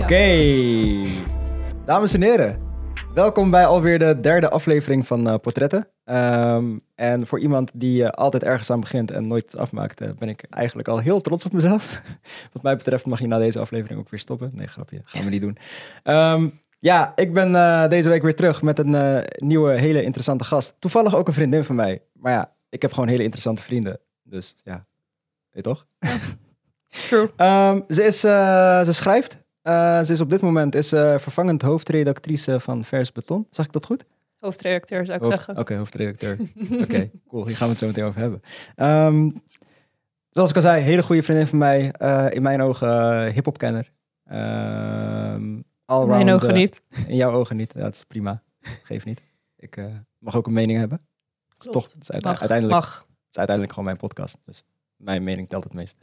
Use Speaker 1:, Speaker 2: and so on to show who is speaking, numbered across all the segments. Speaker 1: uh, Dames en heren, welkom bij alweer de derde aflevering van eh, Portretten. Ehm, en voor iemand die eh, altijd ergens aan begint en nooit afmaakt, eh, ben ik eigenlijk al heel trots op mezelf. Wat mij betreft mag je na deze aflevering ook weer stoppen. Nee, grapje, gaan we niet doen. Ehm, ja, ik ben eh, deze week weer terug met een eh, nieuwe, hele interessante gast. Toevallig ook een vriendin van mij. Maar ja, ik heb gewoon hele interessante vrienden. Dus ja, weet toch?
Speaker 2: True.
Speaker 1: Ehm, ze, is, eh, ze schrijft. Eh, ze is op dit moment is, eh, vervangend hoofdredactrice van Vers Beton. Zag ik dat goed?
Speaker 2: Hoofdredacteur zou ik
Speaker 1: Hoofd-
Speaker 2: zeggen.
Speaker 1: Oké, hoofdredacteur. Oké, cool. Hier gaan we het zo meteen over hebben. Ehm, zoals ik al zei, hele goede vriendin van mij. eh, in mijn ogen eh, hip-hopkenner. Ehm, allround,
Speaker 2: Mijn
Speaker 1: eh,
Speaker 2: ogen niet.
Speaker 1: in jouw ogen niet. Ja, dat is prima. Geef niet. Ik eh, mag ook een mening hebben. Het is
Speaker 2: Klopt.
Speaker 1: toch, het is uite-
Speaker 2: Mag,
Speaker 1: uiteindelijk
Speaker 2: mag.
Speaker 1: het is uiteindelijk gewoon mijn podcast. Dus mijn mening telt het meest.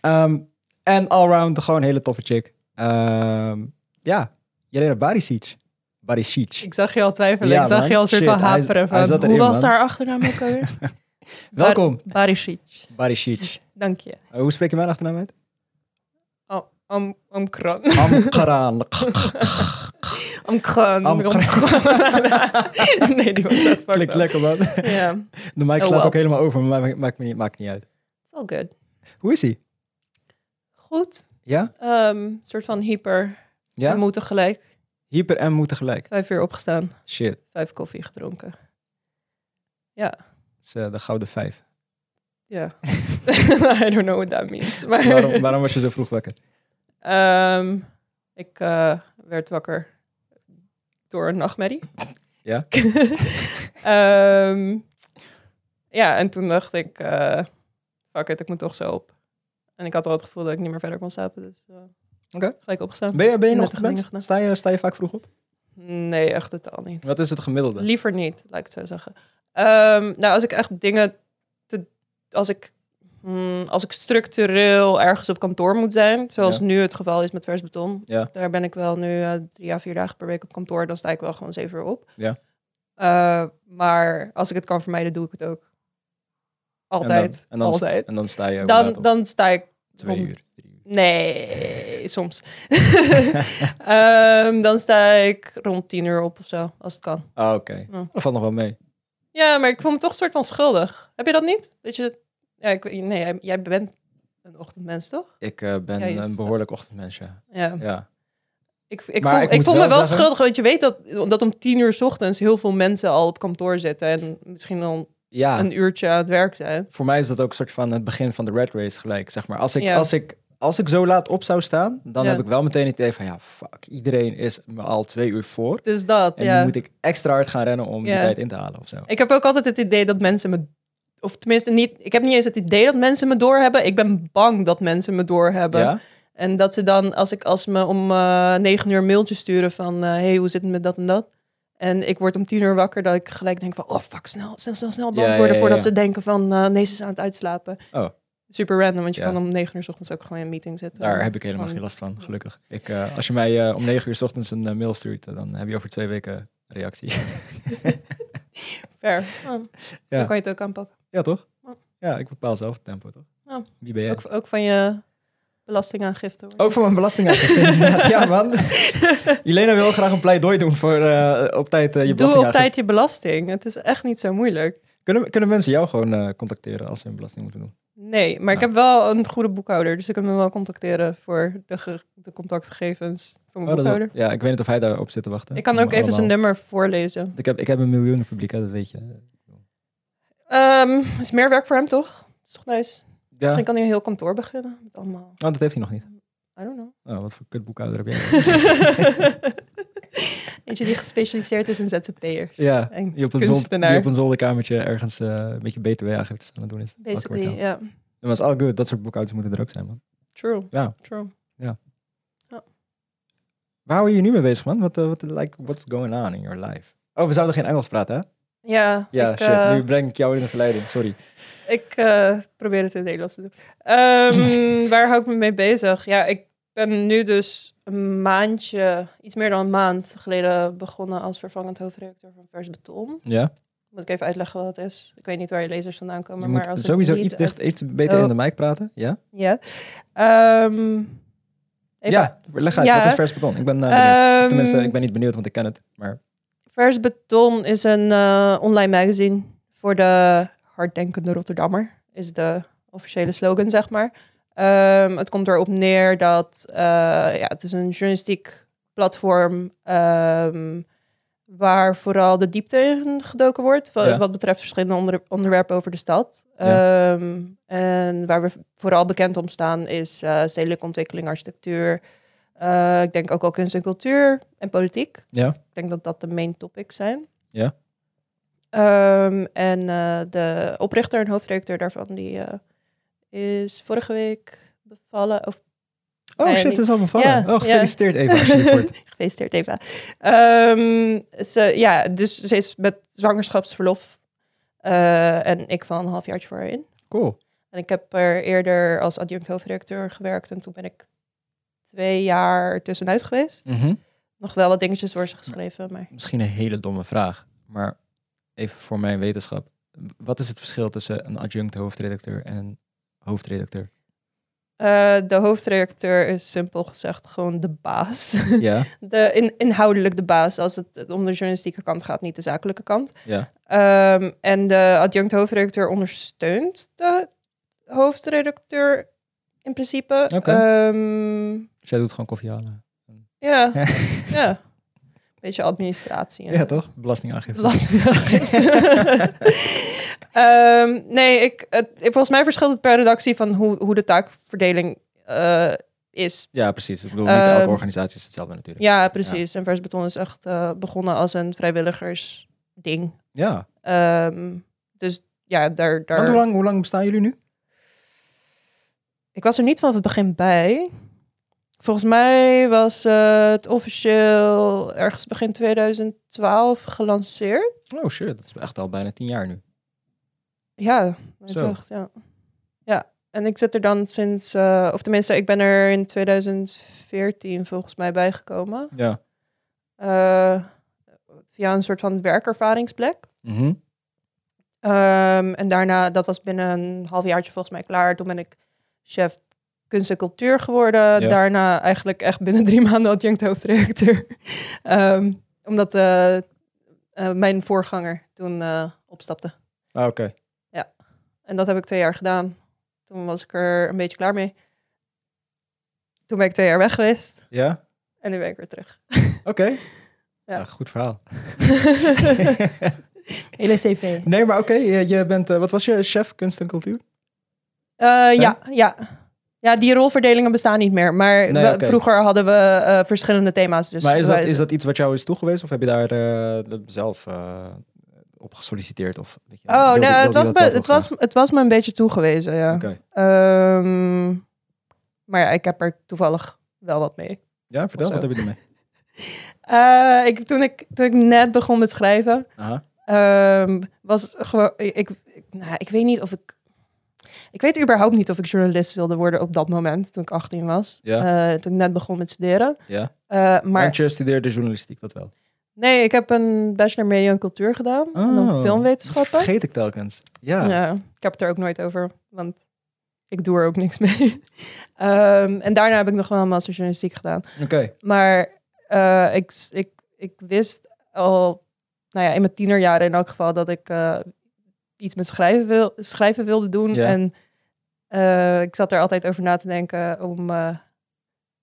Speaker 1: Ehm, en allround gewoon een hele toffe chick. Ehm, ja, Jelena Barisic. Barisic.
Speaker 2: Ik zag je al twijfelen.
Speaker 1: Ja,
Speaker 2: ik zag
Speaker 1: man.
Speaker 2: je al een soort
Speaker 1: Shit,
Speaker 2: van
Speaker 1: hij-
Speaker 2: haperen.
Speaker 1: hij
Speaker 2: van,
Speaker 1: zat
Speaker 2: hoe
Speaker 1: erin,
Speaker 2: was
Speaker 1: man.
Speaker 2: haar achternaam ook alweer?
Speaker 1: Welkom,
Speaker 2: Barisic.
Speaker 1: Barisic.
Speaker 2: Dank je.
Speaker 1: Uh, hoe spreek je mijn achternaam uit?
Speaker 2: Am- Am- Amkran.
Speaker 1: Amkaraan.
Speaker 2: Amkran.
Speaker 1: Amkran.
Speaker 2: Amkran. nee, die was echt fucked
Speaker 1: Klinkt
Speaker 2: up.
Speaker 1: lekker, man.
Speaker 2: Ja, it's
Speaker 1: De mic
Speaker 2: Oh,
Speaker 1: slaat
Speaker 2: wel.
Speaker 1: ook helemaal over, maar maakt, maakt, me niet- maakt niet uit.
Speaker 2: all good.
Speaker 1: Hoe is hij?
Speaker 2: Goed.
Speaker 1: Ja?
Speaker 2: Ehm soort van hyper. We
Speaker 1: Ja?
Speaker 2: moeten gelijk.
Speaker 1: Hyper en moeten gelijk.
Speaker 2: Vijf uur opgestaan.
Speaker 1: Shit.
Speaker 2: Vijf koffie gedronken.
Speaker 1: Dat is eh, de gouden vijf.
Speaker 2: Ja. I don't know what that means. Maar...
Speaker 1: Waarom, waarom was je zo vroeg wakker?
Speaker 2: Ehm, ik eh, werd wakker door een nachtmerrie.
Speaker 1: Ja?
Speaker 2: Ehm, ja, en toen dacht ik, eh fuck it, ik moet toch zo op. En ik had al het gevoel dat ik niet meer verder kon slapen, dus eh,
Speaker 1: Oké.
Speaker 2: gelijk opgestaan.
Speaker 1: Ben je, ben je
Speaker 2: Nuttige
Speaker 1: nog
Speaker 2: dingen gedaan.
Speaker 1: gewend? Sta je, sta je vaak vroeg op?
Speaker 2: Nee, echt totaal niet.
Speaker 1: Wat is het gemiddelde?
Speaker 2: Liever niet, laat ik het zo zeggen. Ehm, nou, als ik echt dingen... Te, als, ik, hmm, als ik structureel ergens op kantoor moet zijn... zoals
Speaker 1: Ja.
Speaker 2: nu het geval is met vers beton...
Speaker 1: Ja.
Speaker 2: daar ben ik wel nu eh, drie à vier dagen per week op kantoor... dan sta ik wel gewoon zeven uur op.
Speaker 1: Ja.
Speaker 2: Eh, maar als ik het kan vermijden, doe ik het ook. Altijd.
Speaker 1: En dan, en dan, sta-
Speaker 2: altijd.
Speaker 1: En dan sta je
Speaker 2: Dan,
Speaker 1: inderdaad op
Speaker 2: dan sta ik...
Speaker 1: twee
Speaker 2: om-
Speaker 1: uur. drie uur.
Speaker 2: Nee, soms. Ehm, dan sta ik rond tien uur op of zo, als het kan.
Speaker 1: Ah, oké.
Speaker 2: Oh.
Speaker 1: Dat valt nog wel mee.
Speaker 2: Ja, maar ik voel me toch een soort van schuldig. Heb je dat niet? Dat je, ja, ik, weet- nee, jij- jij bent een ochtendmens, toch?
Speaker 1: Ik eh, ben
Speaker 2: Ja, Oh. je
Speaker 1: een
Speaker 2: staat-
Speaker 1: behoorlijk ochtendmens, ja.
Speaker 2: Ja.
Speaker 1: Ja.
Speaker 2: Ik, ik
Speaker 1: Maar
Speaker 2: voel,
Speaker 1: ik
Speaker 2: ik
Speaker 1: moet
Speaker 2: voel
Speaker 1: wel
Speaker 2: me wel
Speaker 1: zeggen-
Speaker 2: schuldig, want je weet dat, dat om tien uur 's ochtends heel veel mensen al op kantoor zitten en misschien al
Speaker 1: ja
Speaker 2: een uurtje aan het werk zijn.
Speaker 1: voor mij is dat ook een soort van het begin van de red race gelijk, zeg maar. Als ik,
Speaker 2: Ja.
Speaker 1: als ik, als ik zo laat op zou staan, dan
Speaker 2: Ja.
Speaker 1: heb ik wel meteen het idee van... ja, fuck, iedereen is me al twee uur voor.
Speaker 2: Dus dat,
Speaker 1: En
Speaker 2: ja.
Speaker 1: nu moet ik extra hard gaan rennen om die
Speaker 2: Ja.
Speaker 1: tijd in te halen of zo.
Speaker 2: Ik heb ook altijd het idee dat mensen me... Of tenminste, niet, ik heb niet eens het idee dat mensen me doorhebben. Ik ben bang dat mensen me doorhebben.
Speaker 1: Ja?
Speaker 2: En dat ze dan, als ik als ze me om eh, negen uur een mailtje sturen van... eh hey, hoe zit het met dat en dat? En ik word om tien uur wakker, dat ik gelijk denk van... Oh, fuck, snel, snel, snel, snel beantwoorden...
Speaker 1: ja, ja,
Speaker 2: voordat
Speaker 1: ja.
Speaker 2: ze denken van, eh nee, ze is aan het uitslapen.
Speaker 1: Oh.
Speaker 2: Super random, want je
Speaker 1: Ja.
Speaker 2: kan om negen uur 's ochtends ook gewoon in een meeting zitten.
Speaker 1: Daar heb ik helemaal geen
Speaker 2: Gewoon-
Speaker 1: last van, gelukkig. Ik, eh, als je mij eh, om negen uur 's ochtends een eh, mail stuurt, eh, dan heb je over twee weken een reactie.
Speaker 2: Fair. Oh,
Speaker 1: Ja.
Speaker 2: Zo kan je het ook aanpakken.
Speaker 1: ja, toch?
Speaker 2: Ja.
Speaker 1: Ja, ik bepaal zelf het tempo, toch?
Speaker 2: Ja.
Speaker 1: Wie ben jij?
Speaker 2: Ook, ook van je belastingaangifte. hoor.
Speaker 1: Ook voor mijn belastingaangifte, inderdaad. Ja, man. Jelena wil graag een pleidooi doen voor eh, op tijd eh, je
Speaker 2: Doe op
Speaker 1: belastingaangifte.
Speaker 2: tijd je belasting. Het is echt niet zo moeilijk.
Speaker 1: Kunnen, kunnen mensen jou gewoon eh, contacteren als ze hun belasting moeten doen?
Speaker 2: Nee, maar ik heb
Speaker 1: Nou.
Speaker 2: wel een goede boekhouder. Dus ik kan me wel contacteren voor de, ge- de contactgegevens van mijn
Speaker 1: Oh, dat is-
Speaker 2: boekhouder.
Speaker 1: ja, ik weet niet of hij daarop zit te wachten.
Speaker 2: Ik kan
Speaker 1: Maar
Speaker 2: ook even zijn
Speaker 1: allemaal-
Speaker 2: nummer voorlezen.
Speaker 1: Ik heb, ik heb een miljoenen publiek, hè, dat weet je.
Speaker 2: Ehm, is meer werk voor hem, toch? is toch nice?
Speaker 1: Ja,
Speaker 2: Misschien kan hij een heel kantoor beginnen. Met allemaal,
Speaker 1: oh, dat heeft hij nog niet.
Speaker 2: I don't know.
Speaker 1: Oh, wat voor kutboekhouder heb jij?
Speaker 2: Eentje die gespecialiseerd is in ZZP'ers.
Speaker 1: ja,
Speaker 2: En
Speaker 1: die op, een zolder,
Speaker 2: kunstenaar.
Speaker 1: die op een zolderkamertje ergens eh, een beetje btw-aangiftes aan het doen is. Wakker wordt
Speaker 2: Basically, ja.
Speaker 1: gehaald. Ja, Maar is all good. Dat soort boekhouders moeten er ook zijn, man.
Speaker 2: True.
Speaker 1: Ja.
Speaker 2: True.
Speaker 1: Waar hou je je nu mee bezig, man? Wat, eh, wat, like, what's going on in your life? Oh, we zouden geen Engels praten, hè?
Speaker 2: Ja,
Speaker 1: Ja,
Speaker 2: ik,
Speaker 1: shit.
Speaker 2: eh,
Speaker 1: Nu breng ik jou in de verleiding, sorry.
Speaker 2: Ik eh, probeer het in het Nederlands te doen. Ehm, waar hou ik me mee bezig? Ja, ik ben nu dus een maandje, iets meer dan een maand geleden begonnen als vervangend hoofdredacteur van Vers Beton.
Speaker 1: Ja?
Speaker 2: Moet ik even uitleggen wat dat is? Ik weet niet waar je lezers vandaan komen.
Speaker 1: Je
Speaker 2: maar
Speaker 1: moet
Speaker 2: als het
Speaker 1: sowieso
Speaker 2: niet Oh.
Speaker 1: iets,
Speaker 2: uit-
Speaker 1: dicht, iets beter
Speaker 2: Oh.
Speaker 1: in de mic praten, ja?
Speaker 2: Ja. Ehm, Eva.
Speaker 1: Ja, leg uit.
Speaker 2: Ja.
Speaker 1: Wat is vers beton? Ik ben eh, benieuwd. Of
Speaker 2: Ehm,
Speaker 1: Tenminste, ik ben niet benieuwd, want ik ken het. Maar
Speaker 2: Vers Beton is een eh, online magazine voor de harddenkende Rotterdammer. Is de officiële slogan, zeg maar. Ehm, het komt erop neer dat eh, ja, het is een journalistiek platform ehm waar vooral de diepte in gedoken wordt. wa- Wat,
Speaker 1: Ja.
Speaker 2: betreft verschillende onder- onderwerpen over de stad. Ehm, en waar we vooral bekend om staan is eh, stedelijke ontwikkeling, architectuur. Eh, ik denk ook al kunst en cultuur en politiek.
Speaker 1: ja,
Speaker 2: Ik denk dat dat de main topics zijn.
Speaker 1: Ja.
Speaker 2: Ehm, en eh, de oprichter en hoofdredacteur daarvan, die eh, is vorige week bevallen. Of,
Speaker 1: Oh
Speaker 2: Nee,
Speaker 1: shit,
Speaker 2: niet.
Speaker 1: ze is al bevallen.
Speaker 2: Ja,
Speaker 1: oh, gefeliciteerd even als je dit hoort.
Speaker 2: gefeliciteerd Eva. Ehm, ze, ja, dus ze is met zwangerschapsverlof. eh, en ik val een halfjaartje voor haar in.
Speaker 1: Cool.
Speaker 2: En ik heb er eerder als adjunct hoofdredacteur gewerkt. En toen ben ik twee jaar tussenuit geweest.
Speaker 1: Mhm.
Speaker 2: Nog wel wat dingetjes voor ze geschreven, maar...
Speaker 1: Misschien een hele domme vraag, maar even voor mijn wetenschap. Wat is het verschil tussen een adjunct hoofdredacteur en een hoofdredacteur?
Speaker 2: Eh, de hoofdredacteur is simpel gezegd gewoon de baas.
Speaker 1: Ja,
Speaker 2: De in, inhoudelijk de baas als het om de journalistieke kant gaat, niet de zakelijke kant.
Speaker 1: ja.
Speaker 2: Ehm, en de adjunct hoofdredacteur ondersteunt de hoofdredacteur in principe.
Speaker 1: Oké.
Speaker 2: Ehm,
Speaker 1: Dus jij doet gewoon koffie halen.
Speaker 2: ja, ja. Beetje administratie. en zo.
Speaker 1: toch? Belastingaangifte.
Speaker 2: Belastingaangifte. Ehm, nee, ik, het, ik- volgens mij verschilt het per redactie van hoe, hoe de taakverdeling eh, is.
Speaker 1: ja, precies. Ik bedoel, niet elke
Speaker 2: Ehm,
Speaker 1: organisatie is hetzelfde natuurlijk.
Speaker 2: Ja, precies. En Vers Beton is echt eh, begonnen als een vrijwilligersding.
Speaker 1: Ja.
Speaker 2: Ehm, dus ja, daar...
Speaker 1: Want
Speaker 2: daar...
Speaker 1: hoe lang, hoe lang bestaan jullie nu?
Speaker 2: Ik was er niet vanaf het begin bij. Volgens mij was eh, het officieel ergens begin 2012 gelanceerd.
Speaker 1: Oh shit, dat is echt al bijna tien jaar nu.
Speaker 2: Ja, dat
Speaker 1: Zo.
Speaker 2: is echt, ja. Ja, en ik zit er dan sinds... eh, of tenminste, ik ben er in 2014 volgens mij bijgekomen.
Speaker 1: Ja.
Speaker 2: Eh, via een soort van werkervaringsplek.
Speaker 1: Mhm.
Speaker 2: Ehm, en daarna, dat was binnen een halfjaartje volgens mij klaar. Toen ben ik chef kunst en cultuur geworden.
Speaker 1: Ja.
Speaker 2: Daarna eigenlijk echt binnen drie maanden adjunct hoofdredacteur. Ehm, omdat eh, eh, mijn voorganger toen eh, opstapte.
Speaker 1: Ah, Oké.
Speaker 2: En dat heb ik twee jaar gedaan. Toen was ik er een beetje klaar mee. Toen ben ik twee jaar weg geweest.
Speaker 1: Ja?
Speaker 2: En nu ben ik weer terug.
Speaker 1: Oké. Ja, goed verhaal.
Speaker 2: Hele cv.
Speaker 1: Nee, maar oké, je, je bent, eh, wat was je chef kunst en cultuur?
Speaker 2: Eh,
Speaker 1: Zijn?
Speaker 2: ja, ja. Ja, die rolverdelingen bestaan niet meer. Maar
Speaker 1: Nee,
Speaker 2: we-
Speaker 1: oké.
Speaker 2: vroeger hadden we eh, verschillende thema's. Dus
Speaker 1: maar is dat,
Speaker 2: wij-
Speaker 1: is dat iets wat jou is toegewezen of heb je daar eh, dat zelf eh, op gesolliciteerd? Of, weet je,
Speaker 2: Oh,
Speaker 1: wilde-
Speaker 2: nou, het
Speaker 1: wilde
Speaker 2: was,
Speaker 1: je dat
Speaker 2: me,
Speaker 1: zelf wel
Speaker 2: het, was, het was me een beetje toegewezen, ja.
Speaker 1: graag? Oké.
Speaker 2: Ehm, maar ja, ik heb er toevallig wel wat mee.
Speaker 1: Ja, vertel,
Speaker 2: Of
Speaker 1: wat
Speaker 2: zo.
Speaker 1: heb je ermee?
Speaker 2: Eh, ik, toen, ik, toen ik net begon met schrijven,
Speaker 1: Aha.
Speaker 2: Ehm, was gewoon. Ik, ik- nou, ik weet niet of ik. Ik weet überhaupt niet of ik journalist wilde worden op dat moment toen ik 18 was.
Speaker 1: Ja.
Speaker 2: Eh, toen ik net begon met studeren.
Speaker 1: Ja.
Speaker 2: Eh, maar
Speaker 1: Want je studeerde journalistiek, dat wel.
Speaker 2: nee, ik heb een bachelor media en cultuur gedaan. en dan
Speaker 1: Oh,
Speaker 2: filmwetenschappen.
Speaker 1: Dat vergeet ik telkens. Ja.
Speaker 2: Ja, ik heb het er ook nooit over, want ik doe er ook niks mee. Ehm, en daarna heb ik nog wel een master journalistiek gedaan.
Speaker 1: Oké.
Speaker 2: Maar eh, ik, ik, ik wist al, nou ja, in mijn tienerjaren in elk geval, dat ik eh, iets met schrijven, wil, schrijven wilde doen.
Speaker 1: Ja.
Speaker 2: En eh, ik zat er altijd over na te denken om, eh,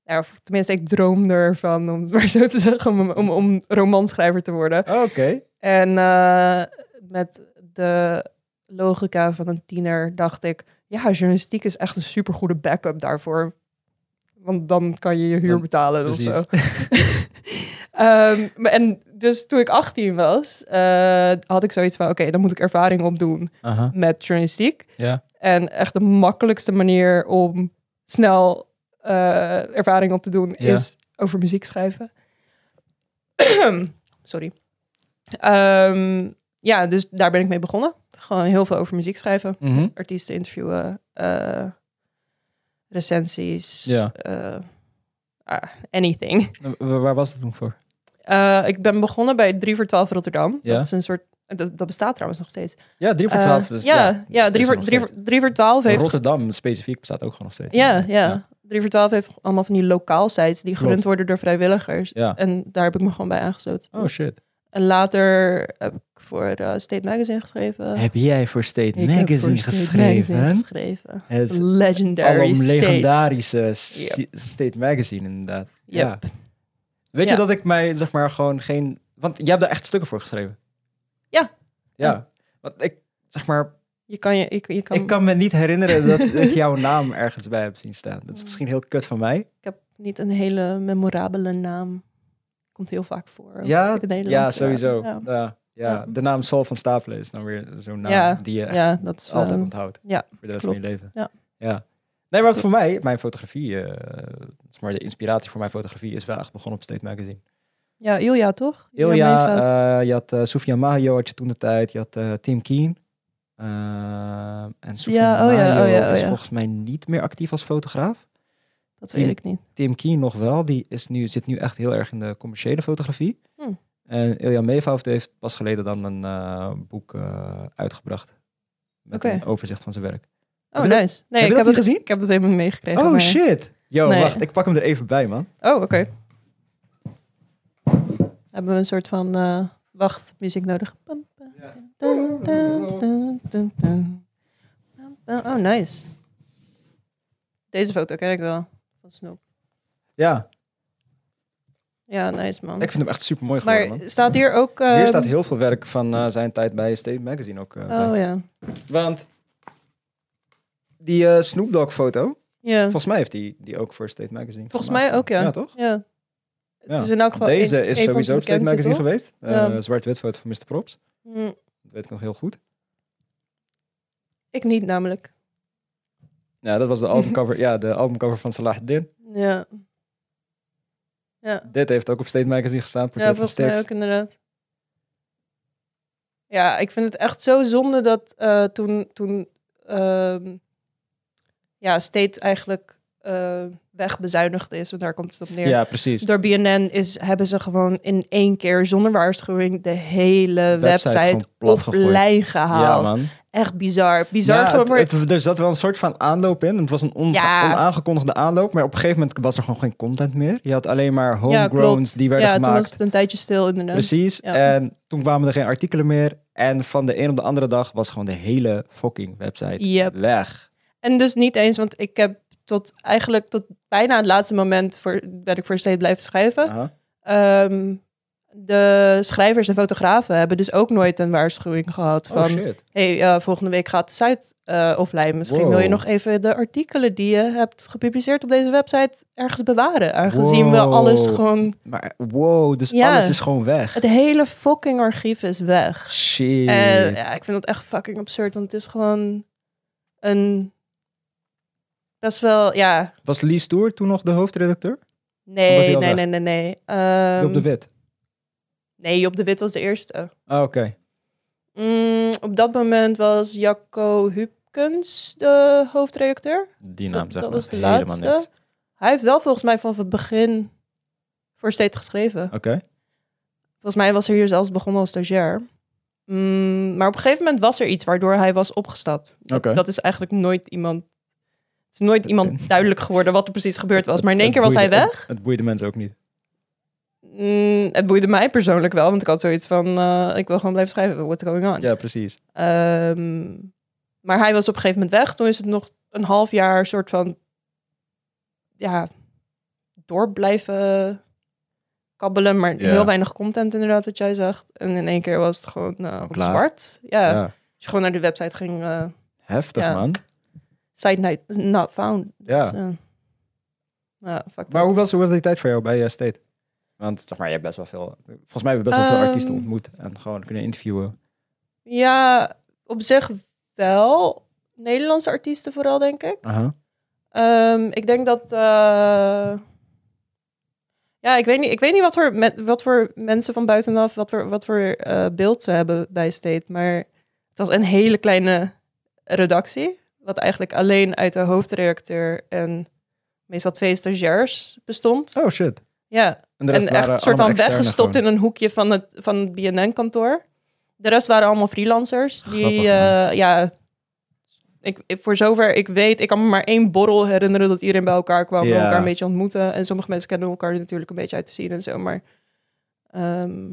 Speaker 2: nou, of tenminste, ik droomde ervan, om het maar zo te zeggen, om, om, om romanschrijver te worden.
Speaker 1: Oké.
Speaker 2: En eh, met de logica van een tiener dacht ik, ja, journalistiek is echt een supergoede backup daarvoor. Want dan kan je je huur
Speaker 1: Dan-
Speaker 2: betalen of
Speaker 1: Precies.
Speaker 2: zo. Ehm, maar en dus toen ik 18 was, eh, had ik zoiets van: oké, dan moet ik ervaring opdoen
Speaker 1: Aha.
Speaker 2: met journalistiek.
Speaker 1: Ja.
Speaker 2: En echt de makkelijkste manier om snel eh, ervaring op te doen
Speaker 1: Ja.
Speaker 2: is over muziek schrijven. Sorry. Ehm, ja, dus daar ben ik mee begonnen. Gewoon heel veel over muziek schrijven,
Speaker 1: Mhm.
Speaker 2: artiesten interviewen, eh, recensies,
Speaker 1: Ja.
Speaker 2: eh, ah, anything.
Speaker 1: En wa- Waar was dat toen voor?
Speaker 2: Eh, ik ben begonnen bij 3 voor 12 Rotterdam.
Speaker 1: Ja.
Speaker 2: Dat is een soort. Dat, dat bestaat trouwens nog steeds.
Speaker 1: Ja, 3 voor
Speaker 2: Eh,
Speaker 1: 12. dus
Speaker 2: ja, ja, 3
Speaker 1: is er
Speaker 2: voor,
Speaker 1: nog
Speaker 2: drie voor, drie voor 12 heeft.
Speaker 1: Rotterdam specifiek bestaat ook gewoon nog steeds.
Speaker 2: Ja, ja. 3 voor 12 heeft allemaal van die lokaal sites die gerund
Speaker 1: Klopt.
Speaker 2: worden door vrijwilligers.
Speaker 1: Ja.
Speaker 2: En daar heb ik me gewoon bij aangesloten.
Speaker 1: Oh shit.
Speaker 2: En later heb ik voor eh, State Magazine geschreven.
Speaker 1: Heb jij voor State
Speaker 2: Eh, Ik heb voor
Speaker 1: Magazine
Speaker 2: State
Speaker 1: geschreven?
Speaker 2: Magazine geschreven.
Speaker 1: Het
Speaker 2: Legendary
Speaker 1: alom
Speaker 2: State.
Speaker 1: legendarische s- State Magazine inderdaad. Ja.
Speaker 2: Yep.
Speaker 1: Weet
Speaker 2: Ja.
Speaker 1: je dat ik mij zeg maar gewoon geen... Want jij hebt daar echt stukken voor geschreven.
Speaker 2: Ja.
Speaker 1: Ja. Want ik zeg maar...
Speaker 2: Je kan je, je, je kan,
Speaker 1: Ik kan me niet herinneren dat ik jouw naam ergens bij heb zien staan. Dat is misschien heel kut van mij.
Speaker 2: ik heb niet een hele memorabele naam. Komt heel vaak voor. ook
Speaker 1: Ja,
Speaker 2: in de
Speaker 1: Ja,
Speaker 2: Nederlandse
Speaker 1: sowieso.
Speaker 2: naam.
Speaker 1: Ja.
Speaker 2: Ja.
Speaker 1: Ja,
Speaker 2: Ja.
Speaker 1: De naam Sol van Stapelen is dan weer zo'n naam
Speaker 2: Ja,
Speaker 1: die je echt
Speaker 2: Ja, dat is
Speaker 1: altijd
Speaker 2: eh,
Speaker 1: onthoudt.
Speaker 2: ja,
Speaker 1: voor de rest van
Speaker 2: klopt.
Speaker 1: je leven.
Speaker 2: Ja.
Speaker 1: ja. Nee, maar wat voor mij, mijn fotografie, eh, zeg maar de inspiratie voor mijn fotografie is wel echt begonnen op State Magazine.
Speaker 2: ja, Ilja toch?
Speaker 1: Ilja,
Speaker 2: Meevoud.
Speaker 1: eh, je had eh Sofia Maggio had je toen de tijd, je had eh, Tim Keen. Ehm, en Sofia
Speaker 2: Ja, oh ja,
Speaker 1: Maggio
Speaker 2: oh ja, oh
Speaker 1: is
Speaker 2: ja.
Speaker 1: volgens mij niet meer actief als fotograaf.
Speaker 2: dat weet
Speaker 1: Tim-
Speaker 2: ik niet.
Speaker 1: Tim Keen nog wel, die is nu, zit nu echt heel erg in de commerciële fotografie.
Speaker 2: Hm.
Speaker 1: En Ilja Meevoud heeft pas geleden dan een eh, boek eh, uitgebracht. Met
Speaker 2: Oké.
Speaker 1: een overzicht van zijn werk.
Speaker 2: Oh,
Speaker 1: je dat-
Speaker 2: nice. nee,
Speaker 1: heb
Speaker 2: ik
Speaker 1: je
Speaker 2: heb
Speaker 1: dat niet
Speaker 2: het,
Speaker 1: gezien?
Speaker 2: Ik heb het helemaal niet meegekregen.
Speaker 1: Oh
Speaker 2: maar-
Speaker 1: shit! Yo,
Speaker 2: Nee.
Speaker 1: wacht, ik pak hem er even bij, man.
Speaker 2: Oh, oké. Hebben we een soort van eh wachtmuziek nodig. Pam, pam, dun, dun, dun, dun, dun. Pam, pam. Oh, nice. Deze foto ken ik wel. Van Snoep.
Speaker 1: Ja,
Speaker 2: Ja, nice man.
Speaker 1: ik vind hem echt super mooi geworden,
Speaker 2: Maar
Speaker 1: man.
Speaker 2: staat hier ook... eh,
Speaker 1: Hier staat heel veel werk van eh, zijn tijd bij State Magazine ook. eh, bij.
Speaker 2: Oh ja.
Speaker 1: Want die eh Snoop Dogg foto,
Speaker 2: ja.
Speaker 1: volgens mij heeft die, die ook voor State Magazine
Speaker 2: Volgens
Speaker 1: gemaakt.
Speaker 2: mij ook, ja.
Speaker 1: Ja, toch?
Speaker 2: Ja. Het
Speaker 1: Ja.
Speaker 2: is in elk geval
Speaker 1: Deze
Speaker 2: een-
Speaker 1: is
Speaker 2: een van
Speaker 1: sowieso
Speaker 2: de
Speaker 1: op State
Speaker 2: bekendste,
Speaker 1: Magazine
Speaker 2: toch?
Speaker 1: geweest. Eh,
Speaker 2: Ja.
Speaker 1: Zwart-wit foto van Mr. Props.
Speaker 2: Hm,
Speaker 1: Dat weet ik nog heel goed.
Speaker 2: ik niet namelijk.
Speaker 1: Ja, dat was de albumcover, ja, de albumcover van Salah Din.
Speaker 2: Ja. Ja.
Speaker 1: Dit heeft ook op State Magazine gestaan.
Speaker 2: Ja,
Speaker 1: Portret van
Speaker 2: volgens mij
Speaker 1: Stax.
Speaker 2: ook inderdaad. Ja, ik vind het echt zo zonde dat eh, toen, toen ehm, ja, State eigenlijk eh, wegbezuinigd is, want daar komt het op neer.
Speaker 1: Ja, precies.
Speaker 2: Door BNN is, hebben ze gewoon in één keer zonder waarschuwing de hele
Speaker 1: Website
Speaker 2: website,
Speaker 1: gewoon plat gegooid.
Speaker 2: offline
Speaker 1: Ja,
Speaker 2: gehaald.
Speaker 1: man.
Speaker 2: echt bizar. Bizar
Speaker 1: Ja,
Speaker 2: gewoon
Speaker 1: het,
Speaker 2: voor...
Speaker 1: het- er zat wel een soort van aanloop in. Het was een on-
Speaker 2: Ja.
Speaker 1: onaangekondigde aanloop. Maar op een gegeven moment was er gewoon geen content meer. Je had alleen maar homegrowns
Speaker 2: klopt.
Speaker 1: die werden
Speaker 2: ja, toen
Speaker 1: gemaakt.
Speaker 2: was het een tijdje stil inderdaad.
Speaker 1: Precies.
Speaker 2: Ja.
Speaker 1: En toen kwamen er geen artikelen meer. En van de een op de andere dag was gewoon de hele fucking website
Speaker 2: Yep.
Speaker 1: weg.
Speaker 2: En dus niet eens, want ik heb tot eigenlijk tot bijna het laatste moment voor, ben ik voor steeds blijven schrijven.
Speaker 1: Aha.
Speaker 2: Ehm, de schrijvers en fotografen hebben dus ook nooit een waarschuwing gehad
Speaker 1: Oh
Speaker 2: van...
Speaker 1: shit.
Speaker 2: hey, eh, volgende week gaat de site eh, offline. Misschien
Speaker 1: Wow.
Speaker 2: wil je nog even de artikelen die je hebt gepubliceerd op deze website ergens bewaren. Aangezien we
Speaker 1: Wow.
Speaker 2: alles gewoon...
Speaker 1: Maar wow, dus
Speaker 2: Ja.
Speaker 1: alles is gewoon weg.
Speaker 2: Het hele fucking archief is weg.
Speaker 1: Shit.
Speaker 2: En ja, ik vind dat echt fucking absurd, want het is gewoon een... Best wel, ja,
Speaker 1: Was Lee Stoer toen nog de hoofdredacteur? Of was
Speaker 2: Nee,
Speaker 1: die al
Speaker 2: nee,
Speaker 1: weg?
Speaker 2: nee, nee, nee.
Speaker 1: Job
Speaker 2: Ehm,
Speaker 1: de Wit.
Speaker 2: Nee, Job de Wit was de eerste.
Speaker 1: Ah, Oké.
Speaker 2: Mm, op dat moment was Jacco Hupkens de hoofdredacteur.
Speaker 1: Die
Speaker 2: Dat,
Speaker 1: naam
Speaker 2: dat
Speaker 1: zegt me
Speaker 2: was de
Speaker 1: helemaal
Speaker 2: laatste.
Speaker 1: niks.
Speaker 2: Hij heeft wel volgens mij vanaf het begin voor steeds geschreven.
Speaker 1: Oké.
Speaker 2: Volgens mij was hij hier zelfs begonnen als stagiair. Mm, maar op een gegeven moment was er iets waardoor hij was opgestapt.
Speaker 1: Oké.
Speaker 2: Dat is eigenlijk nooit iemand... Het is nooit iemand duidelijk geworden wat er precies gebeurd was. Maar in één
Speaker 1: Het
Speaker 2: keer was hij
Speaker 1: boeide-
Speaker 2: weg.
Speaker 1: Het, het boeide mensen ook niet.
Speaker 2: Mm, het boeide mij persoonlijk wel, want ik had zoiets van... eh, ik wil gewoon blijven schrijven, what's going on?
Speaker 1: Ja, precies.
Speaker 2: Ehm, maar hij was op een gegeven moment weg. Toen is het nog een half jaar soort van... Ja, door blijven kabbelen. Maar
Speaker 1: Ja.
Speaker 2: heel weinig content inderdaad, wat jij zegt. En in één keer was het gewoon eh, op
Speaker 1: klaar.
Speaker 2: zwart. Ja.
Speaker 1: Ja.
Speaker 2: Als je gewoon naar de website ging... eh,
Speaker 1: Heftig,
Speaker 2: Ja.
Speaker 1: man.
Speaker 2: site night not found.
Speaker 1: Ja.
Speaker 2: Dus, eh, ja, fuck
Speaker 1: Maar
Speaker 2: that.
Speaker 1: hoe was, hoe was die tijd voor jou bij eh, State? Want zeg maar, je hebt best wel veel... Volgens mij hebben we best wel veel artiesten
Speaker 2: Ehm.
Speaker 1: ontmoet. En gewoon kunnen interviewen.
Speaker 2: Ja, op zich wel. Nederlandse artiesten vooral, denk ik.
Speaker 1: Aha.
Speaker 2: Ehm, ik denk dat. eh, Ja, ik weet niet, ik weet niet wat, voor me- wat voor mensen van buitenaf, wat voor, wat voor eh, beeld ze hebben bij State. Maar het was een hele kleine redactie. Wat eigenlijk alleen uit de hoofdredacteur en meestal twee stagiairs bestond.
Speaker 1: Oh, shit.
Speaker 2: Ja,
Speaker 1: En, de
Speaker 2: en
Speaker 1: rest
Speaker 2: echt
Speaker 1: waren
Speaker 2: een soort van
Speaker 1: allemaal externe
Speaker 2: weggestopt
Speaker 1: gewoon.
Speaker 2: in een hoekje van het, van het BNN-kantoor. De rest waren allemaal freelancers die
Speaker 1: Grappig,
Speaker 2: eh, ja, ik, ik- voor zover ik weet, ik kan me maar één borrel herinneren dat iedereen bij elkaar kwam en
Speaker 1: Ja.
Speaker 2: elkaar een beetje ontmoeten. En sommige mensen kennen elkaar natuurlijk een beetje uit te zien en zo, maar ehm,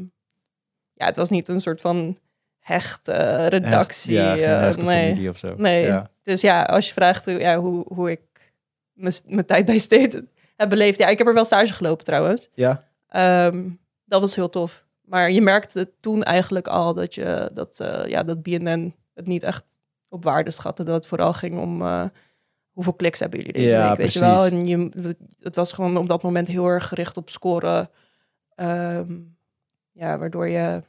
Speaker 2: ja, het was niet een soort van hechte eh, redactie.
Speaker 1: Echt, ja, geen
Speaker 2: eh,
Speaker 1: hechte
Speaker 2: nee.
Speaker 1: familie of zo.
Speaker 2: Nee.
Speaker 1: Ja.
Speaker 2: Dus ja, als je vraagt hoe- ja, hoe, hoe ik mijn s- mijn tijd bij State heb beleefd. Ja, ik heb er wel stage gelopen trouwens.
Speaker 1: Ja?
Speaker 2: Ehm, dat was heel tof. Maar je merkte toen eigenlijk al dat, je, dat, eh, ja, dat BNN het niet echt op waarde schatte. Dat het vooral ging om eh, hoeveel kliks hebben jullie deze
Speaker 1: Ja,
Speaker 2: week, weet je wel.
Speaker 1: precies.
Speaker 2: En je, het was gewoon op dat moment heel erg gericht op scoren. Ehm, ja, waardoor je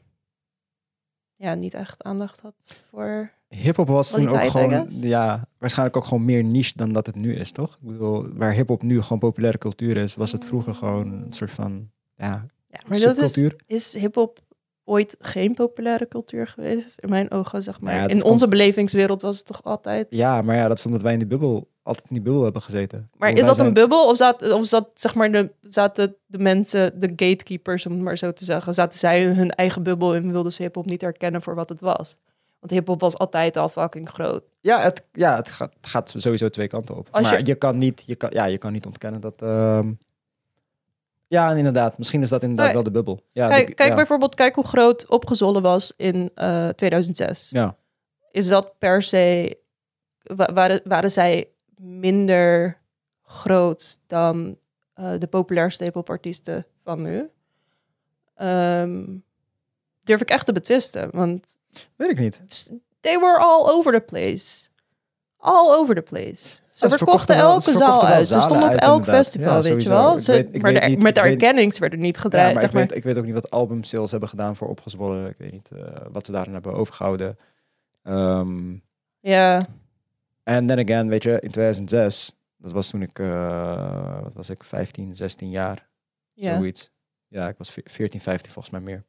Speaker 2: ja, niet echt aandacht had voor...
Speaker 1: Hip-hop was toen ook
Speaker 2: Kwaliteit, I
Speaker 1: gewoon,
Speaker 2: guess.
Speaker 1: ja, waarschijnlijk ook gewoon meer niche dan dat het nu is, toch? Ik bedoel, waar hip-hop nu gewoon populaire cultuur is, was het vroeger gewoon een soort van, ja,
Speaker 2: Ja, Mm. maar dat is,
Speaker 1: subcultuur.
Speaker 2: Is hip-hop ooit geen populaire cultuur geweest? In mijn ogen, zeg maar.
Speaker 1: Ja, het
Speaker 2: in
Speaker 1: komt-
Speaker 2: onze belevingswereld was het toch altijd.
Speaker 1: Ja, maar ja, dat is omdat wij in die bubbel, altijd in die bubbel hebben gezeten.
Speaker 2: Maar is dat een bubbel of, zat, of zat, zeg maar de, zaten de mensen, de gatekeepers, om het maar zo te zeggen, zaten zij in hun eigen bubbel en wilden ze hip-hop niet herkennen voor wat het was? Want hip-hop was altijd al fucking groot.
Speaker 1: Ja, het, ja, het gaat, het gaat sowieso twee kanten op.
Speaker 2: Als
Speaker 1: maar
Speaker 2: je-
Speaker 1: je... kan niet, je kan, ja, je kan niet ontkennen dat... ehm, ja, inderdaad. Misschien is dat inderdaad
Speaker 2: Kijk-
Speaker 1: wel de bubbel. Ja,
Speaker 2: kijk
Speaker 1: die-
Speaker 2: kijk
Speaker 1: ja.
Speaker 2: bijvoorbeeld kijk hoe groot opgezollen was in eh, 2006.
Speaker 1: Ja.
Speaker 2: is dat per se. wa- waren, waren zij minder groot dan eh, de populairste hiphopartiesten van nu? Ehm, durf ik echt te betwisten, want
Speaker 1: Weet ik niet.
Speaker 2: s- they were all over the place. All over the place. Ze
Speaker 1: Ja, ze
Speaker 2: verkochten
Speaker 1: verkochten wel-
Speaker 2: elke
Speaker 1: ze
Speaker 2: zaal
Speaker 1: verkochten wel
Speaker 2: uit. Ze
Speaker 1: zalen
Speaker 2: stonden op
Speaker 1: uit,
Speaker 2: elk
Speaker 1: inderdaad.
Speaker 2: festival,
Speaker 1: Ja,
Speaker 2: weet je
Speaker 1: sowieso.
Speaker 2: wel.
Speaker 1: Ik
Speaker 2: Ze,
Speaker 1: weet- ik
Speaker 2: maar
Speaker 1: weet
Speaker 2: de,
Speaker 1: niet-
Speaker 2: met de
Speaker 1: ik weet-
Speaker 2: erkennings werden niet
Speaker 1: Ja,
Speaker 2: gedraaid,
Speaker 1: maar,
Speaker 2: zeg
Speaker 1: ik,
Speaker 2: maar.
Speaker 1: Weet, ik weet ook niet wat album sales hebben gedaan voor opgezwollen. Ik weet niet eh, wat ze daarin hebben overgehouden. Ehm,
Speaker 2: Ja,
Speaker 1: En then again, weet je, in 2006, dat was toen ik, eh, wat was ik, 15, 16 jaar,
Speaker 2: ja.
Speaker 1: zoiets. Ja, ik was ve- 14, 15 volgens mij meer.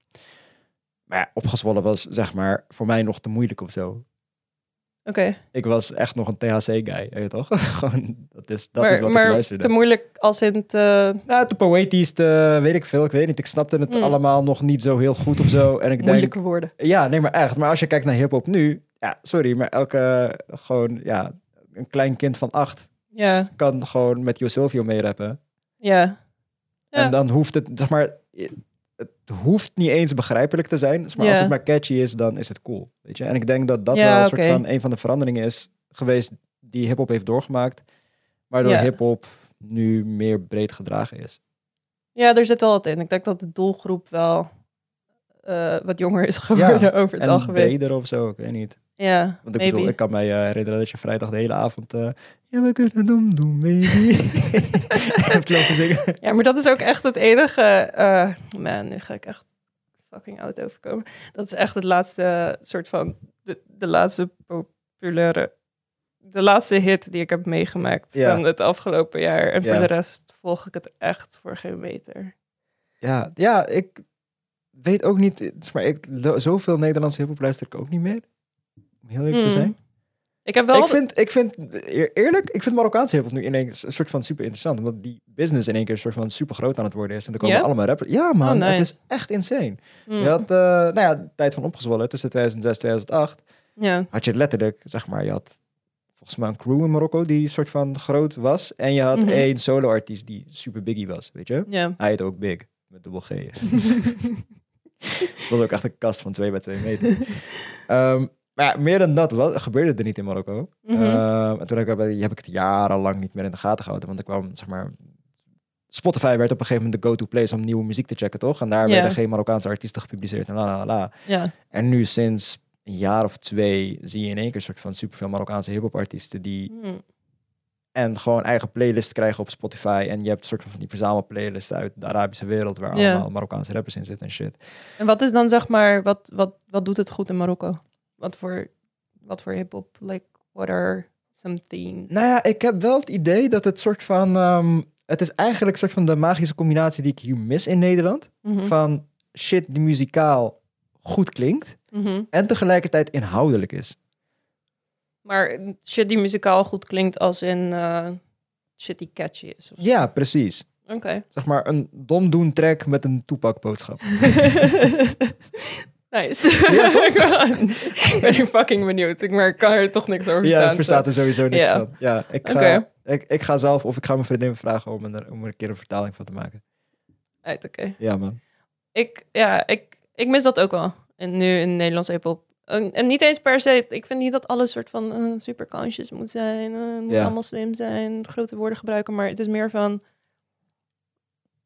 Speaker 1: Maar ja, opgezwollen was, zeg maar, voor mij nog te moeilijk of zo.
Speaker 2: Oké.
Speaker 1: Ik was echt nog een THC-guy, weet je toch? Gewoon, dat is, dat is
Speaker 2: Maar,
Speaker 1: wat ik
Speaker 2: maar
Speaker 1: luisterde.
Speaker 2: te moeilijk als in te...
Speaker 1: Nou, te poëtisch, te weet ik veel, ik weet niet. Ik snapte het
Speaker 2: Hmm.
Speaker 1: allemaal nog niet zo heel goed of zo. En ik denk,
Speaker 2: moeilijke woorden.
Speaker 1: Ja, nee, maar echt. Maar als je kijkt naar hip-hop nu, ja, sorry, maar elke eh, gewoon, ja, een klein kind van acht
Speaker 2: Ja,
Speaker 1: s- kan gewoon met Yo Silvio meerappen.
Speaker 2: ja. Ja.
Speaker 1: En dan hoeft het, zeg maar, i- het hoeft niet eens begrijpelijk te zijn. Maar als
Speaker 2: Ja.
Speaker 1: het maar catchy is, dan is het cool. Weet je? En ik denk dat dat
Speaker 2: Ja,
Speaker 1: wel een
Speaker 2: oké.
Speaker 1: soort van een van de veranderingen is geweest die hip-hop heeft doorgemaakt. Waardoor
Speaker 2: Ja.
Speaker 1: hip-hop nu meer breed gedragen is.
Speaker 2: Ja, er zit wel wat in. Ik denk dat de doelgroep wel eh, wat jonger is geworden over het
Speaker 1: en
Speaker 2: algemeen.
Speaker 1: breder of zo, ik weet niet.
Speaker 2: Ja,
Speaker 1: Want ik
Speaker 2: maybe.
Speaker 1: bedoel, ik kan mij eh, herinneren dat je vrijdag de hele avond... eh, ja, we kunnen doen, doen, baby. Hebt lopen zingen.
Speaker 2: Ja, maar dat is ook echt het enige... eh, man, nu ga ik echt fucking oud overkomen. Dat is echt het laatste soort van... De, de laatste populaire... De laatste hit die ik heb meegemaakt
Speaker 1: Ja.
Speaker 2: van het afgelopen jaar. En
Speaker 1: Ja.
Speaker 2: voor de rest volg ik het echt voor geen meter.
Speaker 1: Ja, ja, ik weet ook niet... het is Maar ik, lo- zoveel Nederlandse hiphop luister ik ook niet meer. Om heel eerlijk te
Speaker 2: Hmm.
Speaker 1: zijn.
Speaker 2: Ik heb wel...
Speaker 1: Ik vind, ik vind, eer- eerlijk, ik vind Marokkaanse hiphop nu ineens een soort van super interessant. Omdat die business in één keer een soort van super groot aan het worden is. En er komen
Speaker 2: Ja? Oh,
Speaker 1: allemaal rappers. Ja man,
Speaker 2: nice.
Speaker 1: het is echt insane.
Speaker 2: Hmm,
Speaker 1: Je had, eh nou ja, de tijd van opgezwollen tussen 2006 2008.
Speaker 2: ja.
Speaker 1: had je letterlijk, zeg maar, je had volgens mij een crew in Marokko die soort van groot was. En je had
Speaker 2: Mhm.
Speaker 1: één solo-artiest die super biggie was, weet je?
Speaker 2: ja.
Speaker 1: Hij heet ook Big, met dubbel G. Dat was ook echt een kast van 2 bij 2 meter. Ehm, maar ja, meer dan dat was, gebeurde er niet in Marokko.
Speaker 2: Mhm.
Speaker 1: Ehm, en toen heb ik, heb ik het jarenlang niet meer in de gaten gehouden. Want ik kwam, zeg maar... Spotify werd op een gegeven moment de go-to place om nieuwe muziek te checken, toch? En daar
Speaker 2: Ja.
Speaker 1: werden geen Marokkaanse artiesten gepubliceerd en la la la, la.
Speaker 2: ja.
Speaker 1: En nu sinds een jaar of twee zie je in één keer een soort van superveel Marokkaanse hip-hop artiesten die
Speaker 2: Hmm.
Speaker 1: en gewoon eigen playlist krijgen op Spotify. En je hebt een soort van die verzamelplaylisten uit de Arabische wereld waar
Speaker 2: Ja.
Speaker 1: allemaal Marokkaanse rappers in zitten en shit.
Speaker 2: En wat is dan zeg maar, wat, wat, wat doet het goed in Marokko? Wat voor, wat voor hip-hop? Like, what are some themes?
Speaker 1: Nou ja, ik heb wel het idee dat het soort van. ehm, het is eigenlijk een soort van de magische combinatie die ik hier mis in Nederland.
Speaker 2: Mhm,
Speaker 1: Van shit die muzikaal goed klinkt
Speaker 2: mhm.
Speaker 1: en tegelijkertijd inhoudelijk is.
Speaker 2: Maar shit die muzikaal goed klinkt als in eh, shit die catchy is. of-
Speaker 1: Ja, precies.
Speaker 2: Oké.
Speaker 1: Zeg maar een domdoen track met een toepakboodschap.
Speaker 2: Oké. Nice.
Speaker 1: Ja,
Speaker 2: ik ben- ik ben fucking benieuwd. Ik maar ik kan er toch niks over
Speaker 1: Ja,
Speaker 2: verstaan.
Speaker 1: ik verstaat er sowieso niks
Speaker 2: eh, Ja.
Speaker 1: van. Ja, ik ga,
Speaker 2: Oké.
Speaker 1: ik, ik ga zelf of ik ga mijn vriendin vragen om er, om er een keer een vertaling van te maken.
Speaker 2: Uit, oké.
Speaker 1: Ja, man.
Speaker 2: Ik, ja, ik, ik mis dat ook wel. En nu in Nederlands hip-hop. En, en niet eens per se. Ik vind niet dat alles soort van eh, super conscious moet zijn. eh, moet
Speaker 1: Ja.
Speaker 2: allemaal slim zijn. Grote woorden gebruiken. Maar het is meer van.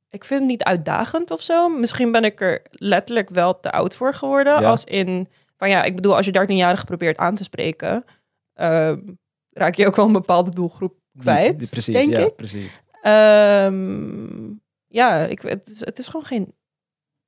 Speaker 2: Ik vind het niet uitdagend of zo. Misschien ben ik er letterlijk wel te oud voor geworden.
Speaker 1: Ja.
Speaker 2: Als in. Van ja, ik bedoel, als je 13-jarige probeert aan te spreken. ehm, raak je ook wel een bepaalde doelgroep kwijt.
Speaker 1: Die- die- precies,
Speaker 2: denk
Speaker 1: ja,
Speaker 2: ik.
Speaker 1: precies.
Speaker 2: Ehm, ja, ik, het, is, het is gewoon geen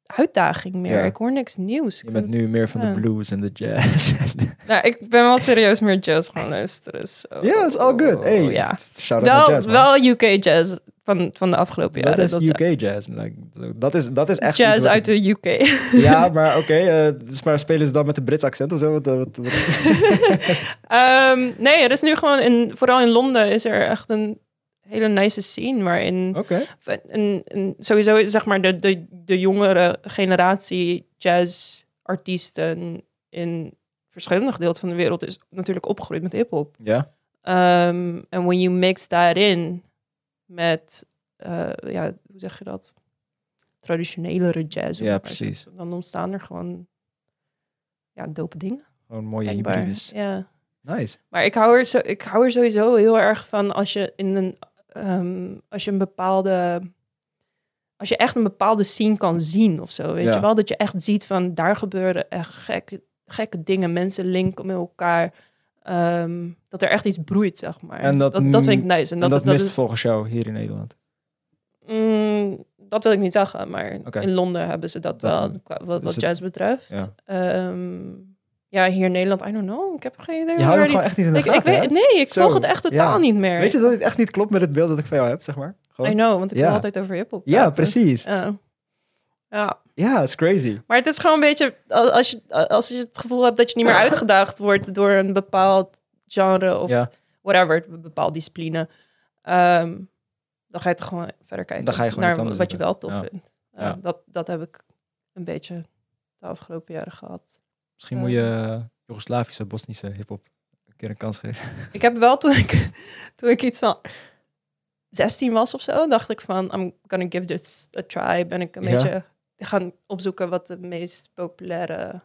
Speaker 2: uitdaging meer.
Speaker 1: Ja.
Speaker 2: Ik hoor niks nieuws.
Speaker 1: Je
Speaker 2: Ik
Speaker 1: bent
Speaker 2: vind
Speaker 1: nu meer van
Speaker 2: ja.
Speaker 1: de blues en de jazz.
Speaker 2: het- nou, ik ben wel serieus meer jazz gaan luisteren. so-
Speaker 1: Ja, it's all good. Hey,
Speaker 2: Ja.
Speaker 1: shout out naar
Speaker 2: Wel,
Speaker 1: jazz, man.
Speaker 2: wel UK jazz van, van de afgelopen jaren.
Speaker 1: dat is
Speaker 2: dat-
Speaker 1: UK jazz. Like, dat, is, dat is echt iets
Speaker 2: jazz
Speaker 1: wat
Speaker 2: uit
Speaker 1: ik-
Speaker 2: de UK.
Speaker 1: Ja, maar oké. eh, dus maar spelen ze dan met een Brits accent of zo? Wat, eh, wat, wat-
Speaker 2: Ehm, nee, er is nu gewoon, in, vooral in Londen, is er echt een hele nice scene waarin...
Speaker 1: Oké.
Speaker 2: En, en sowieso is, zeg maar de, de, de jongere generatie jazzartiesten in verschillende gedeelten van de wereld is natuurlijk opgegroeid met hip-hop.
Speaker 1: Ja.
Speaker 2: Ehm, En when you mix that in met, eh, ja, hoe zeg je dat? Traditionelere jazz. om
Speaker 1: Ja,
Speaker 2: het maar te
Speaker 1: precies.
Speaker 2: zeggen. Dan ontstaan er gewoon, ja, dope dingen.
Speaker 1: Gewoon mooie
Speaker 2: blijkbaar.
Speaker 1: Oh hybrides.
Speaker 2: Ja.
Speaker 1: Nice.
Speaker 2: Maar ik hou, er zo, ik hou er sowieso heel erg van als je in een ehm, als je een bepaalde als je echt een bepaalde scene kan zien of zo, weet
Speaker 1: Ja.
Speaker 2: je wel dat je echt ziet van daar gebeuren echt gekke, gekke dingen, mensen linken met elkaar, ehm, dat er echt iets broeit zeg maar.
Speaker 1: En dat
Speaker 2: dat, vind ik nice. En dat,
Speaker 1: en dat,
Speaker 2: dat,
Speaker 1: mist
Speaker 2: is-
Speaker 1: volgens jou hier in Nederland.
Speaker 2: Mm, dat wil ik niet zeggen, maar
Speaker 1: Oké.
Speaker 2: in Londen hebben ze dat,
Speaker 1: Dat-
Speaker 2: wel qua- wat,
Speaker 1: is
Speaker 2: wat
Speaker 1: het-
Speaker 2: jazz betreft.
Speaker 1: ja.
Speaker 2: Ehm, ja, hier in Nederland, I don't know, ik heb geen idee. waar
Speaker 1: Je houdt het
Speaker 2: die-
Speaker 1: gewoon echt niet in de
Speaker 2: ik, ik
Speaker 1: gaten, hè?
Speaker 2: weet, nee, ik
Speaker 1: Zo,
Speaker 2: volg het echt totaal
Speaker 1: ja.
Speaker 2: niet meer.
Speaker 1: Weet je dat het echt niet klopt met het beeld dat ik van jou heb, zeg maar? Gewoon-
Speaker 2: I know, want ik
Speaker 1: Ja.
Speaker 2: wil altijd over hip-hop.
Speaker 1: Ja,
Speaker 2: praten.
Speaker 1: precies.
Speaker 2: Ja. ja,
Speaker 1: Ja, it's crazy.
Speaker 2: maar het is gewoon een beetje als als je, als je het gevoel hebt dat je niet meer uitgedaagd wordt door een bepaald genre of
Speaker 1: Ja.
Speaker 2: whatever, een bepaald discipline, ehm, dan ga je toch gewoon verder kijken
Speaker 1: Dan ga je gewoon
Speaker 2: naar
Speaker 1: iets anders
Speaker 2: wat je
Speaker 1: doen.
Speaker 2: wel tof
Speaker 1: Ja.
Speaker 2: vindt.
Speaker 1: Ja.
Speaker 2: Ja, Dat, dat heb ik een beetje de afgelopen jaren gehad.
Speaker 1: Misschien moet je eh, Joegoslavische, Bosnische hip-hop een keer een kans geven.
Speaker 2: Ik heb wel toen ik, toen ik iets van 16 was of zo, dacht ik van, I'm gonna give this a try. Ben ik een
Speaker 1: Ja.
Speaker 2: beetje gaan opzoeken wat de meest populaire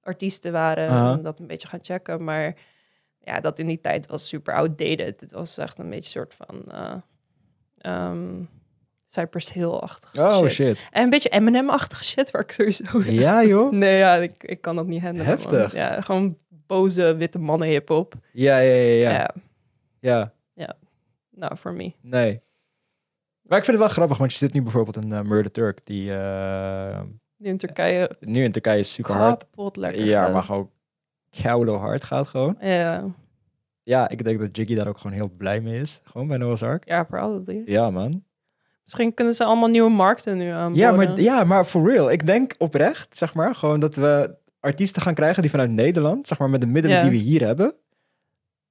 Speaker 2: artiesten waren.
Speaker 1: Aha.
Speaker 2: En dat een beetje gaan checken. Maar ja, dat in die tijd was super outdated. Het was echt een beetje een soort van eh, ehm, Cypress Hill-achtig
Speaker 1: Oh
Speaker 2: shit.
Speaker 1: shit.
Speaker 2: En een beetje Eminem-achtig shit, waar ik sowieso...
Speaker 1: Ja, joh.
Speaker 2: Nee, ja, ik, ik kan dat niet handelen. man.
Speaker 1: Heftig.
Speaker 2: Ja, gewoon boze witte mannen hip-hop.
Speaker 1: Ja, ja, ja, ja.
Speaker 2: ja,
Speaker 1: Ja,
Speaker 2: not for Nou, me.
Speaker 1: nee. Maar ik vind het wel grappig, want je zit nu bijvoorbeeld in eh, Murder Turk, die eh,
Speaker 2: Die in Turkije
Speaker 1: nu in Turkije is super hard.
Speaker 2: kapot lekker
Speaker 1: Ja,
Speaker 2: gaat.
Speaker 1: maar gewoon koude hard gaat gewoon.
Speaker 2: Ja,
Speaker 1: Ja, ik denk dat Jiggy daar ook gewoon heel blij mee is. Gewoon bij Noah's Ark.
Speaker 2: ja, probably.
Speaker 1: Ja, man.
Speaker 2: Misschien kunnen ze allemaal nieuwe markten nu aanbieden.
Speaker 1: Ja maar, ja, maar for real. Ik denk oprecht, zeg maar, gewoon dat we artiesten gaan krijgen die vanuit Nederland, zeg maar, met de middelen
Speaker 2: Ja.
Speaker 1: die we hier hebben,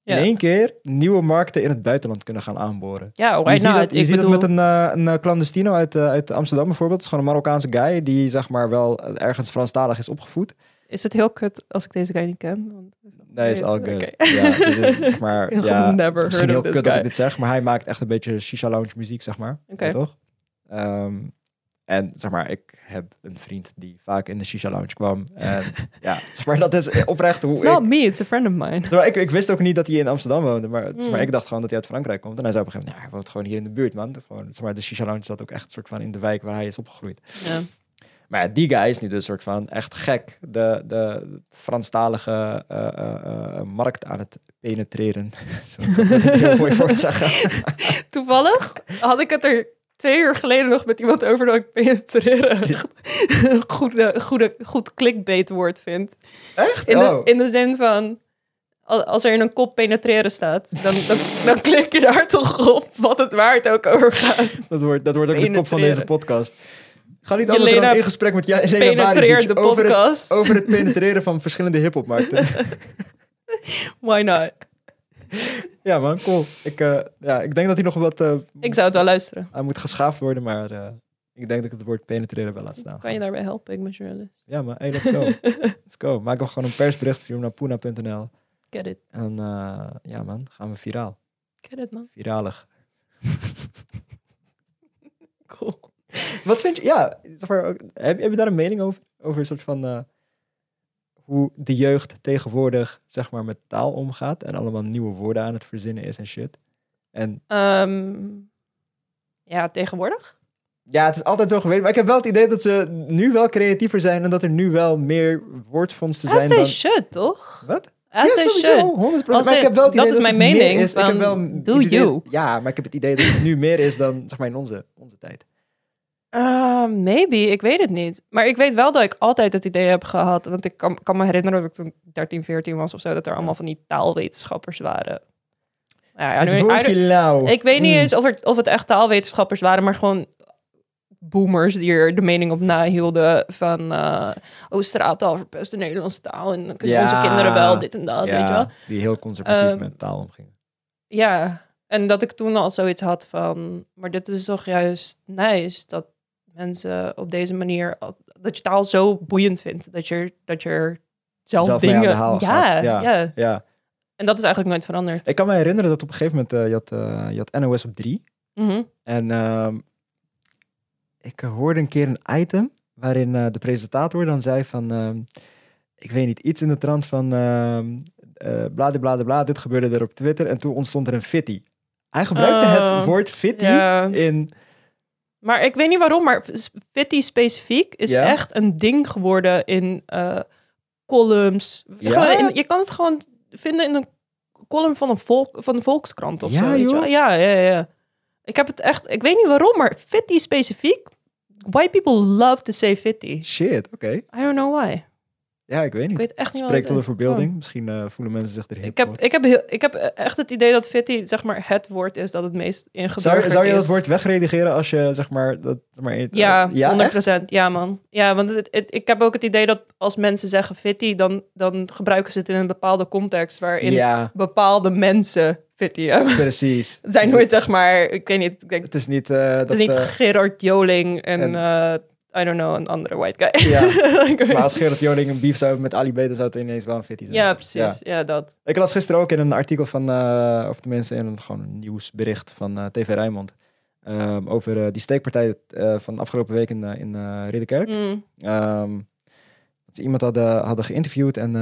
Speaker 2: Ja.
Speaker 1: in één keer nieuwe markten in het buitenland kunnen gaan aanboren.
Speaker 2: Ja, why
Speaker 1: je ziet,
Speaker 2: not? Oh,
Speaker 1: dat, je
Speaker 2: nou, Ik
Speaker 1: ziet dat
Speaker 2: bedoel,
Speaker 1: met een, eh, een eh, clandestino uit, eh, uit Amsterdam bijvoorbeeld. Het is gewoon een Marokkaanse guy die, zeg maar, wel ergens Franstalig is opgevoed.
Speaker 2: Is het heel kut als ik deze guy niet ken? Want
Speaker 1: Nee, is
Speaker 2: Yes,
Speaker 1: all good.
Speaker 2: oké.
Speaker 1: Ja, dit is, zeg maar,
Speaker 2: I've
Speaker 1: ja,
Speaker 2: never
Speaker 1: het is
Speaker 2: heard
Speaker 1: misschien heel
Speaker 2: of
Speaker 1: kut
Speaker 2: this
Speaker 1: dat
Speaker 2: guy.
Speaker 1: ik dit zeg, maar hij maakt echt een beetje shisha lounge muziek, zeg maar.
Speaker 2: Oké.
Speaker 1: Ja, toch? Ehm, en zeg maar, ik heb een vriend die vaak in de shisha lounge kwam. En ja, zeg maar, dat is oprecht hoe
Speaker 2: it's not
Speaker 1: ik...
Speaker 2: me, it's a friend of mine.
Speaker 1: zeg maar, ik... Ik wist ook niet dat hij in Amsterdam woonde, maar, zeg maar
Speaker 2: Mm.
Speaker 1: ik dacht gewoon dat hij uit Frankrijk komt. En hij zei op een gegeven moment, nou, hij woont gewoon hier in de buurt, man. Gewoon, zeg maar, de shisha lounge zat ook echt soort van in de wijk waar hij is opgegroeid.
Speaker 2: Ja.
Speaker 1: Maar ja, die guy is nu dus soort van echt gek de, de Franstalige eh, eh, eh, markt aan het penetreren. Zo kan ik dat heel mooi voor te zeggen.
Speaker 2: Toevallig had ik het er twee uur geleden nog met iemand over dat ik penetreren echt een goede, goede, goed clickbait woord vind.
Speaker 1: Echt?
Speaker 2: In,
Speaker 1: oh.
Speaker 2: de, in de zin van, al- als er in een kop penetreren staat, dan, dan, dan klik je daar toch op wat het waard ook over gaat.
Speaker 1: dat, wordt, dat wordt ook de kop van deze
Speaker 2: Penetreren.
Speaker 1: podcast. Ga niet allemaal
Speaker 2: Jelena
Speaker 1: dan in gesprek met jij- Jelena
Speaker 2: penetreer de
Speaker 1: Barisic over het,
Speaker 2: podcast.
Speaker 1: over het penetreren van verschillende hiphopmarkten.
Speaker 2: Why not?
Speaker 1: ja man, cool. Ik, eh, ja, ik denk dat hij nog wat eh,
Speaker 2: Ik zou het wel luisteren.
Speaker 1: aan moet geschaafd worden, maar eh, Ik denk dat ik het woord penetreren wel laat staan.
Speaker 2: Kan je daarbij helpen? Ik ben journalist.
Speaker 1: Ja, maar hey, Nou. let's go. let's go. Maak hem gewoon een persbericht, stuur hem naar poena.nl.
Speaker 2: Get it.
Speaker 1: En eh, ja man, gaan we viraal.
Speaker 2: Get it, man.
Speaker 1: Viralig.
Speaker 2: Cool.
Speaker 1: Wat vind je, ja, zeg maar, ook- heb, heb je daar een mening over? Over een soort van eh, hoe de jeugd tegenwoordig, zeg maar, met taal omgaat en allemaal nieuwe woorden aan het verzinnen is en shit. En
Speaker 2: Ehm, ja, tegenwoordig?
Speaker 1: Ja, het is altijd zo geweest. Maar ik heb wel het idee dat ze nu wel creatiever zijn en dat er nu wel meer woordfondsen
Speaker 2: As
Speaker 1: zijn
Speaker 2: they
Speaker 1: dan...
Speaker 2: should, toch?
Speaker 1: Wat?
Speaker 2: As
Speaker 1: ja,
Speaker 2: they
Speaker 1: sowieso,
Speaker 2: should.
Speaker 1: 100%.
Speaker 2: Als
Speaker 1: maar ik
Speaker 2: in-
Speaker 1: heb wel het
Speaker 2: dat
Speaker 1: idee
Speaker 2: is mijn
Speaker 1: het meer
Speaker 2: mening,
Speaker 1: Is. Ik heb
Speaker 2: van,
Speaker 1: wel
Speaker 2: do
Speaker 1: het idee-
Speaker 2: you.
Speaker 1: Ja, maar ik heb het idee dat het nu meer is dan zeg maar in onze, onze tijd.
Speaker 2: Eh, maybe, ik weet het niet. Maar ik weet wel dat ik altijd het idee heb gehad. Want ik kan, kan me herinneren dat ik toen 13, 14 was of zo. Dat er allemaal van die taalwetenschappers waren. Nou Ja, I
Speaker 1: het
Speaker 2: don't- I don't-
Speaker 1: woordje lauw.
Speaker 2: ik weet niet
Speaker 1: Mm.
Speaker 2: eens of het, of het echt taalwetenschappers waren. Maar gewoon boomers die er de mening op nahielden. Van eh oh, straattaal verpest de Nederlandse taal. En dan kunnen
Speaker 1: Ja.
Speaker 2: onze kinderen wel dit en dat,
Speaker 1: Ja,
Speaker 2: weet je wel.
Speaker 1: die heel conservatief
Speaker 2: Ehm,
Speaker 1: met taal omgingen.
Speaker 2: Ja, en dat ik toen al zoiets had van, maar dit is toch juist nice dat mensen op deze manier, al- dat je taal zo boeiend vindt, dat je, dat je er zelf,
Speaker 1: Zelf mee
Speaker 2: dingen...
Speaker 1: aan de haal
Speaker 2: ja,
Speaker 1: gaat, ja.
Speaker 2: ja,
Speaker 1: Ja,
Speaker 2: en dat is eigenlijk nooit veranderd.
Speaker 1: ik kan me herinneren dat op een gegeven moment eh, je, had, eh, je had NOS op 3.
Speaker 2: Mhm.
Speaker 1: En ehm, ik eh, hoorde een keer een item waarin eh, de presentator dan zei van... ehm, ik weet niet, iets in de trant van... ehm eh bla, bla, bla, bla, dit gebeurde er op Twitter. En toen ontstond er een fitty. Hij gebruikte het
Speaker 2: Oh,
Speaker 1: woord fitty
Speaker 2: ja.
Speaker 1: in...
Speaker 2: Maar ik weet niet waarom, maar s- fitty specifiek is
Speaker 1: Ja.
Speaker 2: echt een ding geworden in eh, columns.
Speaker 1: Ja?
Speaker 2: Gewoon in- je kan het gewoon vinden in een column van een volk, van de Volkskrant of
Speaker 1: Ja,
Speaker 2: zo. weet je
Speaker 1: joh.
Speaker 2: wel. Ja, ja, ja. Ik heb het echt, ik weet niet waarom, maar fitty specifiek. White people love to say fitty.
Speaker 1: Shit, oké.
Speaker 2: I don't know why.
Speaker 1: Ja, ik weet
Speaker 2: Ik
Speaker 1: niet.
Speaker 2: weet echt niet wat
Speaker 1: Spreekt
Speaker 2: het
Speaker 1: tot de
Speaker 2: is.
Speaker 1: verbeelding. Misschien eh, voelen mensen zich er
Speaker 2: Oh.
Speaker 1: hip
Speaker 2: Ik heb,
Speaker 1: door.
Speaker 2: ik, heb heel, ik heb echt het idee dat fitty zeg maar het woord is dat het meest ingeburgerd
Speaker 1: Zou,
Speaker 2: is.
Speaker 1: zou je dat woord wegredigeren als je, zeg maar... Dat, zeg maar eh,
Speaker 2: Ja,
Speaker 1: ja,
Speaker 2: 100
Speaker 1: echt?
Speaker 2: Ja, man. Ja, want het, het- ik heb ook het idee dat als mensen zeggen fitty, dan, dan gebruiken ze het in een bepaalde context waarin
Speaker 1: ja
Speaker 2: bepaalde mensen fitty hebben.
Speaker 1: precies.
Speaker 2: Het zijn
Speaker 1: Dus
Speaker 2: nooit, zeg maar, ik weet niet, ik denk,
Speaker 1: Het is niet... eh,
Speaker 2: het is
Speaker 1: dat,
Speaker 2: niet
Speaker 1: eh,
Speaker 2: Gerard Joling en,
Speaker 1: en-
Speaker 2: eh, I don't know, een andere white guy.
Speaker 1: Ja.
Speaker 2: Ik weet-
Speaker 1: Maar als Gerard Joling een beef zou hebben met Ali B, dan zou het ineens wel een fitty zijn.
Speaker 2: ja, precies. Ja, dat.
Speaker 1: Ik las gisteren ook in een artikel van, eh, of tenminste in een, gewoon een nieuwsbericht van eh, TV Rijnmond. ehm, over eh, die steekpartij eh, van afgelopen week in, eh, in eh, Ridderkerk.
Speaker 2: Mm.
Speaker 1: Ehm, dat ze iemand hadden, hadden geïnterviewd en eh,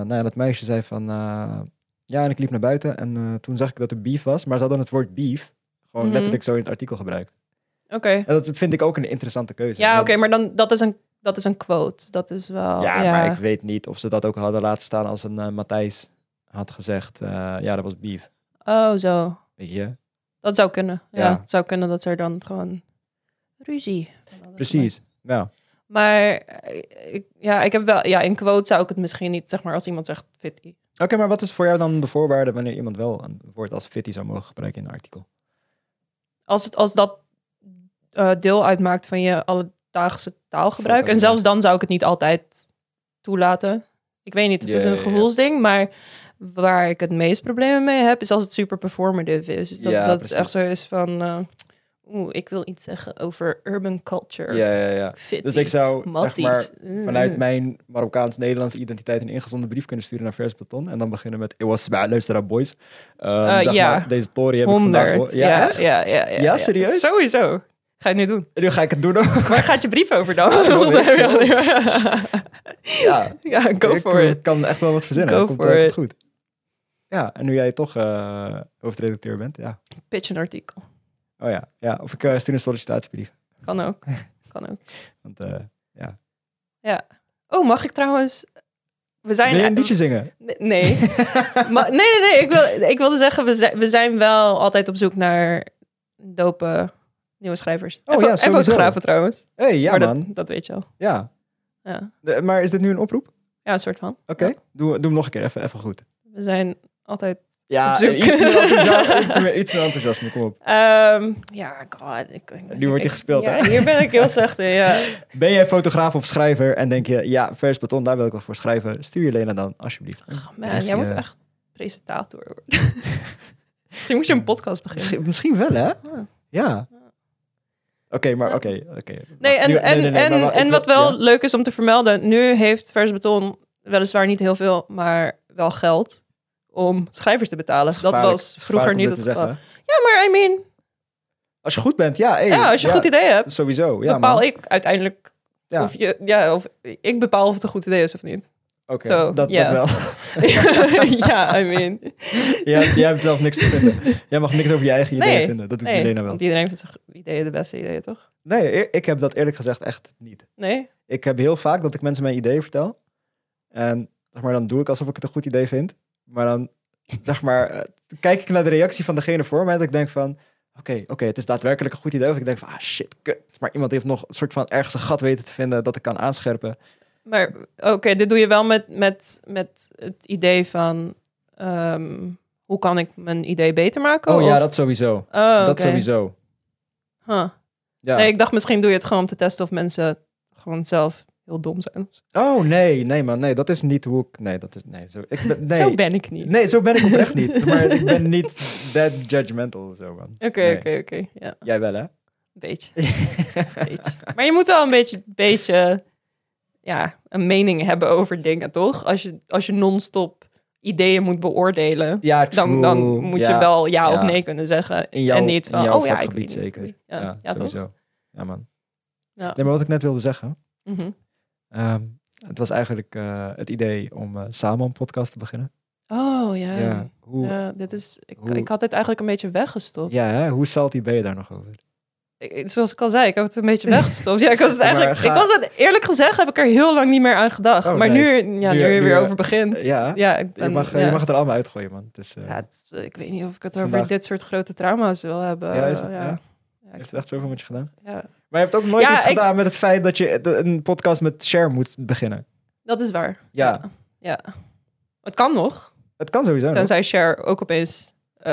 Speaker 1: nou ja, dat meisje zei van... eh, ja, en ik liep naar buiten en eh, toen zag ik dat er beef was. Maar ze hadden het woord beef gewoon
Speaker 2: Mhm.
Speaker 1: letterlijk zo in het artikel gebruikt.
Speaker 2: Oké.
Speaker 1: En dat vind ik ook een interessante keuze.
Speaker 2: Ja, oké,
Speaker 1: want-
Speaker 2: maar dan, dat is een, dat is een quote. Dat is wel,
Speaker 1: Ja,
Speaker 2: ja.
Speaker 1: maar ik weet niet of ze dat ook hadden laten staan als een eh, Matthijs had gezegd... eh, ja, dat was beef,
Speaker 2: Oh, zo.
Speaker 1: weet je.
Speaker 2: Dat zou kunnen. Ja,
Speaker 1: Ja.
Speaker 2: Het zou kunnen dat ze er dan gewoon ruzie van hadden
Speaker 1: Precies, ja.
Speaker 2: Maar eh, ik, ja, ik heb wel, ja, in quote zou ik het misschien niet, zeg maar, als iemand zegt fitty.
Speaker 1: Oké, maar wat is voor jou dan de voorwaarde wanneer iemand wel een woord als fitty zou mogen gebruiken in een artikel?
Speaker 2: Als, het, als dat eh, deel uitmaakt van je alledaagse taalgebruik. En
Speaker 1: Voortdurend.
Speaker 2: zelfs dan zou ik het niet altijd toelaten. Ik weet niet, het
Speaker 1: Ja,
Speaker 2: is een
Speaker 1: ja, ja.
Speaker 2: gevoelsding, maar waar ik het meest problemen mee heb, is als het super performative is. Dus Dat,
Speaker 1: Ja,
Speaker 2: dat het
Speaker 1: precies.
Speaker 2: echt zo is van, eh, oeh, ik wil iets zeggen over urban culture.
Speaker 1: ja, ja.
Speaker 2: Fitty,
Speaker 1: Dus ik zou zeg maar,
Speaker 2: matties.
Speaker 1: vanuit
Speaker 2: Mm.
Speaker 1: mijn Marokkaans-Nederlandse identiteit een ingezonden brief kunnen sturen naar Vers Beton. En dan beginnen met, ik was bij Luisteraar Boys. Ehm, zeg
Speaker 2: Eh, ja.
Speaker 1: maar, deze tory heb ik
Speaker 2: 100.
Speaker 1: vandaag gehoord. Ja,
Speaker 2: ja,
Speaker 1: echt?
Speaker 2: ja, ja,
Speaker 1: Ja, serieus?
Speaker 2: Sowieso. Ga je nu doen.
Speaker 1: En nu ga ik het doen. ook.
Speaker 2: Waar gaat je brief over dan?
Speaker 1: Volgens mij heb je al- ja,
Speaker 2: ja, go
Speaker 1: ik
Speaker 2: for it.
Speaker 1: Ik kan echt wel wat verzinnen.
Speaker 2: Go
Speaker 1: Dat komt,
Speaker 2: for
Speaker 1: eh,
Speaker 2: it.
Speaker 1: goed. Ja, en nu jij toch eh, hoofdredacteur bent, ja.
Speaker 2: Pitch een artikel.
Speaker 1: Oh ja, ja. of ik eh, stuur een sollicitatiebrief.
Speaker 2: Kan ook. Kan ook.
Speaker 1: Want, eh,
Speaker 2: Oh, mag ik trouwens... We zijn...
Speaker 1: wil je een liedje zingen?
Speaker 2: Nee. Maar- nee, nee, nee. Ik, wil, ik wilde zeggen, we zijn, we zijn wel altijd op zoek naar dope nieuwe schrijvers.
Speaker 1: Oh
Speaker 2: en, fo-
Speaker 1: ja,
Speaker 2: en
Speaker 1: sowieso.
Speaker 2: fotografen trouwens.
Speaker 1: hey, ja
Speaker 2: maar
Speaker 1: man.
Speaker 2: Dat, dat weet je al.
Speaker 1: Ja.
Speaker 2: Ja.
Speaker 1: De- maar is dit nu een oproep? Oké,
Speaker 2: ja, een soort van. Ja.
Speaker 1: doe, doe hem nog een keer, even, even goed.
Speaker 2: We zijn altijd...
Speaker 1: Ja,
Speaker 2: Op zoek.
Speaker 1: iets meer enthousiasme, iets meer, iets meer enthousiasme, kom op.
Speaker 2: Ehm, ja, god. Ik,
Speaker 1: Nu wordt hij
Speaker 2: ik-
Speaker 1: gespeeld,
Speaker 2: ja,
Speaker 1: hè?
Speaker 2: Hier ben ik heel slecht in, ja.
Speaker 1: Ben jij fotograaf of schrijver en denk je, ja, vers beton, daar wil ik wel voor schrijven. Stuur je Lena dan, alsjeblieft.
Speaker 2: Oh, Man, jij moet
Speaker 1: Ja.
Speaker 2: echt presentator worden. Misschien moet je een podcast beginnen.
Speaker 1: Nou, Misschien, misschien wel, hè?
Speaker 2: Ah.
Speaker 1: Ja. maar oké. oké.
Speaker 2: Nee,
Speaker 1: Wacht,
Speaker 2: en,
Speaker 1: nu-
Speaker 2: en,
Speaker 1: nee, nee,
Speaker 2: en,
Speaker 1: maar wa- ik
Speaker 2: en
Speaker 1: wil-
Speaker 2: wat wel
Speaker 1: ja.
Speaker 2: leuk is om te vermelden, nu heeft Vers Beton weliswaar niet heel veel, maar wel geld om schrijvers te betalen.
Speaker 1: is
Speaker 2: Dat
Speaker 1: gevaarlijk.
Speaker 2: was
Speaker 1: is
Speaker 2: vroeger
Speaker 1: gevaarlijk
Speaker 2: niet
Speaker 1: om
Speaker 2: het
Speaker 1: dit te
Speaker 2: geval.
Speaker 1: zeggen.
Speaker 2: Ja, maar I mean,
Speaker 1: Als je goed bent, ja. hey,
Speaker 2: ja, als je een goed idee hebt,
Speaker 1: Sowieso, ja.
Speaker 2: bepaal
Speaker 1: man.
Speaker 2: ik uiteindelijk
Speaker 1: Ja.
Speaker 2: of je, ja, of ik bepaal of het een goed idee is of niet.
Speaker 1: Oké,
Speaker 2: Zo,
Speaker 1: dat,
Speaker 2: ja.
Speaker 1: dat wel.
Speaker 2: ja, I mean.
Speaker 1: jij, jij hebt zelf niks te vinden. Jij mag niks over je eigen ideeën
Speaker 2: Nee,
Speaker 1: vinden. Dat doet
Speaker 2: Nee,
Speaker 1: Jelena wel.
Speaker 2: want iedereen vindt zijn ideeën de beste ideeën, toch?
Speaker 1: Nee, eer- ik heb dat eerlijk gezegd echt niet.
Speaker 2: Nee?
Speaker 1: Ik heb heel vaak dat ik mensen mijn ideeën vertel. En zeg maar, dan doe ik alsof ik het een goed idee vind. Maar dan zeg maar, eh, kijk ik naar de reactie van degene voor mij. Dat ik denk van, oké, oké, het is daadwerkelijk een goed idee. Of ik denk van, ah shit, kut. Maar iemand heeft nog een soort van ergens een gat weten te vinden dat ik kan aanscherpen.
Speaker 2: Maar oké, dit doe je wel met, met, met het idee van... ehm, hoe kan ik mijn idee beter maken?
Speaker 1: Oh ja,
Speaker 2: Of-
Speaker 1: dat sowieso.
Speaker 2: Oh,
Speaker 1: Dat
Speaker 2: oké.
Speaker 1: sowieso.
Speaker 2: Huh.
Speaker 1: Ja.
Speaker 2: Nee, ik dacht misschien doe je het gewoon om te testen of mensen gewoon zelf heel dom zijn.
Speaker 1: Oh nee, nee man, nee, dat is niet hoe ik... Nee, dat is... Nee, zo, ik ben, nee.
Speaker 2: Zo ben ik niet.
Speaker 1: Nee, zo ben ik oprecht niet. Maar ik ben niet that judgmental of zo, man.
Speaker 2: Oké,
Speaker 1: Nee.
Speaker 2: oké, oké. Ja,
Speaker 1: Jij wel, hè?
Speaker 2: een beetje. beetje. Maar je moet wel een beetje, beetje ja, een mening hebben over dingen, toch? Als je, als je non-stop ideeën moet beoordelen,
Speaker 1: ja, true.
Speaker 2: dan, dan moet
Speaker 1: Ja,
Speaker 2: je wel ja, of
Speaker 1: Ja.
Speaker 2: nee kunnen zeggen.
Speaker 1: In jouw-
Speaker 2: en niet
Speaker 1: in
Speaker 2: van,
Speaker 1: jouw
Speaker 2: oh ja, ik
Speaker 1: vakgebied
Speaker 2: weet niet.
Speaker 1: zeker.
Speaker 2: Ja, ja,
Speaker 1: Ja,
Speaker 2: toch?
Speaker 1: sowieso. Ja, man.
Speaker 2: Ja.
Speaker 1: Nee, maar wat ik net wilde zeggen...
Speaker 2: Mhm.
Speaker 1: ehm, het was eigenlijk eh, het idee om eh, samen een podcast te beginnen.
Speaker 2: Oh ja.
Speaker 1: Ja. Hoe, ja.
Speaker 2: Ja, dit is, ik,
Speaker 1: Hoe-
Speaker 2: ik had dit eigenlijk een beetje weggestopt.
Speaker 1: hè? hoe salty ben je daar nog over?
Speaker 2: Ik- zoals ik al zei, ik heb het een beetje weggestopt. Ja, ik was het
Speaker 1: Maar
Speaker 2: eigenlijk.
Speaker 1: ga-
Speaker 2: Ik was het, eerlijk gezegd heb ik er heel lang niet meer aan gedacht.
Speaker 1: Oh,
Speaker 2: maar
Speaker 1: nice.
Speaker 2: nu, ja,
Speaker 1: Nu-
Speaker 2: nu, je
Speaker 1: nu,
Speaker 2: weer
Speaker 1: eh,
Speaker 2: over begint.
Speaker 1: ja,
Speaker 2: ja, ik ben,
Speaker 1: je, mag,
Speaker 2: ja.
Speaker 1: je mag het er allemaal uitgooien, man. Het is, eh,
Speaker 2: Ja, het- ik weet niet of ik het
Speaker 1: Het is
Speaker 2: over
Speaker 1: vandaag-
Speaker 2: dit soort grote trauma's wil hebben.
Speaker 1: Ja, is
Speaker 2: Eh,
Speaker 1: het-
Speaker 2: ja.
Speaker 1: ja.
Speaker 2: Ja, ik-
Speaker 1: heeft het echt zoveel met je gedaan?
Speaker 2: ja.
Speaker 1: Maar je hebt ook nooit
Speaker 2: Ja,
Speaker 1: iets
Speaker 2: ik-
Speaker 1: gedaan met het feit dat je de- een podcast met Share moet beginnen.
Speaker 2: Dat is waar.
Speaker 1: Ja.
Speaker 2: ja. Ja. Het kan nog.
Speaker 1: Het kan sowieso. nog.
Speaker 2: Tenzij Cher ook opeens eh,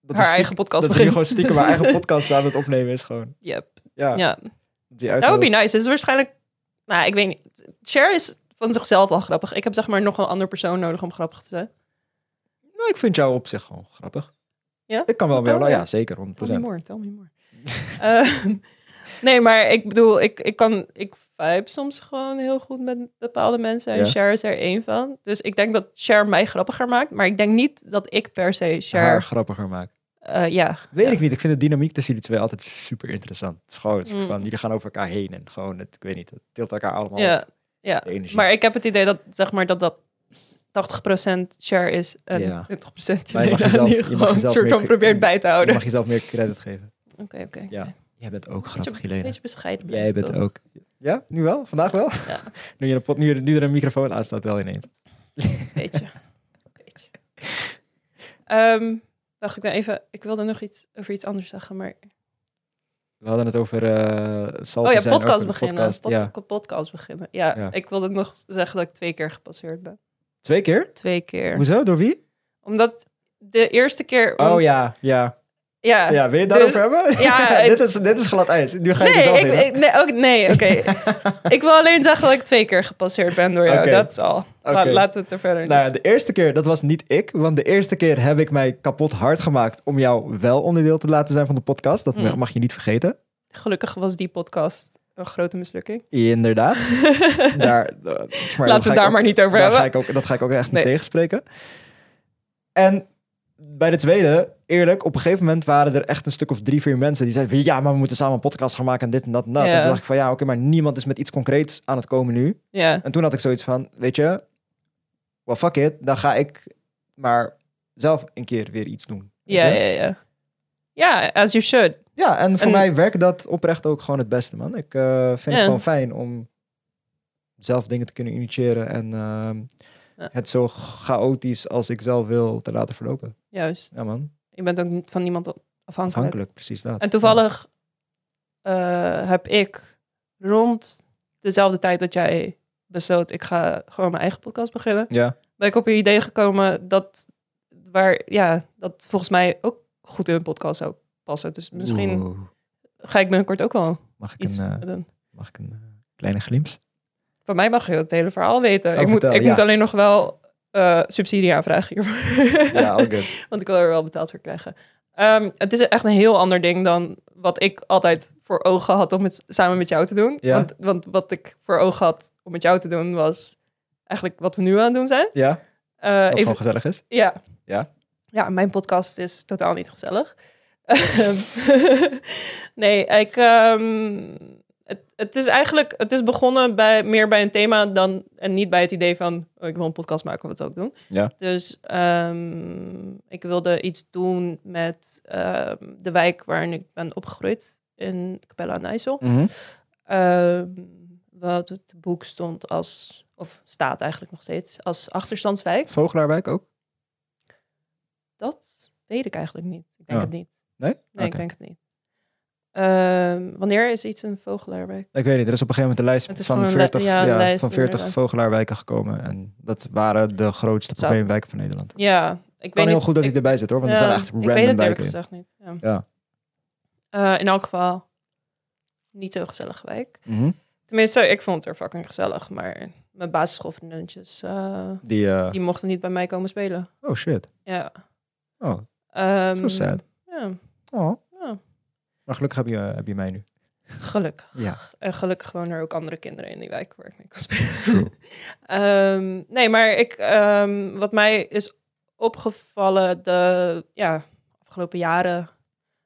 Speaker 1: Dat
Speaker 2: haar
Speaker 1: is
Speaker 2: eigen podcast
Speaker 1: Dat ze nu
Speaker 2: begint.
Speaker 1: gewoon stiekem haar eigen podcast aan het opnemen is gewoon.
Speaker 2: Yep.
Speaker 1: Ja,
Speaker 2: Ja.
Speaker 1: die
Speaker 2: Dat would
Speaker 1: uitnodigt.
Speaker 2: be nice. Het is waarschijnlijk... Nou, ik weet niet. Cher is van zichzelf al grappig. Ik heb zeg maar nog een andere persoon nodig om grappig te zijn.
Speaker 1: Nou, ik vind jou op zich gewoon grappig.
Speaker 2: Ja?
Speaker 1: Ik kan wel
Speaker 2: Vertel
Speaker 1: wel. Nou
Speaker 2: me.
Speaker 1: ja, zeker, 100%.
Speaker 2: Tell me more, tell me more. Ehm, nee, maar ik bedoel, ik, ik kan, ik vibe soms gewoon heel goed met bepaalde mensen en
Speaker 1: Ja.
Speaker 2: Cher is er één van. Dus ik denk dat Cher mij grappiger maakt, maar ik denk niet dat ik per se
Speaker 1: Haar
Speaker 2: Cher,
Speaker 1: grappiger maken.
Speaker 2: eh, ja,
Speaker 1: Weet ik niet. Ik vind de dynamiek tussen jullie twee altijd super interessant. Het is gewoon een soort
Speaker 2: Mm.
Speaker 1: van, jullie gaan over elkaar heen en gewoon, het, ik weet niet, het tilt elkaar allemaal
Speaker 2: ja,
Speaker 1: op,
Speaker 2: ja.
Speaker 1: de energie.
Speaker 2: Maar ik heb het idee dat zeg maar dat dat 80% Cher is en
Speaker 1: Ja.
Speaker 2: 20%
Speaker 1: Maar je mag
Speaker 2: Jelena,
Speaker 1: jezelf-
Speaker 2: die
Speaker 1: je mag
Speaker 2: gewoon een
Speaker 1: jezelf
Speaker 2: soort
Speaker 1: meer-
Speaker 2: van probeert bij te
Speaker 1: Je
Speaker 2: houden.
Speaker 1: mag jezelf meer credit geven.
Speaker 2: Oké, oké.
Speaker 1: Ja. Jij bent ook grappig,
Speaker 2: Beetje,
Speaker 1: Helene.
Speaker 2: beetje bescheiden.
Speaker 1: Jij
Speaker 2: blijven,
Speaker 1: bent
Speaker 2: toch?
Speaker 1: ook. Ja, nu wel? Vandaag wel?
Speaker 2: Ja.
Speaker 1: nu, je de pot, nu, er- nu er een microfoon aan staat wel ineens.
Speaker 2: Beetje. Beetje. Ehm, wacht, ik ben even. Ik wilde nog iets over iets anders zeggen, maar.
Speaker 1: We hadden het over eh salty
Speaker 2: Oh ja,
Speaker 1: zijn, over
Speaker 2: podcast
Speaker 1: de
Speaker 2: beginnen.
Speaker 1: podcast.
Speaker 2: Pod-
Speaker 1: Ja.
Speaker 2: Podcast beginnen. Ja,
Speaker 1: Ja.
Speaker 2: ik wilde nog zeggen dat ik twee keer gepasseerd ben.
Speaker 1: Twee keer?
Speaker 2: Twee keer.
Speaker 1: Hoezo? Door wie?
Speaker 2: Omdat de eerste keer.
Speaker 1: Oh
Speaker 2: want-
Speaker 1: ja, ja.
Speaker 2: Ja.
Speaker 1: Ja, wil je het daarover hebben?
Speaker 2: Dus- ja, ik-
Speaker 1: dit, is, dit is glad ijs. Nu ga je
Speaker 2: Nee,
Speaker 1: jezelf
Speaker 2: ik, ik- nee, ook, nee, oké. ik wil alleen zeggen dat ik twee keer gepasseerd ben door jou.
Speaker 1: Oké.
Speaker 2: Dat is al. La-
Speaker 1: Oké.
Speaker 2: laten we het er verder.
Speaker 1: Nou ja, de eerste keer, dat was niet ik. Want de eerste keer heb ik mij kapot hard gemaakt om jou wel onderdeel te laten zijn van de podcast. Dat
Speaker 2: Mm.
Speaker 1: mag je niet vergeten.
Speaker 2: Gelukkig was die podcast een grote mislukking.
Speaker 1: Inderdaad. daar, eh, zeg maar,
Speaker 2: Laten
Speaker 1: dat
Speaker 2: we
Speaker 1: ga ik
Speaker 2: daar
Speaker 1: ook-
Speaker 2: maar niet over
Speaker 1: daar
Speaker 2: hebben.
Speaker 1: Ga ik ook, dat ga ik ook echt
Speaker 2: Nee.
Speaker 1: niet tegenspreken. En bij de tweede, eerlijk, op een gegeven moment waren er echt een stuk of drie, vier mensen die zeiden van, ja, maar we moeten samen een podcast gaan maken en dit en dat en dat.
Speaker 2: Ja.
Speaker 1: En toen dacht ik van ja, oké, maar niemand is met iets concreets aan het komen nu.
Speaker 2: Ja.
Speaker 1: En toen had ik zoiets van, weet je, well fuck it, dan ga ik maar zelf een keer weer iets doen. weet
Speaker 2: Ja,
Speaker 1: je?
Speaker 2: ja, ja. Ja, as you should.
Speaker 1: ja, en voor
Speaker 2: En-
Speaker 1: mij werkt dat oprecht ook gewoon het beste, man. Ik eh, vind het
Speaker 2: Ja.
Speaker 1: gewoon fijn om zelf dingen te kunnen initiëren en ehm,
Speaker 2: Ja.
Speaker 1: het zo chaotisch als ik zelf wil te laten verlopen.
Speaker 2: Juist.
Speaker 1: Ja, man.
Speaker 2: Je bent ook niet van niemand afhankelijk.
Speaker 1: Afhankelijk, precies dat.
Speaker 2: En toevallig eh, heb ik rond dezelfde tijd dat jij besloot, ik ga gewoon mijn eigen podcast beginnen,
Speaker 1: Ja,
Speaker 2: ben ik op een idee gekomen dat, waar, ja, dat volgens mij ook goed in een podcast zou passen. Dus misschien
Speaker 1: Oeh.
Speaker 2: ga ik binnenkort ook wel
Speaker 1: Mag ik
Speaker 2: iets
Speaker 1: een, eh,
Speaker 2: doen.
Speaker 1: mag ik een eh, kleine glimps?
Speaker 2: Van mij mag je het hele verhaal weten.
Speaker 1: Oh,
Speaker 2: ik moet,
Speaker 1: vertel,
Speaker 2: ik
Speaker 1: ja.
Speaker 2: moet alleen nog wel eh, subsidie aanvragen hiervoor.
Speaker 1: Ja, oh. all good.
Speaker 2: Want ik wil er wel betaald voor krijgen. Ehm, Ehm, het is echt een heel ander ding dan wat ik altijd voor ogen had om het samen met jou te doen.
Speaker 1: Ja.
Speaker 2: Want, want wat ik voor ogen had om met jou te doen was eigenlijk wat we nu aan het doen zijn.
Speaker 1: Ja, wat
Speaker 2: Eh, even,
Speaker 1: gewoon gezellig is.
Speaker 2: ja.
Speaker 1: Ja.
Speaker 2: Ja, mijn podcast is totaal niet gezellig. Ehm, nee, ik, ehm, het, het is eigenlijk het is begonnen bij, meer bij een thema dan, en niet bij het idee van oh, ik wil een podcast maken, wat zou ik doen?
Speaker 1: Ja.
Speaker 2: Dus ehm, ik wilde iets doen met ehm, de wijk waarin ik ben opgegroeid in Capella aan IJssel.
Speaker 1: Mhm.
Speaker 2: Ehm, wat het boek stond als, of staat eigenlijk nog steeds, als achterstandswijk.
Speaker 1: Vogelaarwijk ook?
Speaker 2: Dat weet ik eigenlijk niet. Ik denk
Speaker 1: Oh.
Speaker 2: het niet.
Speaker 1: Nee?
Speaker 2: Nee,
Speaker 1: Oké.
Speaker 2: ik denk het niet. Ehm, wanneer is iets een vogelaarwijk?
Speaker 1: Ik weet niet, er is op een gegeven moment een
Speaker 2: Het
Speaker 1: lijst
Speaker 2: is
Speaker 1: van
Speaker 2: gewoon een li-
Speaker 1: 40,
Speaker 2: ja, een
Speaker 1: ja,
Speaker 2: lijst
Speaker 1: van 40
Speaker 2: inderdaad.
Speaker 1: vogelaarwijken gekomen. En dat waren de grootste
Speaker 2: Zo.
Speaker 1: probleemwijken van Nederland. Het
Speaker 2: Ja, ik weet
Speaker 1: kan heel
Speaker 2: niet-
Speaker 1: goed dat
Speaker 2: ik-
Speaker 1: hij erbij zit hoor, want er
Speaker 2: Ja,
Speaker 1: staan echt
Speaker 2: Ik weet
Speaker 1: random
Speaker 2: het eerlijk
Speaker 1: wijken in.
Speaker 2: gezegd niet. Ja.
Speaker 1: Ja.
Speaker 2: Eh, in elk geval, niet zo gezellig wijk.
Speaker 1: Mhm.
Speaker 2: Tenminste, ik vond het er fucking gezellig, maar mijn basisschoolvriendinnetjes, eh,
Speaker 1: Die, eh,
Speaker 2: die mochten niet bij mij komen spelen.
Speaker 1: oh shit.
Speaker 2: Ja.
Speaker 1: Oh,
Speaker 2: Ehm,
Speaker 1: so sad.
Speaker 2: Ja,
Speaker 1: Oh.
Speaker 2: ja.
Speaker 1: Maar gelukkig heb je, eh, heb je mij nu.
Speaker 2: gelukkig.
Speaker 1: Ja.
Speaker 2: En gelukkig wonen er ook andere kinderen in die wijk waar ik mee kan spelen.
Speaker 1: True.
Speaker 2: Ehm, nee, maar ik, ehm, wat mij is opgevallen de ja, afgelopen jaren.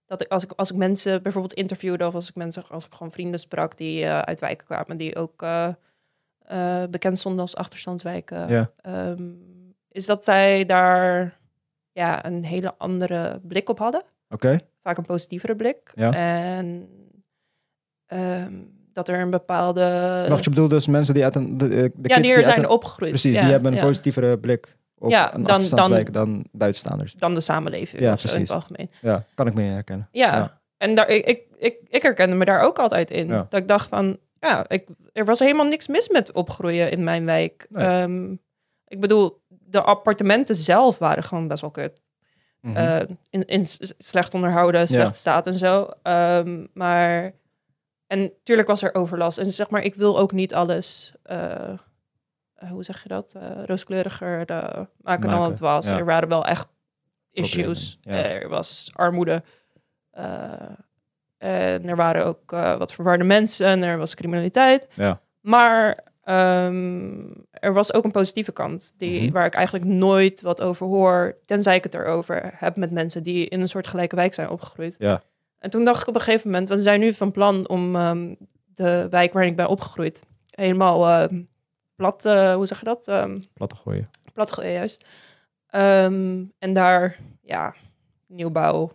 Speaker 2: Dat ik als, ik als ik mensen bijvoorbeeld interviewde of als ik mensen als ik gewoon vrienden sprak die eh, uit wijken kwamen, die ook eh, eh, bekend stonden als achterstandswijken,
Speaker 1: Ja.
Speaker 2: ehm, is dat zij daar ja, een hele andere blik op hadden
Speaker 1: Oké.
Speaker 2: vaak een positievere blik.
Speaker 1: Ja.
Speaker 2: En ehm, dat er een bepaalde.
Speaker 1: Wacht, je bedoelt dus mensen die uit een... De, eh, de kids
Speaker 2: Eh, ja, die er
Speaker 1: uit
Speaker 2: zijn
Speaker 1: een-
Speaker 2: opgegroeid.
Speaker 1: Precies,
Speaker 2: ja,
Speaker 1: die hebben een
Speaker 2: ja.
Speaker 1: positievere blik op
Speaker 2: Ja,
Speaker 1: een
Speaker 2: dan-
Speaker 1: afstandswijk dan, buitenstaanders.
Speaker 2: Dan de samenleving
Speaker 1: Ja,
Speaker 2: of zo in het
Speaker 1: precies.
Speaker 2: algemeen.
Speaker 1: Ja, kan ik me herkennen.
Speaker 2: Ja.
Speaker 1: Ja.
Speaker 2: En daar, ik, ik, ik, ik herkende me daar ook altijd in.
Speaker 1: Ja.
Speaker 2: Dat ik dacht van, ja, ik, er was helemaal niks mis met opgroeien in mijn wijk.
Speaker 1: Nee.
Speaker 2: Ehm, ik bedoel, de appartementen zelf waren gewoon best wel kut.
Speaker 1: Mhm.
Speaker 2: eh, in, in s- slecht onderhouden, slecht staat en zo. Ehm, maar en tuurlijk was er overlast. En zeg maar, ik wil ook niet alles, eh, eh, hoe zeg je dat, Eh, rooskleuriger eh, maken, dan
Speaker 1: Maken,
Speaker 2: het was.
Speaker 1: ja.
Speaker 2: Er waren wel echt
Speaker 1: Problemen,
Speaker 2: issues.
Speaker 1: ja.
Speaker 2: Eh, Er was armoede. Eh, en er waren ook eh, wat verwarde mensen en er was criminaliteit.
Speaker 1: Ja.
Speaker 2: Maar ehm, er was ook een positieve kant, die,
Speaker 1: Mhm.
Speaker 2: waar ik eigenlijk nooit wat over hoor, tenzij ik het erover heb met mensen die in een soort gelijke wijk zijn opgegroeid.
Speaker 1: Ja.
Speaker 2: En toen dacht ik op een gegeven moment, we zijn nu van plan om ehm, de wijk waarin ik ben opgegroeid helemaal ehm, plat, eh, hoe zeg je dat? Ehm,
Speaker 1: Platte gooien.
Speaker 2: plat gooien juist. Ehm, en daar, ja, nieuwbouw,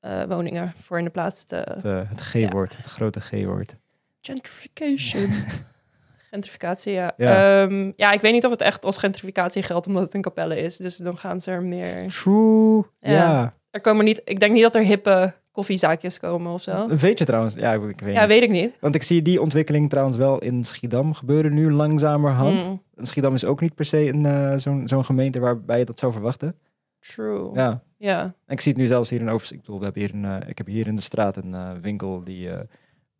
Speaker 2: eh, woningen voor in de plaats te
Speaker 1: Het, eh, het G-woord, het grote G-woord.
Speaker 2: Gentrification. gentrificatie, ja.
Speaker 1: Ja.
Speaker 2: Ja. ja, ik weet niet of het echt als gentrificatie geldt, omdat het een kapelle is. Dus dan gaan ze er meer...
Speaker 1: True. Ja.
Speaker 2: Ja. Er komen niet... Ik denk niet dat er hippe koffiezaakjes komen of zo.
Speaker 1: Weet je trouwens... Ja, ik, ik weet
Speaker 2: Ja,
Speaker 1: niet.
Speaker 2: weet ik niet.
Speaker 1: Want ik zie die ontwikkeling trouwens wel in Schiedam gebeuren nu langzamerhand.
Speaker 2: Mm,
Speaker 1: En Schiedam is ook niet per se een, eh, zo'n, zo'n gemeente waarbij je dat zou verwachten.
Speaker 2: true. Ja.
Speaker 1: Ja, En ik zie het nu zelfs hier in Overzicht. Ik bedoel, we hebben hier een, eh, ik heb hier in de straat een eh, winkel die eh,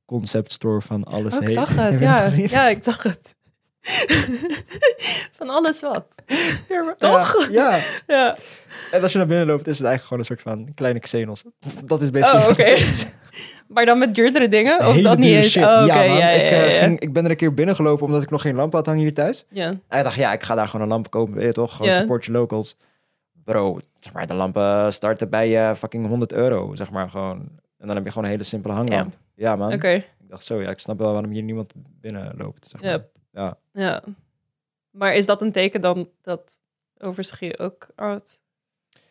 Speaker 1: concept store van alles
Speaker 2: Oh, ik
Speaker 1: heeft.
Speaker 2: zag
Speaker 1: Heb
Speaker 2: het.
Speaker 1: je dat
Speaker 2: Ja.
Speaker 1: gezien?
Speaker 2: ja, ik zag het. Van alles wat. Toch?
Speaker 1: Ja, ja.
Speaker 2: Ja. Oh,
Speaker 1: En als je naar binnen loopt, is het eigenlijk gewoon een soort van kleine Xenos. Dat is best
Speaker 2: Oh, oké. maar dan met duurdere dingen? Of
Speaker 1: Hele
Speaker 2: dat niet
Speaker 1: dure
Speaker 2: eens?
Speaker 1: shit.
Speaker 2: Oh, oké,
Speaker 1: ja, man.
Speaker 2: ja, ja,
Speaker 1: ik, eh,
Speaker 2: ja, ja.
Speaker 1: Ging, ik ben er een keer binnen gelopen omdat ik nog geen lamp had hangen hier thuis.
Speaker 2: Ja.
Speaker 1: En ik dacht, ja, ik ga daar gewoon een lamp kopen. Weet je toch? Gewoon
Speaker 2: Ja.
Speaker 1: support je locals. Bro, zeg maar, de lampen starten bij eh fucking 100 euro, zeg maar gewoon. En dan heb je gewoon een hele simpele hanglamp. Ja, man.
Speaker 2: Oké,
Speaker 1: Ik dacht zo, ja, ik snap wel waarom hier niemand binnen loopt. Zeg maar.
Speaker 2: Ja.
Speaker 1: Ja.
Speaker 2: ja. Maar is dat een teken dan dat Overschie ook aan het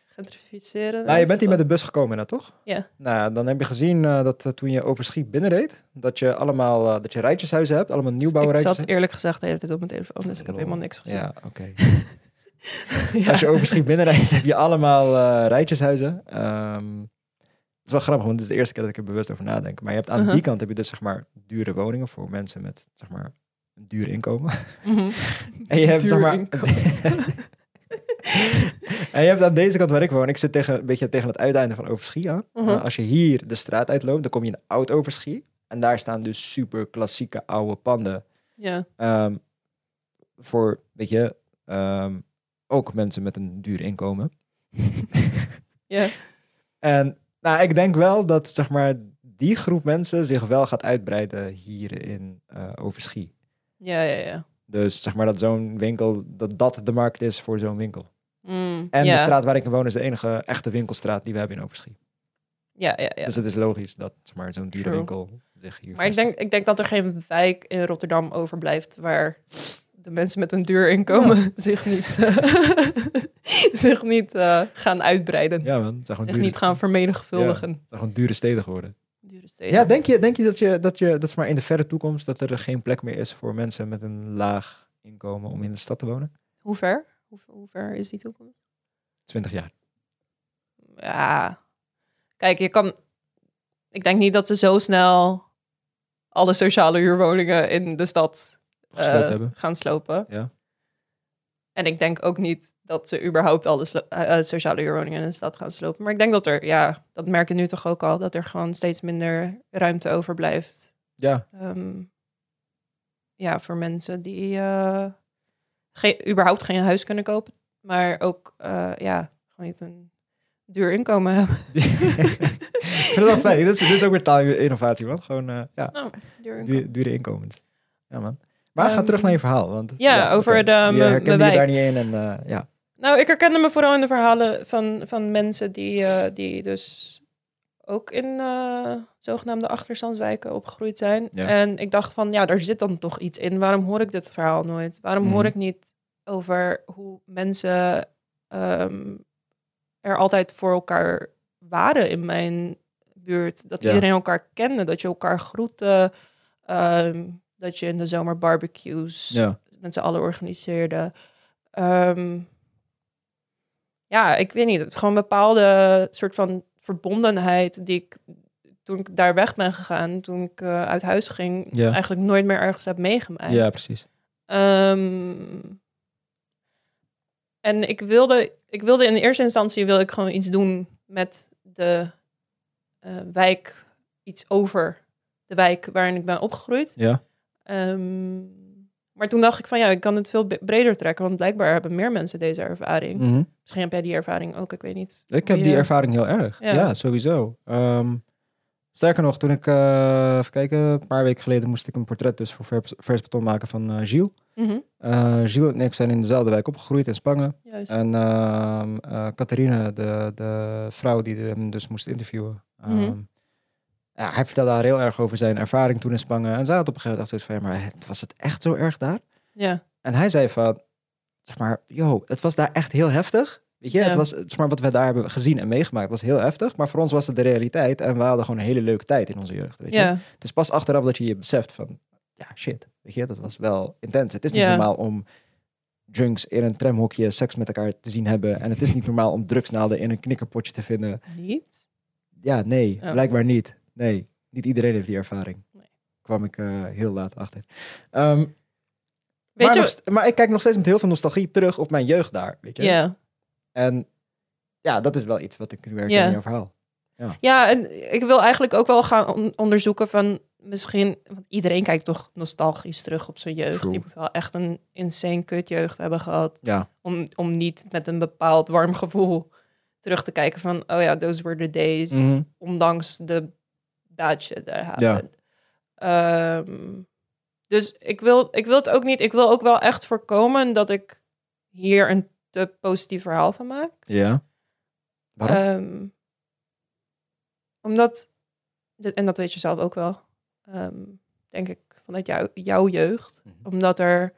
Speaker 2: gentrificeren
Speaker 1: Nou, je
Speaker 2: is?
Speaker 1: bent hier
Speaker 2: Of-
Speaker 1: met de bus gekomen, hè, toch?
Speaker 2: Ja.
Speaker 1: Nou, ja, dan heb je gezien eh, dat eh, toen je over Schiet binnenreed, dat je allemaal eh, dat je rijtjeshuizen hebt, allemaal nieuwbouwrijtjes.
Speaker 2: Ik zat eerlijk gezegd de hele tijd op mijn telefoon, dus ik heb
Speaker 1: dus, Lol.
Speaker 2: helemaal niks gezien.
Speaker 1: Ja, oké.
Speaker 2: Ja.
Speaker 1: Als je over Schiet binnenrijdt, heb je allemaal eh, rijtjeshuizen. Ehm, het is wel grappig, want dit is de eerste keer dat ik er bewust over nadenk. Maar je hebt aan
Speaker 2: Uh-huh.
Speaker 1: die kant heb je dus zeg maar dure woningen voor mensen met zeg maar een duur inkomen.
Speaker 2: Mhm.
Speaker 1: En je hebt
Speaker 2: Duur
Speaker 1: zeg maar.
Speaker 2: inkomen.
Speaker 1: en je hebt aan deze kant waar ik woon, ik zit tegen, een beetje tegen het uiteinde van Overschie aan.
Speaker 2: Mhm.
Speaker 1: Maar als je hier de straat uitloopt, dan kom je in oud Overschie. En daar staan dus super klassieke oude panden.
Speaker 2: ja.
Speaker 1: Ehm, voor, weet je, ehm, ook mensen met een duur inkomen.
Speaker 2: Ja.
Speaker 1: En nou, ik denk wel dat zeg maar, die groep mensen zich wel gaat uitbreiden hier in eh Overschie.
Speaker 2: Ja, ja, ja.
Speaker 1: Dus zeg maar dat zo'n winkel, dat dat de markt is voor zo'n winkel.
Speaker 2: Mm,
Speaker 1: En
Speaker 2: ja.
Speaker 1: de straat waar ik in woon is de enige echte winkelstraat die we hebben in Overschie.
Speaker 2: Ja, ja, ja.
Speaker 1: Dus het is logisch dat zeg maar, zo'n dure
Speaker 2: True.
Speaker 1: winkel zich hier
Speaker 2: Maar ik denk,
Speaker 1: vestigt.
Speaker 2: ik denk dat er geen wijk in Rotterdam overblijft waar de mensen met een duur inkomen zich niet, eh, zich niet eh, gaan uitbreiden.
Speaker 1: Ja man, het zijn gewoon,
Speaker 2: zich
Speaker 1: dure,
Speaker 2: niet gaan vermenigvuldigen.
Speaker 1: het zijn gewoon dure steden geworden.
Speaker 2: Dure steden.
Speaker 1: Ja, denk je, denk je, dat, je, dat je dat voor in de verre toekomst dat er geen plek meer is voor mensen met een laag inkomen om in de stad te wonen?
Speaker 2: Hoe ver? Hoe, hoe ver is die toekomst?
Speaker 1: 20 jaar.
Speaker 2: Ja. Kijk, je kan... Ik denk niet dat ze zo snel alle sociale huurwoningen in de stad eh,
Speaker 1: Gesloopt hebben.
Speaker 2: gaan slopen.
Speaker 1: Ja.
Speaker 2: En ik denk ook niet dat ze überhaupt alle slo- eh, eh, sociale huurwoningen in de stad gaan slopen. Maar ik denk dat er, ja, dat merk je nu toch ook al, dat er gewoon steeds minder ruimte overblijft.
Speaker 1: Ja,
Speaker 2: Ehm, ja, voor mensen die eh, geen, überhaupt geen huis kunnen kopen, maar ook, eh, ja, gewoon niet een duur inkomen hebben.
Speaker 1: ik vind het wel fijn. Dit is, dit is ook weer taalinnovatie, man. Gewoon eh, ja,
Speaker 2: Nou, duur inkomen.
Speaker 1: du- dure inkomens. Ja, man. Maar ga
Speaker 2: Ehm,
Speaker 1: terug naar je verhaal. Want,
Speaker 2: ja, over
Speaker 1: oké.
Speaker 2: de-
Speaker 1: Je
Speaker 2: mijn- mijn
Speaker 1: herkende je
Speaker 2: wijk.
Speaker 1: daar niet in en eh, ja.
Speaker 2: Nou, ik herkende me vooral in de verhalen van, van mensen die, eh, die dus ook in eh, zogenaamde achterstandswijken opgegroeid zijn.
Speaker 1: Ja.
Speaker 2: En ik dacht van, ja, daar zit dan toch iets in. Waarom hoor ik dit verhaal nooit? Waarom hoor
Speaker 1: Mhm.
Speaker 2: ik niet over hoe mensen ehm, er altijd voor elkaar waren in mijn buurt? Dat
Speaker 1: Ja.
Speaker 2: iedereen elkaar kende, dat je elkaar groette, ehm, dat je in de zomer barbecues
Speaker 1: ja.
Speaker 2: met z'n allen organiseerden. Ehm, ja, ik weet niet. Het is gewoon een bepaalde soort van verbondenheid die ik toen ik daar weg ben gegaan, toen ik eh, uit huis ging,
Speaker 1: Ja.
Speaker 2: eigenlijk nooit meer ergens heb meegemaakt.
Speaker 1: ja, precies.
Speaker 2: Ehm, en ik wilde, ik wilde in eerste instantie wilde ik gewoon iets doen met de eh, wijk, iets over de wijk waarin ik ben opgegroeid.
Speaker 1: Ja.
Speaker 2: Ehm, maar toen dacht ik van ja, ik kan het veel be- breder trekken, want blijkbaar hebben meer mensen deze ervaring.
Speaker 1: Mhm.
Speaker 2: Misschien heb jij die ervaring ook, ik weet niet.
Speaker 1: Ik
Speaker 2: hoe
Speaker 1: heb die
Speaker 2: je-
Speaker 1: ervaring heel erg. Ja,
Speaker 2: Ja.
Speaker 1: sowieso. Ehm, sterker nog, toen ik, eh, even kijken, een paar weken geleden moest ik een portret dus voor vers, vers beton maken van eh Gilles.
Speaker 2: Mhm,
Speaker 1: Eh, Gilles en ik zijn in dezelfde wijk opgegroeid in Spangen.
Speaker 2: juist.
Speaker 1: En ehm eh, Catharina, de, de vrouw die hem dus moest interviewen. ehm,
Speaker 2: Mhm.
Speaker 1: ja, hij vertelde haar heel erg over zijn ervaring toen in Spangen. En zij had op een gegeven moment echt zoiets van, ja, maar het- was het echt zo erg daar?
Speaker 2: ja,
Speaker 1: En hij zei van, zeg maar, yo, het was daar echt heel heftig. Weet je,
Speaker 2: Ja.
Speaker 1: het was, zeg maar, wat we daar hebben gezien en meegemaakt was heel heftig. Maar voor ons was het de realiteit en we hadden gewoon een hele leuke tijd in onze jeugd. Weet je?
Speaker 2: ja,
Speaker 1: Het is pas achteraf dat je je beseft van, ja, shit, weet je, dat was wel intens. Het is niet
Speaker 2: Ja.
Speaker 1: normaal om junks in een tramhokje seks met elkaar te zien hebben. En het is niet normaal om drugsnaalden in een knikkerpotje te vinden.
Speaker 2: niet.
Speaker 1: Ja, nee,
Speaker 2: Ja.
Speaker 1: blijkbaar niet. Nee, niet iedereen heeft die ervaring.
Speaker 2: Nee.
Speaker 1: Kwam ik eh, heel laat achter. Ehm,
Speaker 2: Weet
Speaker 1: maar,
Speaker 2: je,
Speaker 1: nog st- maar ik kijk nog steeds met heel veel nostalgie terug op mijn jeugd daar. Weet je?
Speaker 2: ja.
Speaker 1: En ja, dat is wel iets wat ik nu herken
Speaker 2: Ja.
Speaker 1: in jouw verhaal.
Speaker 2: Ja, en ik wil eigenlijk ook wel gaan on- onderzoeken van misschien... Want iedereen kijkt toch nostalgisch terug op zijn jeugd.
Speaker 1: True.
Speaker 2: Die moet wel echt een insane kutjeugd hebben gehad.
Speaker 1: Ja,
Speaker 2: Om, om niet met een bepaald warm gevoel terug te kijken van... Oh ja, those were the days.
Speaker 1: Mhm.
Speaker 2: Ondanks de bad shit that happened. Ehm, dus ik wil, ik wil het ook niet... Ik wil ook wel echt voorkomen dat ik hier een te positief verhaal van maak.
Speaker 1: ja. Waarom?
Speaker 2: Ehm, omdat, dit- en dat weet je zelf ook wel, ehm, denk ik, vanuit jou, jouw jeugd.
Speaker 1: Mhm.
Speaker 2: Omdat er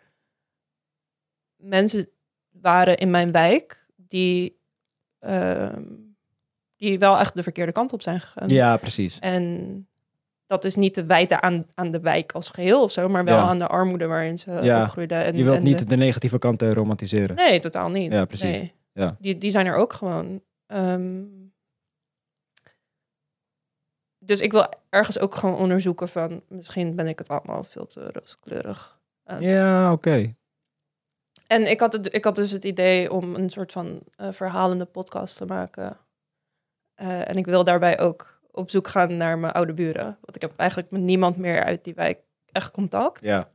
Speaker 2: mensen waren in mijn wijk die, ehm, die wel echt de verkeerde kant op zijn gegaan.
Speaker 1: ja, precies.
Speaker 2: En dat is niet te wijten aan, aan de wijk als geheel of zo, maar wel
Speaker 1: Ja.
Speaker 2: aan de armoede waarin ze
Speaker 1: Ja.
Speaker 2: opgroeiden. En,
Speaker 1: Je wilt
Speaker 2: en
Speaker 1: niet
Speaker 2: de-
Speaker 1: de, negatieve kanten romantiseren.
Speaker 2: Nee, totaal niet.
Speaker 1: Ja, precies.
Speaker 2: Nee.
Speaker 1: Ja.
Speaker 2: Die, die zijn er ook gewoon. Ehm, dus ik wil ergens ook gewoon onderzoeken van... misschien ben ik het allemaal veel te rooskleurig. aan het-
Speaker 1: Ja, oké.
Speaker 2: En ik had, het, ik had dus het idee om een soort van eh, verhalende podcast te maken. Eh, en ik wil daarbij ook op zoek gaan naar mijn oude buren. Want ik heb eigenlijk met niemand meer uit die wijk echt contact.
Speaker 1: Ja.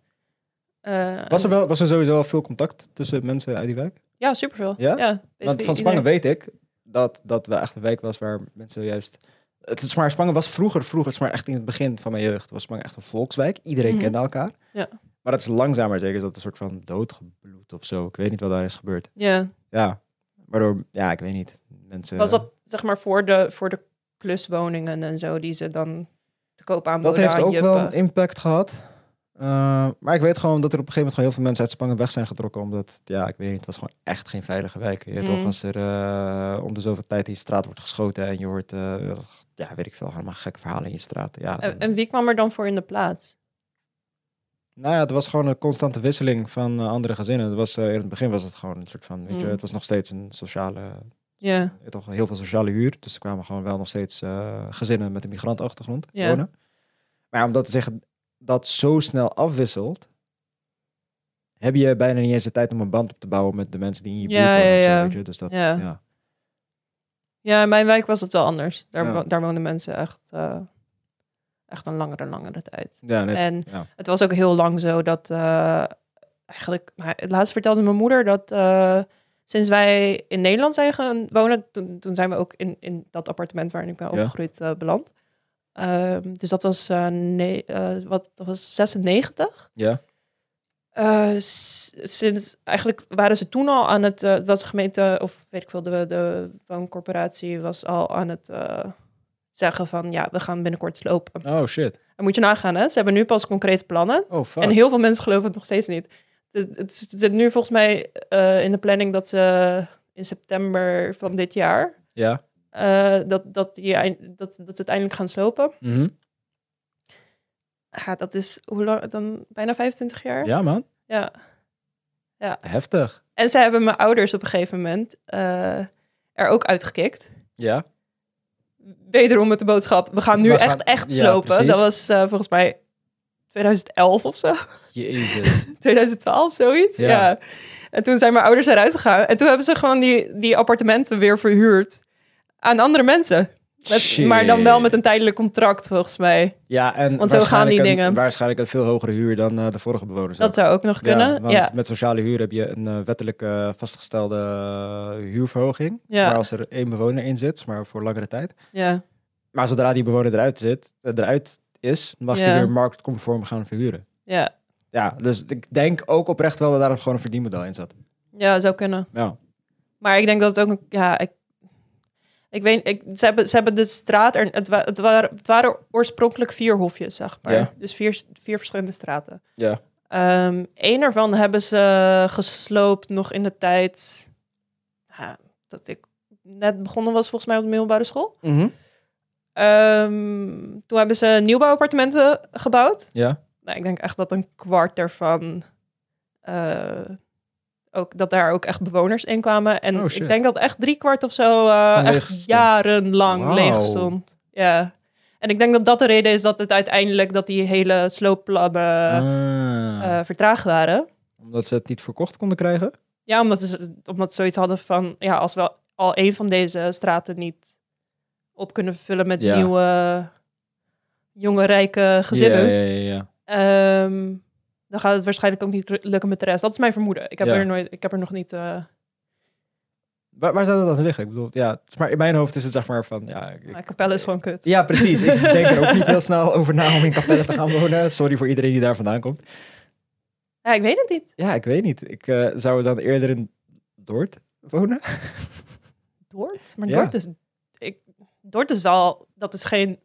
Speaker 2: Eh,
Speaker 1: Was, er wel- was er sowieso wel veel contact tussen mensen uit die wijk?
Speaker 2: Ja, superveel.
Speaker 1: Ja?
Speaker 2: Ja,
Speaker 1: Want
Speaker 2: basically
Speaker 1: van Spangen
Speaker 2: iedereen.
Speaker 1: weet ik dat, dat wel echt een week was waar mensen juist... Het is maar Spangen was vroeger, vroeger, het is maar echt in het begin van mijn jeugd, was Spangen echt een volkswijk. Iedereen
Speaker 2: Mhm.
Speaker 1: kende elkaar.
Speaker 2: Ja.
Speaker 1: Maar dat is langzamer zeker, is dat een soort van doodgebloed of zo. Ik weet niet wat daar is gebeurd.
Speaker 2: Ja.
Speaker 1: Ja, waardoor, ja, ik weet niet. Mensen,
Speaker 2: Was dat zeg maar voor de, voor de kluswoningen en zo die ze dan te koop aanboden
Speaker 1: dat heeft
Speaker 2: aan
Speaker 1: ook
Speaker 2: je
Speaker 1: wel
Speaker 2: pa?
Speaker 1: een impact gehad. Eh, maar ik weet gewoon dat er op een gegeven moment gewoon heel veel mensen uit Spangen weg zijn getrokken. Omdat, ja, ik weet niet, het was gewoon echt geen veilige wijk. Je weet
Speaker 2: Mm.
Speaker 1: toch, als er eh, om de zoveel tijd in je straat wordt geschoten en je hoort, eh, ja, weet ik veel, allemaal gekke verhalen in je straat. Ja, dan-
Speaker 2: Eh, En, en wie kwam er dan voor in de plaats?
Speaker 1: Nou ja, het was gewoon een constante wisseling van eh, andere gezinnen. Het was, eh, in het begin was het gewoon een soort van, weet je,
Speaker 2: Mm.
Speaker 1: het was nog steeds een sociale
Speaker 2: Ja.
Speaker 1: eh, toch heel veel sociale huur. Dus er kwamen gewoon wel nog steeds eh, gezinnen met een migrantachtergrond
Speaker 2: Ja.
Speaker 1: wonen. Maar ja, om dat te zeggen dat zo snel afwisselt, heb je bijna niet eens de tijd om een band op te bouwen met de mensen die in je
Speaker 2: Ja,
Speaker 1: buurt wonen.
Speaker 2: ja,
Speaker 1: of zo,
Speaker 2: ja.
Speaker 1: weet je. Dus dat,
Speaker 2: Ja.
Speaker 1: ja.
Speaker 2: Ja, in mijn wijk was het wel anders. Daar,
Speaker 1: Ja.
Speaker 2: wo- daar woonden mensen echt, eh, echt een langere, langere tijd.
Speaker 1: Ja, nee,
Speaker 2: En
Speaker 1: ja.
Speaker 2: het was ook heel lang zo dat eh, eigenlijk, maar het laatst vertelde mijn moeder dat eh, sinds wij in Nederland zijn gaan wonen, toen, toen zijn we ook in, in dat appartement waarin ik ben
Speaker 1: Ja.
Speaker 2: opgegroeid eh, beland. Ehm, dus dat was, eh, ne- eh, wat, dat was 96.
Speaker 1: Ja.
Speaker 2: Eh, s- sinds, eigenlijk waren ze toen al aan het, eh, het was de gemeente, of weet ik veel, de, de wooncorporatie was al aan het eh, zeggen van ja, we gaan binnenkort slopen.
Speaker 1: Oh shit.
Speaker 2: En moet je nagaan, hè? ze hebben nu pas concrete plannen.
Speaker 1: Oh fuck.
Speaker 2: En heel veel mensen geloven het nog steeds niet. Het, het zit nu volgens mij eh, in de planning dat ze in september van dit jaar
Speaker 1: Ja.
Speaker 2: eh, dat, dat, die, eind- dat, dat ze het eindelijk gaan slopen.
Speaker 1: Mhm.
Speaker 2: Ja, dat is hoe lang dan? Bijna 25 jaar.
Speaker 1: Ja man,
Speaker 2: Ja.
Speaker 1: heftig.
Speaker 2: En zij hebben mijn ouders op een gegeven moment eh, er ook uitgekikt.
Speaker 1: Ja.
Speaker 2: Wederom met de boodschap: we gaan nu
Speaker 1: We gaan-
Speaker 2: echt, echt
Speaker 1: ja,
Speaker 2: slopen.
Speaker 1: precies.
Speaker 2: dat was eh, volgens mij 2011 of zo.
Speaker 1: Jezus.
Speaker 2: 2012, zoiets. Ja.
Speaker 1: Ja.
Speaker 2: En toen zijn mijn ouders eruit gegaan. En toen hebben ze gewoon die, die appartementen weer verhuurd aan andere mensen. Met,
Speaker 1: Shit.
Speaker 2: maar dan wel met een tijdelijk contract, volgens mij.
Speaker 1: Ja, en
Speaker 2: Want zo gaan die
Speaker 1: waarschijnlijk een-
Speaker 2: dingen.
Speaker 1: Waarschijnlijk een veel hogere huur dan eh, de vorige bewoners. ook.
Speaker 2: Dat zou ook nog
Speaker 1: Ja,
Speaker 2: kunnen. Ja,
Speaker 1: want met sociale huur heb je een eh, wettelijk eh, vastgestelde eh, huurverhoging.
Speaker 2: Ja.
Speaker 1: Maar als er één bewoner in zit, maar voor langere tijd.
Speaker 2: ja.
Speaker 1: Maar zodra die bewoner eruit, zit, eh, eruit is, mag
Speaker 2: Ja.
Speaker 1: je weer marktconform gaan verhuren.
Speaker 2: ja,
Speaker 1: Ja, dus ik denk ook oprecht wel dat daar gewoon een verdienmodel in zat.
Speaker 2: ja, zou kunnen.
Speaker 1: Ja,
Speaker 2: Maar ik denk dat het ook een. Ja, ik, ik weet, ik, ze, hebben, ze hebben de straat. Er, het, wa- het, waren, het waren oorspronkelijk vier hofjes, zeg maar.
Speaker 1: Ja.
Speaker 2: Dus vier, vier verschillende straten.
Speaker 1: ja.
Speaker 2: Eén Eén ervan hebben ze gesloopt nog in de tijd ja, dat ik net begonnen was, volgens mij op de middelbare school. Ehm, toen hebben ze nieuwbouwappartementen gebouwd.
Speaker 1: ja.
Speaker 2: Nou, ik denk echt dat een kwart daarvan eh, ook dat daar ook echt bewoners in kwamen. En
Speaker 1: Oh,
Speaker 2: ik
Speaker 1: shit.
Speaker 2: denk dat echt drie kwart of zo eh,
Speaker 1: Gewoon leeg
Speaker 2: echt
Speaker 1: stond.
Speaker 2: jarenlang
Speaker 1: Wauw.
Speaker 2: leeg stond. Ja. En ik denk dat dat de reden is dat het uiteindelijk dat die hele sloopplannen
Speaker 1: Ah,
Speaker 2: eh, vertraagd waren.
Speaker 1: omdat ze het niet verkocht konden krijgen?
Speaker 2: Ja, omdat ze, omdat ze zoiets hadden van... Ja, als we al één van deze straten niet op kunnen vullen met
Speaker 1: Ja.
Speaker 2: nieuwe, jonge, rijke gezinnen...
Speaker 1: Ja, ja, ja. ja.
Speaker 2: ehm, dan gaat het waarschijnlijk ook niet lukken met de rest. Dat is mijn vermoeden. Ik heb,
Speaker 1: Ja.
Speaker 2: er, nooit, ik heb er nog niet... eh,
Speaker 1: Waar, waar zou dat dan liggen? Ik bedoel, ja, het is maar in mijn hoofd is het zeg maar van, ja... ik-
Speaker 2: nou, Capelle is gewoon kut.
Speaker 1: Ja, precies. Ik denk er ook niet heel snel over na om in Capelle te gaan wonen. Sorry voor iedereen die daar vandaan komt.
Speaker 2: Ja, ik weet het niet.
Speaker 1: Ja, ik weet niet. Ik eh, zou dan eerder in Dordt wonen.
Speaker 2: Dordt? Maar
Speaker 1: Ja.
Speaker 2: Dordt is... Ik, Dordt is wel... Dat is geen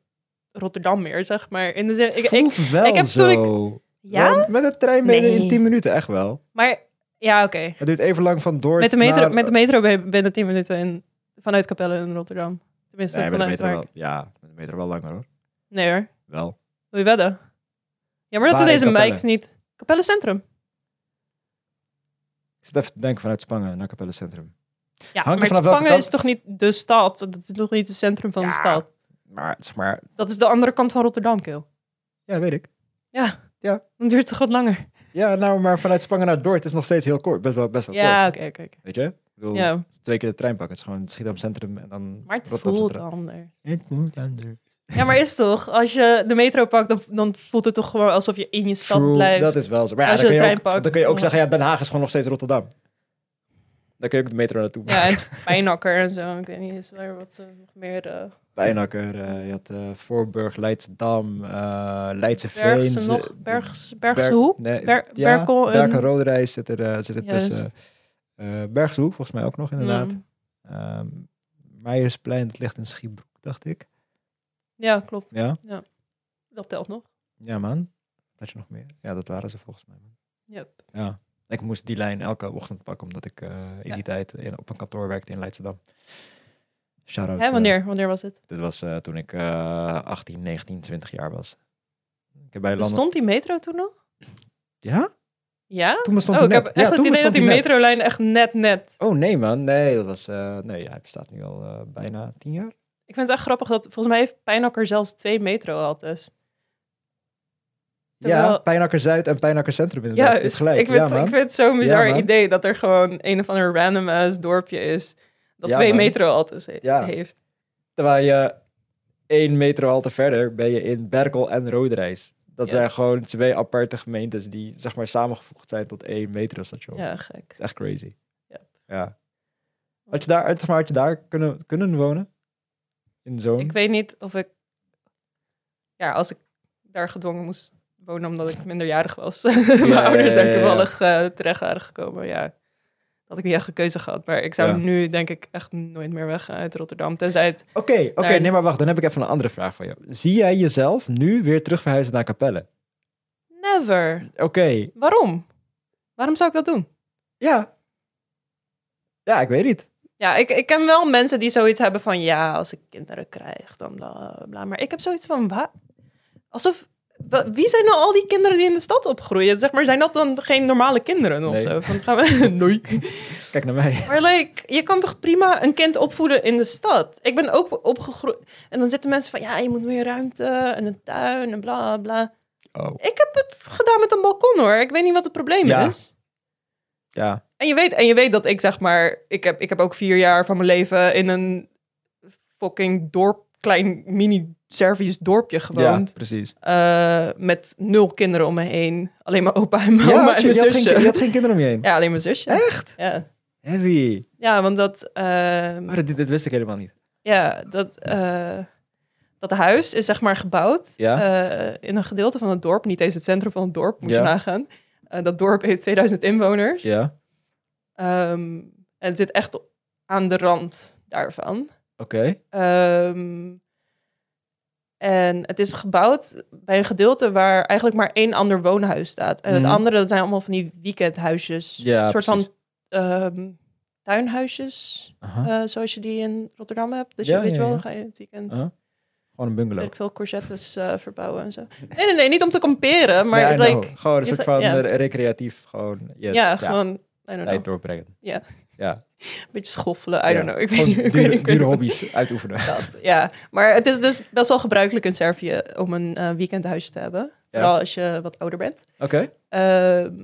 Speaker 2: Rotterdam meer, zeg maar. In de zin... Ik, ik,
Speaker 1: Voelt wel
Speaker 2: ik heb toen
Speaker 1: zo.
Speaker 2: ik- ja?
Speaker 1: Wel, Met de trein ben je
Speaker 2: Nee.
Speaker 1: in 10 minuten, echt wel.
Speaker 2: Maar... Ja, oké.
Speaker 1: Het duurt even lang van Dordt
Speaker 2: Met de metro,
Speaker 1: naar-
Speaker 2: met de metro ben je binnen 10 minuten in, vanuit Capelle in Rotterdam. Tenminste,
Speaker 1: Nee, met de
Speaker 2: vanuit
Speaker 1: metro
Speaker 2: waar
Speaker 1: wel.
Speaker 2: ik-
Speaker 1: Ja, met de metro wel langer hoor.
Speaker 2: Nee hoor,
Speaker 1: Wel.
Speaker 2: wil je wedden? Jammer dat
Speaker 1: Waar
Speaker 2: we
Speaker 1: in
Speaker 2: deze
Speaker 1: Capelle?
Speaker 2: mics niet... Capelle Centrum.
Speaker 1: Ik zit even te denken vanuit Spangen naar Capelle Centrum.
Speaker 2: Ja,
Speaker 1: er
Speaker 2: maar
Speaker 1: vanaf welke
Speaker 2: Spangen
Speaker 1: kant?
Speaker 2: is toch niet de stad? Dat is toch niet het centrum van
Speaker 1: Ja.
Speaker 2: de stad?
Speaker 1: Maar zeg maar,
Speaker 2: Dat is de andere kant van Rotterdam, Keel.
Speaker 1: ja, weet ik.
Speaker 2: Dan duurt het wat langer.
Speaker 1: Ja, nou, maar vanuit Spangen naar Dordt is nog steeds heel kort. Best wel, best wel
Speaker 2: Ja,
Speaker 1: kort.
Speaker 2: oké, oké. oké.
Speaker 1: Weet je? Ik bedoel,
Speaker 2: Ja,
Speaker 1: twee keer de trein pakken. Het is gewoon Schiedam Centrum en dan...
Speaker 2: maar het
Speaker 1: Rotterdam
Speaker 2: voelt
Speaker 1: Centraal.
Speaker 2: anders.
Speaker 1: Het moet anders.
Speaker 2: Ja, maar is toch? Als je de metro pakt, dan, dan voelt het toch gewoon alsof je in je stad
Speaker 1: True,
Speaker 2: blijft.
Speaker 1: dat is wel zo. Maar ja,
Speaker 2: Als
Speaker 1: dan,
Speaker 2: je
Speaker 1: kun
Speaker 2: de
Speaker 1: je
Speaker 2: trein
Speaker 1: ook,
Speaker 2: pakt,
Speaker 1: dan kun je ook
Speaker 2: dan-
Speaker 1: zeggen, ja, Den Haag is gewoon nog steeds Rotterdam. Daar kun je ook de metro naartoe.
Speaker 2: Ja, en pijnakker en zo. Ik weet niet, is er wat eh, nog meer... eh,
Speaker 1: Pijnakker, eh, je had eh, Voorburg, Leidsdam, eh Leidse
Speaker 2: Bergse nog? Bergs, Bergse Hoek?
Speaker 1: Nee,
Speaker 2: Ber-
Speaker 1: ja,
Speaker 2: Berkel en-
Speaker 1: Berkel Roderijs zit er, eh, zit er
Speaker 2: Juist.
Speaker 1: tussen. Eh Bergse Hoek volgens mij ook nog, inderdaad.
Speaker 2: Mm.
Speaker 1: Ehm, Meijersplein, dat ligt in Schiebroek, dacht ik.
Speaker 2: Ja, klopt.
Speaker 1: Ja,
Speaker 2: Dat telt nog.
Speaker 1: ja man. Wat Had je nog meer? Ja, dat waren ze volgens mij. man.
Speaker 2: Yep.
Speaker 1: Ja. Ik moest die lijn elke ochtend pakken, omdat ik eh, in
Speaker 2: Ja.
Speaker 1: die tijd in- op een kantoor werkte in Leidschendam. Shout-out.
Speaker 2: Hè,
Speaker 1: eh,
Speaker 2: wanneer? Wanneer was dit?
Speaker 1: dit was eh, toen ik eh 18, 19, 20 jaar was. Ik heb bij Landen...
Speaker 2: Bestond die metro toen nog?
Speaker 1: Ja?
Speaker 2: Ja?
Speaker 1: Toen bestond
Speaker 2: Oh,
Speaker 1: hij
Speaker 2: ik heb
Speaker 1: net.
Speaker 2: echt
Speaker 1: Ja,
Speaker 2: het
Speaker 1: toen
Speaker 2: idee dat
Speaker 1: bestond
Speaker 2: die
Speaker 1: hij net.
Speaker 2: metrolijn echt net net.
Speaker 1: Oh nee man, nee, dat was... eh, nee, ja, hij bestaat nu al eh, bijna tien jaar.
Speaker 2: Ik vind het echt grappig dat... Volgens mij heeft Pijnakker zelfs twee metrohaltes.
Speaker 1: Ja,
Speaker 2: Terwijl-
Speaker 1: Pijnakker Zuid en Pijnakker Centrum inderdaad. Je hebt
Speaker 2: Juist.
Speaker 1: gelijk.
Speaker 2: Ik vind,
Speaker 1: ja, man.
Speaker 2: ik vind het zo'n bizar
Speaker 1: man.
Speaker 2: idee dat er gewoon een of ander random ass dorpje is. Dat
Speaker 1: Ja,
Speaker 2: twee
Speaker 1: man.
Speaker 2: metrohaltes he-
Speaker 1: Ja.
Speaker 2: heeft.
Speaker 1: Terwijl je één metrohalte verder ben je in Berkel en Roderijs. Dat
Speaker 2: Ja.
Speaker 1: zijn gewoon twee aparte gemeentes die zeg maar samengevoegd zijn tot één metrostation. Dat
Speaker 2: Ja, gek.
Speaker 1: is echt crazy.
Speaker 2: Ja.
Speaker 1: Ja. Had je daar, had- zeg maar, had je daar kunnen, kunnen wonen? In zo'n...
Speaker 2: Ik weet niet of ik... Ja, als ik daar gedwongen moest wonen omdat ik minderjarig was. Mijn
Speaker 1: ja,
Speaker 2: ouders
Speaker 1: ja,
Speaker 2: daar
Speaker 1: ja.
Speaker 2: toevallig eh, terecht waren gekomen. Ja, had ik niet echt een keuze gehad. Maar ik zou
Speaker 1: Ja.
Speaker 2: nu denk ik echt nooit meer weg uit Rotterdam. Tenzij het...
Speaker 1: Oké, oké,
Speaker 2: Nee.
Speaker 1: nee, maar wacht. Dan heb ik even een andere vraag voor jou. Zie jij jezelf nu weer terug verhuizen naar Capelle?
Speaker 2: Never.
Speaker 1: Oké,
Speaker 2: Waarom? Waarom zou ik dat doen?
Speaker 1: ja. Ja, ik weet niet.
Speaker 2: Ja, ik, ik ken wel mensen die zoiets hebben van ja, als ik kinderen krijg, dan bla bla. Maar ik heb zoiets van wa- alsof wa- wie zijn nou al die kinderen die in de stad opgroeien? Zeg maar, zijn dat dan geen normale kinderen of
Speaker 1: Nee.
Speaker 2: zo? Van, gaan we... nee.
Speaker 1: Kijk naar mij.
Speaker 2: Maar like, je kan toch prima een kind opvoeden in de stad? Ik ben ook opgegroeid. En dan zitten mensen van ja, je moet meer ruimte en een tuin en bla bla.
Speaker 1: Oh,
Speaker 2: Ik heb het gedaan met een balkon hoor. Ik weet niet wat het probleem
Speaker 1: Ja.
Speaker 2: is.
Speaker 1: ja.
Speaker 2: En je weet, en je weet dat ik zeg maar, ik heb, ik heb ook vier jaar van mijn leven in een fucking dorp, klein mini-service dorpje
Speaker 1: Ja,
Speaker 2: gewoond.
Speaker 1: precies.
Speaker 2: Eh, met nul kinderen om me heen. Alleen mijn opa en mijn
Speaker 1: ja,
Speaker 2: oma
Speaker 1: had
Speaker 2: en
Speaker 1: je,
Speaker 2: mijn
Speaker 1: je, had geen,
Speaker 2: zusje.
Speaker 1: ki- je had geen kinderen om je heen.
Speaker 2: Ja, alleen mijn zusje.
Speaker 1: Echt?
Speaker 2: Ja,
Speaker 1: Heavy.
Speaker 2: ja want dat, ehm,
Speaker 1: Maar dit, dit wist ik helemaal niet.
Speaker 2: ja, dat, eh, dat huis is zeg maar gebouwd
Speaker 1: Ja.
Speaker 2: eh, in een gedeelte van het dorp. Niet eens het centrum van het dorp, moet
Speaker 1: Ja.
Speaker 2: je nagaan. Eh, dat dorp heeft 2000 inwoners.
Speaker 1: Ja.
Speaker 2: Ehm, en het zit echt aan de rand daarvan.
Speaker 1: Oké.
Speaker 2: Ehm, en het is gebouwd bij een gedeelte waar eigenlijk maar één ander woonhuis staat. En
Speaker 1: Mhm.
Speaker 2: het andere, dat zijn allemaal van die weekendhuisjes.
Speaker 1: Ja,
Speaker 2: een soort
Speaker 1: precies.
Speaker 2: van ehm, tuinhuisjes,
Speaker 1: Aha.
Speaker 2: eh, zoals je die in Rotterdam hebt. Dus
Speaker 1: Ja,
Speaker 2: je weet
Speaker 1: ja,
Speaker 2: wel,
Speaker 1: ja. Ah,
Speaker 2: dan ga je in het weekend...
Speaker 1: Aha. Gewoon een bungalow.
Speaker 2: weet ik veel courgettes eh, verbouwen en zo. Nee, nee, nee, niet om te kamperen, maar
Speaker 1: Ja, I know.
Speaker 2: like,
Speaker 1: gewoon een
Speaker 2: is
Speaker 1: soort
Speaker 2: dat-
Speaker 1: van
Speaker 2: ja.
Speaker 1: eh, recreatief. Gewoon, je-
Speaker 2: ja, gewoon, I don't know,
Speaker 1: tijd doorbrengen.
Speaker 2: Ja.
Speaker 1: Ja.
Speaker 2: een beetje schoffelen, I
Speaker 1: ja.
Speaker 2: don't know. Ik weet
Speaker 1: Gewoon
Speaker 2: niet, ik weet
Speaker 1: dure,
Speaker 2: niet, ik weet
Speaker 1: dure
Speaker 2: niet.
Speaker 1: hobby's uitoefenen.
Speaker 2: Dat, ja. Maar het is dus best wel gebruikelijk in Servië om een eh, weekendhuisje te hebben. Vooral als je wat ouder bent.
Speaker 1: Oké.
Speaker 2: Ehm,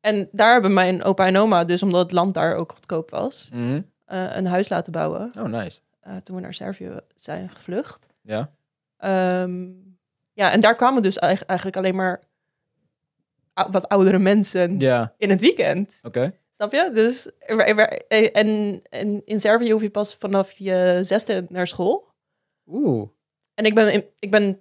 Speaker 2: en daar hebben mijn opa en oma, dus omdat het land daar ook goedkoop was,
Speaker 1: Mhm.
Speaker 2: eh, een huis laten bouwen.
Speaker 1: Oh, nice.
Speaker 2: eh, toen we naar Servië zijn gevlucht.
Speaker 1: Ja.
Speaker 2: Ehm, ja, en daar kwamen dus eig- eigenlijk alleen maar ou- wat oudere mensen
Speaker 1: Ja.
Speaker 2: in het weekend.
Speaker 1: Oké.
Speaker 2: Snap je? Dus, er- er- en, en in Servië hoef je pas vanaf je zesde naar school.
Speaker 1: Oeh.
Speaker 2: En ik ben, in- ik ben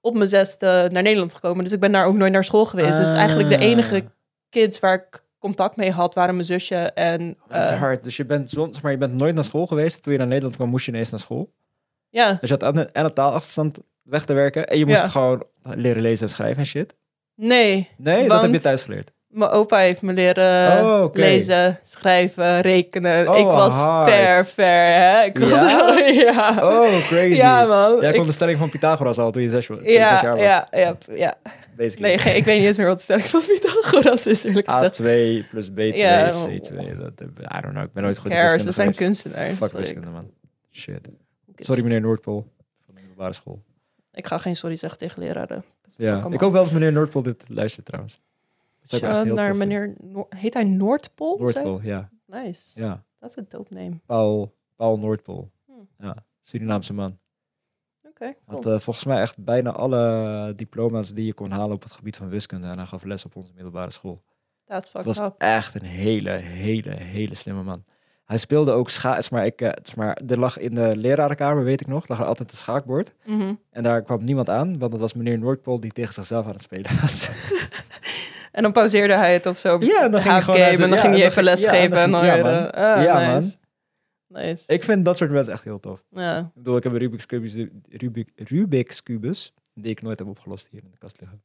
Speaker 2: op mijn zesde naar Nederland gekomen. Dus ik ben daar ook nooit naar school geweest. Dus eigenlijk de
Speaker 1: Ah.
Speaker 2: enige kids waar ik contact mee had, waren mijn zusje en...
Speaker 1: Dat is
Speaker 2: eh,
Speaker 1: hard. Dus je bent, zon, zeg maar, je bent nooit naar school geweest. Toen je naar Nederland kwam, moest je ineens naar school.
Speaker 2: ja,
Speaker 1: Dus je had aan de, aan de taalachterstand weg te werken. En je moest
Speaker 2: Ja.
Speaker 1: gewoon leren lezen en schrijven en shit.
Speaker 2: nee.
Speaker 1: Nee, dat
Speaker 2: Want-
Speaker 1: heb je thuis geleerd.
Speaker 2: Mijn opa heeft me leren
Speaker 1: Oh, oké.
Speaker 2: lezen, schrijven, rekenen.
Speaker 1: Oh,
Speaker 2: ik was
Speaker 1: hard.
Speaker 2: ver, ver, hè. Ik was,
Speaker 1: Ja?
Speaker 2: ja.
Speaker 1: Oh, crazy.
Speaker 2: Ja, man.
Speaker 1: Jij
Speaker 2: Ik-
Speaker 1: kon de stelling van Pythagoras al toen je zes, toen je zes
Speaker 2: ja,
Speaker 1: jaar was.
Speaker 2: ja, ja, ja.
Speaker 1: basically.
Speaker 2: Nee, geen- ik weet niet eens meer wat de stelling van Pythagoras is, eerlijk
Speaker 1: Ah,
Speaker 2: gezegd.
Speaker 1: A2 plus B2,
Speaker 2: Ja,
Speaker 1: C2. Dat, eh, I don't know, ik ben nooit goed in
Speaker 2: Hairs,
Speaker 1: wiskunde
Speaker 2: we zijn
Speaker 1: geweest.
Speaker 2: kunstenaars. dus
Speaker 1: Fuck
Speaker 2: Like,
Speaker 1: wiskunde, man. Shit.
Speaker 2: who gives
Speaker 1: Sorry meneer Noordpool van de middelbare school.
Speaker 2: Ik ga geen sorry zeggen tegen leraren.
Speaker 1: Ja, ik hoop wel dat meneer Noordpool dit luistert trouwens. Dat zou ik echt
Speaker 2: Shout-out
Speaker 1: heel
Speaker 2: Eh, naar
Speaker 1: tof vinden.
Speaker 2: meneer Noor- Heet hij Noordpool? Zei-
Speaker 1: Noordpool, ja.
Speaker 2: Nice.
Speaker 1: ja.
Speaker 2: Dat is een dope name.
Speaker 1: Paul, Paul Noordpool.
Speaker 2: Hmm.
Speaker 1: Ja, Surinaamse man.
Speaker 2: Oké, cool.
Speaker 1: Had eh, volgens mij echt bijna alle diploma's die je kon halen op het gebied van wiskunde. En hij gaf les op onze middelbare school.
Speaker 2: Staatsvak.
Speaker 1: Het was echt een hele, hele, hele slimme man. Hij speelde ook schaats, maar, ik, eh, het is maar er lag in de lerarenkamer, weet ik nog, lag er altijd een schaakbord.
Speaker 2: Mhm.
Speaker 1: En daar kwam niemand aan, want dat was meneer Noordpool die tegen zichzelf aan het spelen was.
Speaker 2: En dan pauzeerde hij het of zo.
Speaker 1: Ja, dan ging hij
Speaker 2: Half game,
Speaker 1: gewoon naar
Speaker 2: en
Speaker 1: zijn-
Speaker 2: dan
Speaker 1: ja,
Speaker 2: ging
Speaker 1: en
Speaker 2: hij
Speaker 1: dan
Speaker 2: even
Speaker 1: ging-
Speaker 2: les
Speaker 1: ja, en
Speaker 2: geven.
Speaker 1: dan
Speaker 2: en dan
Speaker 1: ging- ja,
Speaker 2: hoorde-
Speaker 1: man.
Speaker 2: ah,
Speaker 1: Ja,
Speaker 2: nice. Nice.
Speaker 1: ik vind dat soort mensen echt heel tof.
Speaker 2: Ja.
Speaker 1: Ik bedoel, ik heb een Rubik's Cubus, Rubik, Rubik's Cubus die ik nooit heb opgelost hier in de kast liggen.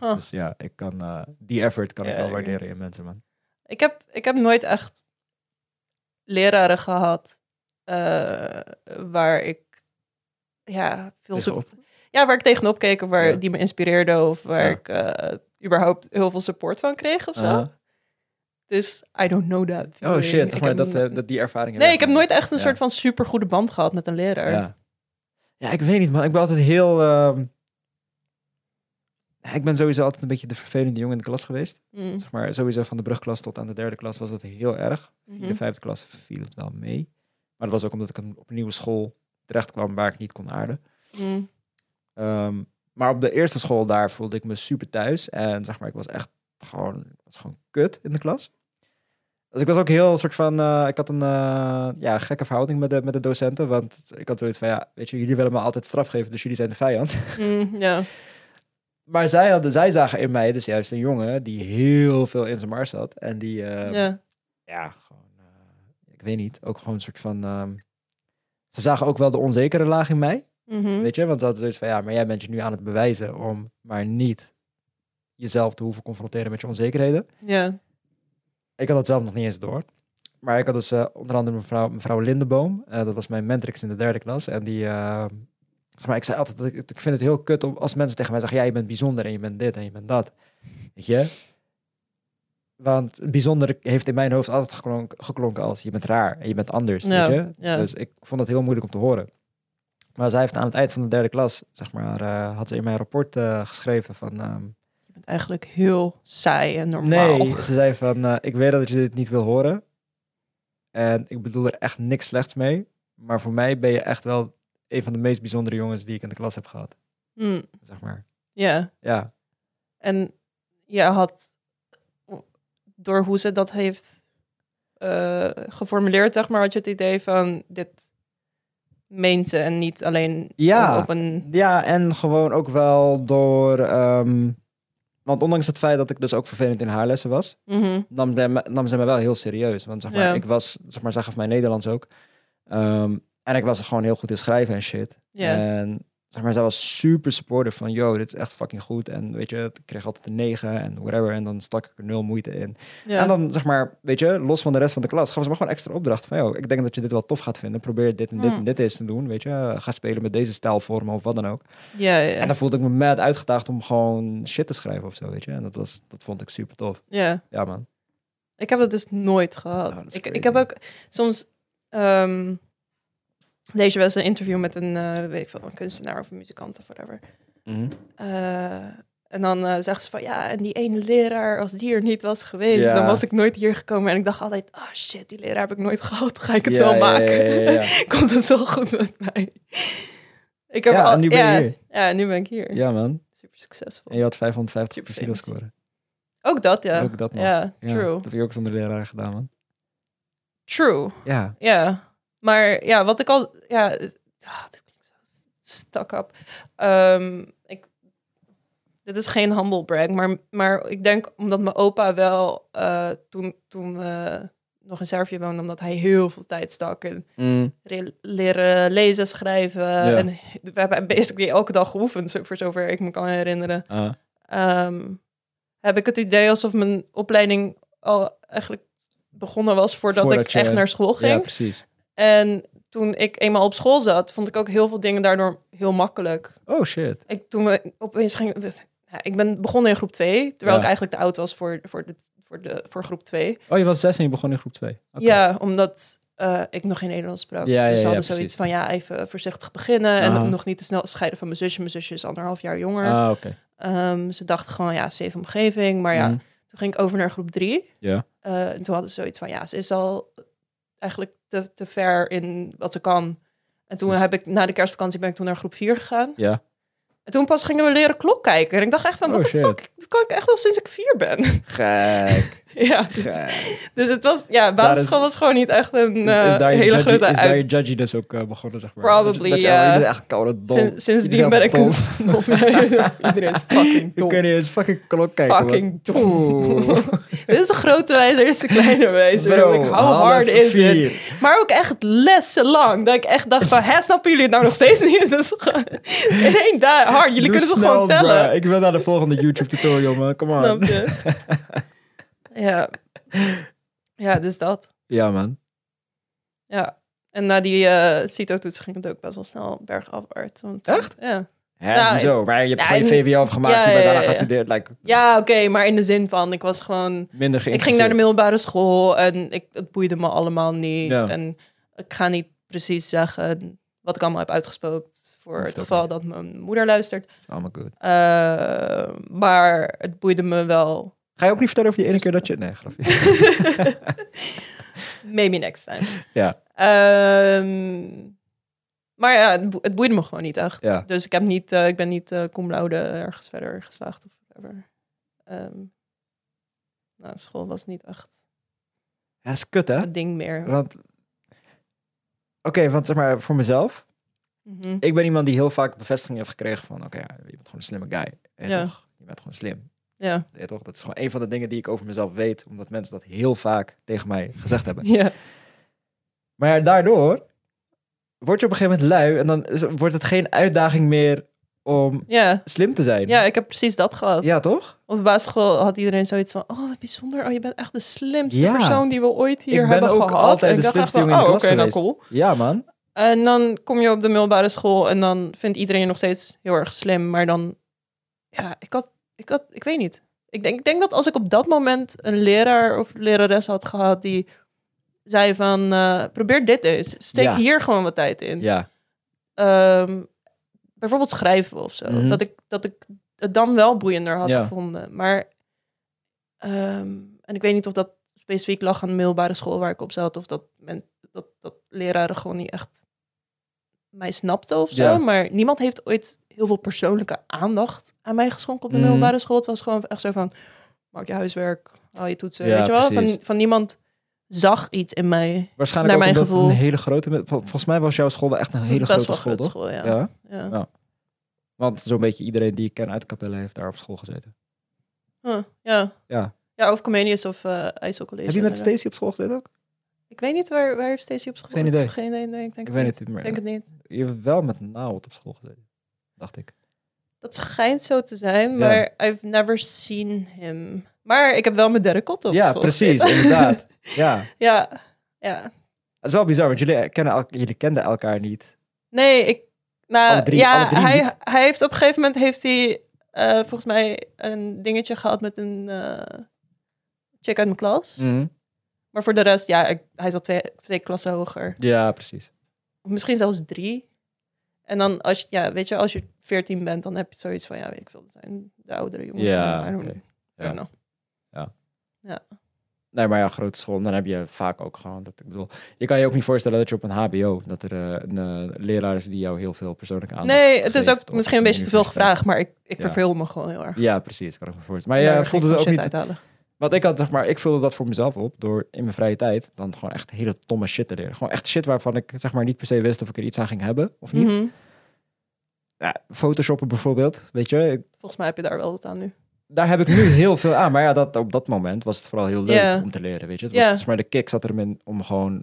Speaker 2: Huh.
Speaker 1: Dus ja, ik kan, eh, die effort kan ik
Speaker 2: Ja,
Speaker 1: wel
Speaker 2: ik-
Speaker 1: waarderen in mensen, man.
Speaker 2: Ik, heb, ik heb nooit echt leraren gehad eh, waar ik ja, veel
Speaker 1: Tegenop.
Speaker 2: sup- ja, waar ik tegenop keek of waar
Speaker 1: Ja.
Speaker 2: die me inspireerde of waar
Speaker 1: Ja.
Speaker 2: ik eh, überhaupt heel veel support van kreeg of zo.
Speaker 1: Ah.
Speaker 2: Dus I don't know that.
Speaker 1: oh shit,
Speaker 2: Ik
Speaker 1: maar
Speaker 2: heb
Speaker 1: dat,
Speaker 2: n-
Speaker 1: eh, dat die ervaring.
Speaker 2: nee, ik heb nooit echt een
Speaker 1: Ja.
Speaker 2: soort van supergoede band gehad met een leraar.
Speaker 1: Ja. ja, ik weet niet, man. Ik ben altijd heel. ehm, Ik ben sowieso altijd een beetje de vervelende jongen in de klas geweest.
Speaker 2: Mm.
Speaker 1: Zeg maar sowieso van de brugklas tot aan de derde klas was dat heel erg. In
Speaker 2: Mhm.
Speaker 1: de vijfde klas viel het wel mee. Maar dat was ook omdat ik een- op een nieuwe school terecht kwam waar ik niet kon aarden.
Speaker 2: Mm.
Speaker 1: Ehm, maar op de eerste school daar voelde ik me super thuis. En zeg maar, ik was echt gewoon, ik was gewoon kut in de klas. Dus ik was ook heel soort van, eh, ik had een eh, ja, gekke verhouding met de, met de docenten. Want ik had zoiets van, ja, weet je, jullie willen me altijd straf geven, dus jullie zijn de vijand.
Speaker 2: Mm, ja.
Speaker 1: Maar zij, hadden, zij zagen in mij dus juist een jongen die heel veel in zijn mars had. En die, eh, ja.
Speaker 2: ja.
Speaker 1: gewoon, eh, ik weet niet, ook gewoon een soort van... ehm, ze zagen ook wel de onzekere laag in mij.
Speaker 2: Mhm.
Speaker 1: Weet je, want ze hadden zoiets van, ja, maar jij bent je nu aan het bewijzen om maar niet jezelf te hoeven confronteren met je onzekerheden.
Speaker 2: Ja.
Speaker 1: Ik had dat zelf nog niet eens door. Maar ik had dus eh, onder andere mevrouw, mevrouw Lindeboom, eh, dat was mijn mentrix in de derde klas. En die, eh, zeg maar, ik zei altijd, dat ik, ik vind het heel kut om, als mensen tegen mij zeggen, ja, je bent bijzonder en je bent dit en je bent dat. Weet je? Want bijzonder heeft in mijn hoofd altijd geklonk- geklonken als je bent raar en je bent anders,
Speaker 2: Ja,
Speaker 1: weet je?
Speaker 2: ja.
Speaker 1: Dus ik vond dat heel moeilijk om te horen. Maar zij heeft aan het eind van de derde klas, zeg maar, eh, had ze in mijn rapport eh, geschreven van... ehm,
Speaker 2: Je bent eigenlijk heel saai en normaal.
Speaker 1: Nee, ze zei van, eh, ik weet dat je dit niet wil horen. En ik bedoel er echt niks slechts mee. Maar voor mij ben je echt wel een van de meest bijzondere jongens die ik in de klas heb gehad.
Speaker 2: Mm,
Speaker 1: Zeg maar.
Speaker 2: ja.
Speaker 1: Ja,
Speaker 2: En je had, door hoe ze dat heeft eh, geformuleerd, zeg maar, had je het idee van dit meent ze en niet alleen
Speaker 1: Ja.
Speaker 2: op, op een...
Speaker 1: ja en gewoon ook wel door... ehm, want ondanks het feit dat ik dus ook vervelend in haar lessen was,
Speaker 2: Mhm,
Speaker 1: nam, zij me- nam ze me wel heel serieus. Want zeg maar,
Speaker 2: Ja.
Speaker 1: ik was, zeg maar, zij gaf mij Nederlands ook. Ehm, en ik was gewoon heel goed in schrijven en shit.
Speaker 2: Ja.
Speaker 1: En zeg maar, zij was super supportive van, yo, dit is echt fucking goed. En weet je, ik kreeg altijd een 9 en whatever. En dan stak ik er nul moeite in.
Speaker 2: ja.
Speaker 1: En dan zeg maar, weet je, los van de rest van de klas, gaf ze me gewoon extra opdracht. Van, yo, ik denk dat je dit wel tof gaat vinden. Probeer dit en dit
Speaker 2: Mm.
Speaker 1: en dit eens te doen. Weet je, ga spelen met deze stijlvormen of wat dan ook.
Speaker 2: ja, ja,
Speaker 1: En dan voelde ik me mad uitgedaagd om gewoon shit te schrijven of zo, weet je. En dat, was, dat vond ik super tof.
Speaker 2: ja.
Speaker 1: Ja, man.
Speaker 2: Ik heb dat dus nooit gehad.
Speaker 1: Oh, dat is
Speaker 2: ik,
Speaker 1: crazy.
Speaker 2: ik heb ook soms. ehm, lees je wel eens een interview met een, eh, weet ik veel, een kunstenaar of een muzikant of whatever. Eh, en dan eh zegt ze van ja, en die ene leraar, als die er niet was geweest,
Speaker 1: Ja.
Speaker 2: dan was ik nooit hier gekomen. En ik dacht altijd, ah shit, die leraar heb ik nooit gehad. Ga ik het
Speaker 1: Ja,
Speaker 2: wel
Speaker 1: ja,
Speaker 2: maken?
Speaker 1: ja, ja, ja.
Speaker 2: Komt het wel goed met mij? Ik heb
Speaker 1: Ja,
Speaker 2: al,
Speaker 1: en nu ben je
Speaker 2: ja,
Speaker 1: hier.
Speaker 2: Ja, nu ben ik hier.
Speaker 1: Ja, man.
Speaker 2: Super succesvol.
Speaker 1: En je had 550
Speaker 2: Super
Speaker 1: precies
Speaker 2: famous.
Speaker 1: scoren.
Speaker 2: Ook dat, ja.
Speaker 1: Ook dat nog.
Speaker 2: Ja,
Speaker 1: Ja,
Speaker 2: true.
Speaker 1: Dat heb je ook zonder leraar gedaan, man.
Speaker 2: True.
Speaker 1: Ja.
Speaker 2: Ja, maar ja, wat ik al... Ja, het- ah, dit klinkt zo stak op. Ehm, ik, dit is geen humble brag, maar, maar ik denk omdat mijn opa wel eh, toen, toen we nog in Servië woonden, omdat hij heel veel tijd stak in re- leren lezen, schrijven. En we hebben basically elke dag geoefend, zo- voor zover ik me kan herinneren.
Speaker 1: Ah.
Speaker 2: Ehm, heb ik het idee alsof mijn opleiding al eigenlijk begonnen was voordat,
Speaker 1: Voordat
Speaker 2: ik
Speaker 1: je-
Speaker 2: echt naar school ging.
Speaker 1: ja, precies.
Speaker 2: En toen ik eenmaal op school zat, vond ik ook heel veel dingen daardoor heel makkelijk.
Speaker 1: Oh, shit.
Speaker 2: Ik, toen we opeens gingen... we- ja, ik ben begonnen in groep 2, terwijl
Speaker 1: Ja.
Speaker 2: ik eigenlijk te oud was voor, voor, de, voor, de, voor groep 2.
Speaker 1: Oh, je was zes en je begon in groep 2.
Speaker 2: Ja, omdat eh, ik nog geen Nederlands sprak.
Speaker 1: Ja, ja,
Speaker 2: dus
Speaker 1: ja,
Speaker 2: ze hadden
Speaker 1: precies.
Speaker 2: zoiets van, ja, even voorzichtig beginnen.
Speaker 1: Aha.
Speaker 2: En nog niet te snel scheiden van mijn zusje. Mijn zusje is anderhalf jaar jonger.
Speaker 1: Ah, oké.
Speaker 2: Ehm, ze dachten gewoon, ja, safe omgeving. Maar ja,
Speaker 1: Mhm.
Speaker 2: toen ging ik over naar groep 3.
Speaker 1: Ja.
Speaker 2: Eh, en toen hadden ze zoiets van, ja, ze is al eigenlijk te, te ver in wat ze kan. En toen
Speaker 1: Dus-
Speaker 2: heb ik, na de kerstvakantie ben ik toen naar groep 4 gegaan.
Speaker 1: Ja.
Speaker 2: En toen pas gingen we leren klok kijken. En ik dacht echt van,
Speaker 1: Oh,
Speaker 2: what the
Speaker 1: shit.
Speaker 2: fuck? Dat kan ik echt al sinds ik vier ben.
Speaker 1: Gek.
Speaker 2: ja, dus,
Speaker 1: gek.
Speaker 2: dus het was, ja, basisschool
Speaker 1: is-
Speaker 2: was gewoon niet echt een
Speaker 1: Dus
Speaker 2: eh,
Speaker 1: is daar je
Speaker 2: hele
Speaker 1: judgy-
Speaker 2: grote
Speaker 1: is daar
Speaker 2: uit...
Speaker 1: je judgy dus ook eh, begonnen, zeg maar.
Speaker 2: Probably,
Speaker 1: dat, je-
Speaker 2: ja.
Speaker 1: oh, je bent echt koude dom.
Speaker 2: Sin- Sindsdien
Speaker 1: Jezelf
Speaker 2: ben ik
Speaker 1: dom.
Speaker 2: een stom. Iedereen is fucking
Speaker 1: Je
Speaker 2: dom.
Speaker 1: kunt niet eens fucking klok kijken. man.
Speaker 2: Fucking dom.
Speaker 1: Oeh.
Speaker 2: Dit is een grote wijzer, dit is een kleine wijzer. Like, How
Speaker 1: half
Speaker 2: hard is het?
Speaker 1: vier.
Speaker 2: Maar ook echt lessenlang. Dat ik echt dacht van, hè, snappen jullie het nou nog steeds niet? Dat is gewoon- in één dag hard. Jullie
Speaker 1: Doe
Speaker 2: kunnen toch
Speaker 1: snel,
Speaker 2: gewoon tellen?
Speaker 1: bruh. Ik wil naar de volgende YouTube tutorial, man. Come on.
Speaker 2: Snap je? ja. Ja, dus dat.
Speaker 1: Ja, man.
Speaker 2: Ja. En na die eh, CITO-toets ging het ook best wel snel bergafwaarts. Want, eh,
Speaker 1: Echt?
Speaker 2: Ja.
Speaker 1: Hè,
Speaker 2: Nou,
Speaker 1: hoezo? Maar je hebt
Speaker 2: ja,
Speaker 1: gewoon je
Speaker 2: en-
Speaker 1: VWO afgemaakt.
Speaker 2: ja,
Speaker 1: je bent
Speaker 2: ja,
Speaker 1: daarna
Speaker 2: ja, ja.
Speaker 1: gestudeerd. Like,
Speaker 2: Ja, oké, maar in de zin van, ik was gewoon...
Speaker 1: minder
Speaker 2: Ik ging naar de
Speaker 1: geïnteresseerd.
Speaker 2: middelbare school en ik, het boeide me allemaal niet.
Speaker 1: Ja.
Speaker 2: En ik ga niet precies zeggen wat ik allemaal heb uitgespookt voor
Speaker 1: Hoeft
Speaker 2: het
Speaker 1: ook
Speaker 2: geval
Speaker 1: niet.
Speaker 2: dat mijn moeder luistert.
Speaker 1: It's allemaal good.
Speaker 2: Eh, maar het boeide me wel.
Speaker 1: Ga je ook niet vertellen over die ene keer dat je... Nee, grapje.
Speaker 2: Maybe next time.
Speaker 1: Ja.
Speaker 2: Ehm, maar ja, het boe- het boeide me gewoon niet echt.
Speaker 1: Ja.
Speaker 2: Dus ik, heb niet, eh, ik ben niet eh cum laude ergens verder geslaagd of whatever. Ehm, nou, school was niet echt
Speaker 1: Ja, dat is kut, hè?
Speaker 2: het ding meer.
Speaker 1: Want... Oké, want zeg maar, voor mezelf...
Speaker 2: Mhm.
Speaker 1: Ik ben iemand die heel vaak bevestiging heeft gekregen van... Oké, ja, je bent gewoon een slimme guy. En
Speaker 2: Ja.
Speaker 1: toch, je bent gewoon slim.
Speaker 2: Ja.
Speaker 1: Ja, toch? Dat is gewoon een van de dingen die ik over mezelf weet. Omdat mensen dat heel vaak tegen mij gezegd hebben.
Speaker 2: ja.
Speaker 1: Maar daardoor word je op een gegeven moment lui en dan is- wordt het geen uitdaging meer om
Speaker 2: Ja.
Speaker 1: slim te zijn.
Speaker 2: Ja, ik heb precies dat gehad.
Speaker 1: Ja, toch?
Speaker 2: Op de basisschool had iedereen zoiets van... Oh, wat bijzonder. Oh, je bent echt de slimste
Speaker 1: Ja.
Speaker 2: persoon die we ooit hier
Speaker 1: Ik ben
Speaker 2: hebben
Speaker 1: ook
Speaker 2: gehad.
Speaker 1: altijd
Speaker 2: En ik
Speaker 1: de
Speaker 2: dacht echt
Speaker 1: slimste
Speaker 2: van,
Speaker 1: jongen in de
Speaker 2: oh,
Speaker 1: klas
Speaker 2: oké, nou
Speaker 1: geweest.
Speaker 2: cool.
Speaker 1: Ja, man.
Speaker 2: En dan kom je op de middelbare school en dan vindt iedereen je nog steeds heel erg slim. Maar dan... Ja, ik had... Ik, had, ik weet niet. Ik denk, ik denk dat als ik op dat moment een leraar of lerares had gehad die zei van... eh, probeer dit eens. Steek
Speaker 1: Ja.
Speaker 2: hier gewoon wat tijd in.
Speaker 1: Ja.
Speaker 2: Ehm, bijvoorbeeld schrijven of zo.
Speaker 1: Mhm.
Speaker 2: Dat, ik, dat ik het dan wel boeiender had
Speaker 1: Ja.
Speaker 2: gevonden. Maar, ehm, en ik weet niet of dat specifiek lag aan de middelbare school waar ik op zat. Of dat, men, dat, dat leraren gewoon niet echt mij snapten of zo.
Speaker 1: Ja.
Speaker 2: Maar niemand heeft ooit heel veel persoonlijke aandacht aan mij geschonken op de
Speaker 1: Mhm.
Speaker 2: middelbare school. Het was gewoon echt zo van, maak je huiswerk, haal je toetsen.
Speaker 1: Ja,
Speaker 2: weet je wel? Van,
Speaker 1: precies.
Speaker 2: van niemand zag iets in mij.
Speaker 1: Waarschijnlijk
Speaker 2: Naar
Speaker 1: ook
Speaker 2: mijn
Speaker 1: omdat het
Speaker 2: gevoel.
Speaker 1: een hele grote... vol- Volgens mij was jouw school wel echt een
Speaker 2: Het is
Speaker 1: hele
Speaker 2: best
Speaker 1: grote
Speaker 2: wel
Speaker 1: school,
Speaker 2: grote
Speaker 1: toch?
Speaker 2: school, ja.
Speaker 1: Ja.
Speaker 2: ja.
Speaker 1: Want zo'n beetje iedereen die ik ken uit Capelle heeft daar op school gezeten.
Speaker 2: Huh, ja.
Speaker 1: Ja.
Speaker 2: Ja, of Comenius of eh IJssel College.
Speaker 1: Heb je met
Speaker 2: inderdaad.
Speaker 1: Stacy op school gezeten ook?
Speaker 2: Ik weet niet waar, waar heeft Stacey op school
Speaker 1: Geen idee.
Speaker 2: Geen idee, nee, ik denk het
Speaker 1: Ik weet
Speaker 2: niet.
Speaker 1: het niet
Speaker 2: Ik denk
Speaker 1: meer.
Speaker 2: het niet.
Speaker 1: Je hebt wel met Naald op school gezeten, dacht ik.
Speaker 2: Dat schijnt zo te zijn,
Speaker 1: Ja.
Speaker 2: maar I've never seen him. Maar ik heb wel met Derek Cotto op
Speaker 1: ja,
Speaker 2: school
Speaker 1: precies,
Speaker 2: gezeten.
Speaker 1: inderdaad. Ja,
Speaker 2: ja, ja.
Speaker 1: dat is wel bizar, want jullie, kennen elk- jullie kenden elkaar niet.
Speaker 2: Nee, ik... Nou,
Speaker 1: Alle drie-
Speaker 2: ja,
Speaker 1: alle drie
Speaker 2: hij,
Speaker 1: niet.
Speaker 2: hij heeft op een gegeven moment heeft hij eh, volgens mij een dingetje gehad met een eh, chick uit mijn klas.
Speaker 1: Mm. Mhm.
Speaker 2: Maar voor de rest, ja, ik- hij zat twee, twee klassen hoger.
Speaker 1: Ja, precies.
Speaker 2: Of misschien zelfs drie. En dan als je, ja, weet je, als je veertien bent, dan heb je zoiets van, ja, weet ik veel, dat zijn de oudere jongens.
Speaker 1: Ja,
Speaker 2: I don't-
Speaker 1: oké.
Speaker 2: I
Speaker 1: Ja.
Speaker 2: don't know.
Speaker 1: Nee, maar ja, grote school. Dan heb je vaak ook gewoon dat ik bedoel. Je kan je ook niet voorstellen dat je op een HBO dat er eh, een eh, leraar is die jou heel veel persoonlijke aandacht.
Speaker 2: Nee, het is
Speaker 1: geeft
Speaker 2: ook
Speaker 1: op
Speaker 2: misschien een beetje te veel
Speaker 1: universiteit.
Speaker 2: gevraagd, maar ik, ik
Speaker 1: Ja.
Speaker 2: verveel me gewoon heel erg.
Speaker 1: Ja, precies, kan ik me voorstellen.
Speaker 2: En
Speaker 1: Maar
Speaker 2: daar
Speaker 1: je
Speaker 2: ga ik
Speaker 1: voelde
Speaker 2: geen
Speaker 1: het ook
Speaker 2: shit
Speaker 1: niet.
Speaker 2: uithalen.
Speaker 1: Want ik had zeg maar, ik vulde dat voor mezelf op door in mijn vrije tijd dan gewoon echt hele domme shit te leren. Gewoon echt shit waarvan ik zeg maar niet per se wist of ik er iets aan ging hebben of niet.
Speaker 2: Mhm.
Speaker 1: Ja, photoshoppen bijvoorbeeld, weet je, Ik-
Speaker 2: Volgens mij heb je daar wel wat aan nu.
Speaker 1: daar heb ik nu heel veel aan. Maar ja, dat, op dat moment was het vooral heel leuk
Speaker 2: Ja.
Speaker 1: om te leren, weet je. Het
Speaker 2: Ja.
Speaker 1: was, zeg maar, de kick zat erin om gewoon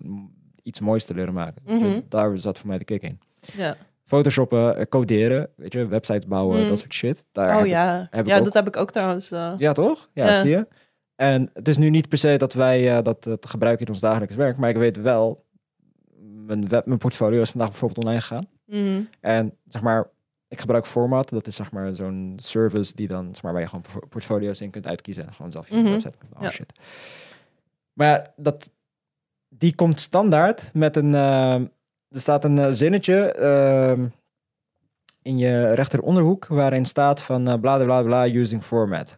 Speaker 1: iets moois te leren maken. Dus
Speaker 2: Mhm.
Speaker 1: Daar zat voor mij de kick in.
Speaker 2: Ja.
Speaker 1: Photoshoppen, eh, coderen, weet je, websites bouwen,
Speaker 2: Mm.
Speaker 1: dat soort shit. Daar heb
Speaker 2: Oh
Speaker 1: ik-
Speaker 2: ja,
Speaker 1: heb ik
Speaker 2: ja
Speaker 1: ook-
Speaker 2: dat heb ik ook trouwens. eh,
Speaker 1: ja, toch? Ja,
Speaker 2: Ja.
Speaker 1: zie je. En het is nu niet per se dat wij eh, dat eh, gebruiken in ons dagelijks werk, maar ik weet wel, mijn, web, mijn portfolio is vandaag bijvoorbeeld online gegaan.
Speaker 2: mhm.
Speaker 1: En zeg maar, ik gebruik Format, dat is zeg maar zo'n service die dan, zeg maar, waar je gewoon por- portfolio's in kunt uitkiezen en gewoon zelf je
Speaker 2: Mhm.
Speaker 1: website kunt bouwen,
Speaker 2: Ja.
Speaker 1: shit. Maar dat, die komt standaard met een, ehm, er staat een eh, zinnetje ehm, in je rechteronderhoek waarin staat van eh, bla bla bla bla using format.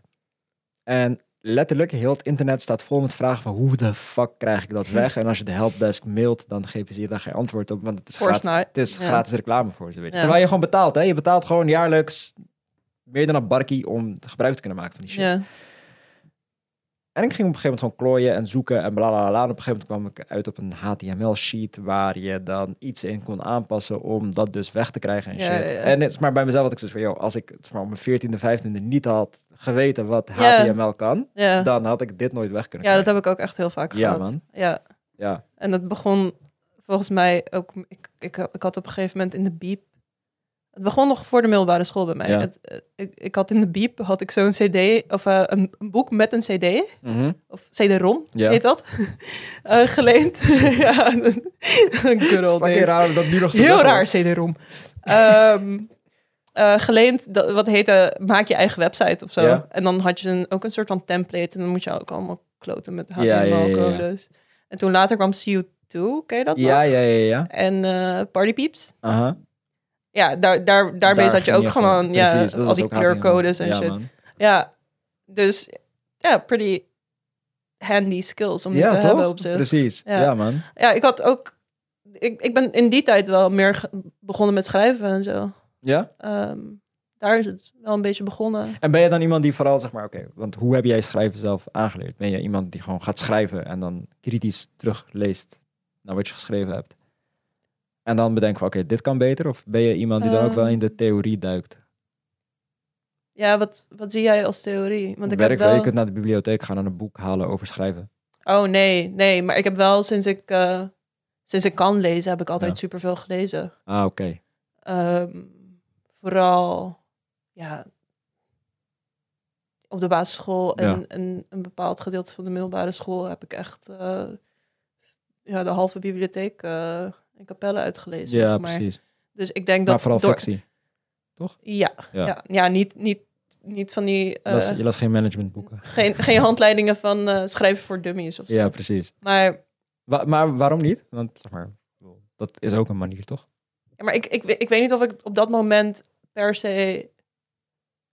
Speaker 1: En letterlijk heel het internet staat vol met vragen van hoe de fuck krijg ik dat weg? En als je de helpdesk mailt, dan geven ze je daar geen antwoord op, want het is,
Speaker 2: Force
Speaker 1: gratis,
Speaker 2: night.
Speaker 1: het is
Speaker 2: Ja.
Speaker 1: gratis reclame voor ze. Weet je.
Speaker 2: Ja.
Speaker 1: Terwijl je gewoon betaalt, hè? Je betaalt gewoon jaarlijks meer dan een barkie om gebruik te kunnen maken van die shit.
Speaker 2: Ja.
Speaker 1: En ik ging op een gegeven moment gewoon klooien en zoeken en bla bla bla. En op een gegeven moment kwam ik uit op een HTML-sheet waar je dan iets in kon aanpassen om dat dus weg te krijgen en
Speaker 2: Ja,
Speaker 1: shit.
Speaker 2: ja, ja.
Speaker 1: En het is maar bij mezelf dat ik zoiets van, joh, als ik het van mijn 14e, 15e niet had geweten wat
Speaker 2: Ja.
Speaker 1: HTML kan,
Speaker 2: Ja.
Speaker 1: dan had ik dit nooit weg kunnen
Speaker 2: ja, dat
Speaker 1: krijgen.
Speaker 2: heb ik ook echt heel vaak
Speaker 1: Ja,
Speaker 2: gehad.
Speaker 1: man.
Speaker 2: Ja,
Speaker 1: Ja,
Speaker 2: en dat begon volgens mij ook... Ik, ik, ik had op een gegeven moment in de biep... Het begon nog voor de middelbare school bij mij.
Speaker 1: Ja.
Speaker 2: Het, eh, ik, ik had in de biep had ik zo'n cd... Of eh, een, een boek met een cd...
Speaker 1: Mhm.
Speaker 2: of CD-ROM
Speaker 1: Ja.
Speaker 2: heet dat, Eh, geleend. ja, good old
Speaker 1: Het is fucking
Speaker 2: days.
Speaker 1: raar om dat nu nog te
Speaker 2: Heel
Speaker 1: zeggen,
Speaker 2: raar CD-ROM. Ehm, eh, geleend, dat, wat heette, maak je eigen website of zo.
Speaker 1: Ja.
Speaker 2: En dan had je een, ook een soort van template en dan moet je ook allemaal kloten met
Speaker 1: Ja, ja, ja, ja.
Speaker 2: HTML-codes. En toen later kwam CO2, ken je dat
Speaker 1: hoor. Ja,
Speaker 2: nog?
Speaker 1: ja, ja, ja.
Speaker 2: En eh Party Peeps.
Speaker 1: Aha.
Speaker 2: Ja, daar, daar, daarmee
Speaker 1: Daar
Speaker 2: zat je
Speaker 1: ging
Speaker 2: ook gewoon ja,
Speaker 1: Precies, dat
Speaker 2: al
Speaker 1: was
Speaker 2: die
Speaker 1: ook HTML.
Speaker 2: kleurcodes en
Speaker 1: Ja,
Speaker 2: shit.
Speaker 1: man.
Speaker 2: Ja, dus ja, pretty handy skills om die
Speaker 1: Ja,
Speaker 2: te hebben
Speaker 1: toch?
Speaker 2: op zich.
Speaker 1: Precies.
Speaker 2: Ja.
Speaker 1: Ja, man.
Speaker 2: Ja, ik had ook. Ik, ik ben in die tijd wel meer ge- begonnen met schrijven en zo.
Speaker 1: Ja?
Speaker 2: Ehm, daar is het wel een beetje begonnen.
Speaker 1: En ben je dan iemand die vooral, zeg maar, oké, want hoe heb jij schrijven zelf aangeleerd? Ben je iemand die gewoon gaat schrijven en dan kritisch terugleest naar wat je geschreven hebt? En dan bedenken van, oké, dit kan beter? Of ben je iemand die dan ook
Speaker 2: Ehm,
Speaker 1: wel in de theorie duikt?
Speaker 2: Ja, wat, wat zie jij als theorie? Want ik
Speaker 1: Werk
Speaker 2: heb wel...
Speaker 1: wel, je kunt naar de bibliotheek gaan en een boek halen over schrijven.
Speaker 2: Oh nee, nee, maar ik heb wel sinds ik, eh, sinds ik kan lezen, heb ik altijd
Speaker 1: Ja.
Speaker 2: superveel gelezen.
Speaker 1: Ah, oké.
Speaker 2: Ehm, vooral, ja, op de basisschool en,
Speaker 1: Ja.
Speaker 2: en een bepaald gedeelte van de middelbare school heb ik echt eh, ja, de halve bibliotheek eh in Capelle uitgelezen.
Speaker 1: Ja,
Speaker 2: zeg maar.
Speaker 1: precies.
Speaker 2: Dus ik denk
Speaker 1: Maar
Speaker 2: dat
Speaker 1: vooral
Speaker 2: door-
Speaker 1: fictie.
Speaker 2: Ja,
Speaker 1: Ja.
Speaker 2: ja. ja, niet, niet, niet van die eh,
Speaker 1: je las geen managementboeken.
Speaker 2: geen, geen handleidingen van eh, schrijven voor dummies of zo.
Speaker 1: Ja, precies.
Speaker 2: Maar,
Speaker 1: Wa- maar waarom niet? Want zeg maar, dat is ook een manier, toch?
Speaker 2: ja, maar ik, ik, we- ik weet niet of ik op dat moment per se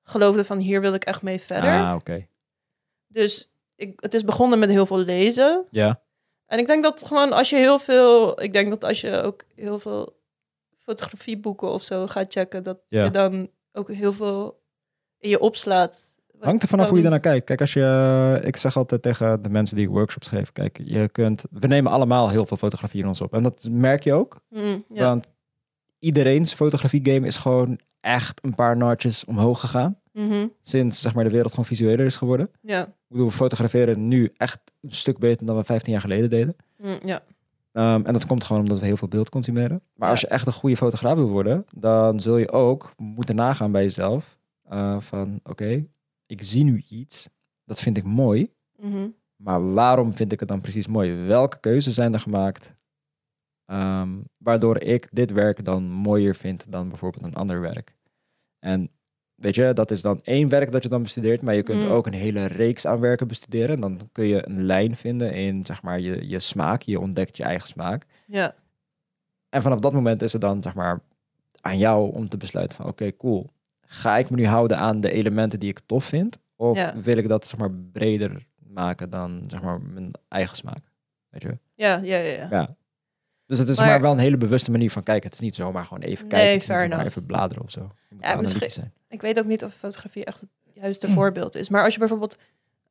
Speaker 2: geloofde van hier wil ik echt mee verder.
Speaker 1: Ah, oké.
Speaker 2: Dus ik, het is begonnen met heel veel lezen.
Speaker 1: Ja.
Speaker 2: En ik denk dat gewoon als je heel veel... Ik denk dat als je ook heel veel fotografieboeken of zo gaat checken... dat
Speaker 1: Ja.
Speaker 2: je dan ook heel veel in je opslaat.
Speaker 1: Hangt er vanaf
Speaker 2: Van-
Speaker 1: hoe je daarnaar kijkt. Kijk, als je, eh, ik zeg altijd tegen de mensen die ik workshops geef, kijk, je kunt, we nemen allemaal heel veel fotografie in ons op. En dat merk je ook,
Speaker 2: Mm, ja.
Speaker 1: want iedereen's fotografie game is gewoon echt een paar notches omhoog gegaan.
Speaker 2: Mhm,
Speaker 1: Sinds zeg maar, de wereld gewoon visueler is geworden.
Speaker 2: ja.
Speaker 1: Ik bedoel, we fotograferen nu echt een stuk beter dan we 15 jaar geleden deden.
Speaker 2: Mm, ja.
Speaker 1: Ehm, en dat komt gewoon omdat we heel veel beeld consumeren. Maar
Speaker 2: Ja.
Speaker 1: als je echt een goede fotograaf wil worden, dan zul je ook moeten nagaan bij jezelf. eh, van oké, ik zie nu iets, dat vind ik mooi.
Speaker 2: Mhm.
Speaker 1: Maar waarom vind ik het dan precies mooi? Welke keuzes zijn er gemaakt? ehm, waardoor ik dit werk dan mooier vind dan bijvoorbeeld een ander werk. En weet je, dat is dan één werk dat je dan bestudeert, maar je kunt
Speaker 2: Mm.
Speaker 1: ook een hele reeks aan werken bestuderen. En dan kun je een lijn vinden in zeg maar, je, je smaak. Je ontdekt je eigen smaak.
Speaker 2: ja.
Speaker 1: En vanaf dat moment is het dan zeg maar aan jou om te besluiten van oké, cool. Ga ik me nu houden aan de elementen die ik tof vind? Of
Speaker 2: Ja.
Speaker 1: wil ik dat zeg maar breder maken dan zeg maar mijn eigen smaak? Weet je?
Speaker 2: Ja, ja, ja, ja.
Speaker 1: Ja. Dus het is maar,
Speaker 2: Maar-
Speaker 1: wel een hele bewuste manier van kijken. Het is niet zomaar gewoon even
Speaker 2: Nee,
Speaker 1: kijken. Het is
Speaker 2: fair
Speaker 1: niet zomaar
Speaker 2: enough.
Speaker 1: even bladeren of zo. Je moet
Speaker 2: Ja,
Speaker 1: analytisch
Speaker 2: misschien-
Speaker 1: zijn.
Speaker 2: Ik weet ook niet of fotografie echt het juiste
Speaker 1: Hm.
Speaker 2: voorbeeld is. Maar als je bijvoorbeeld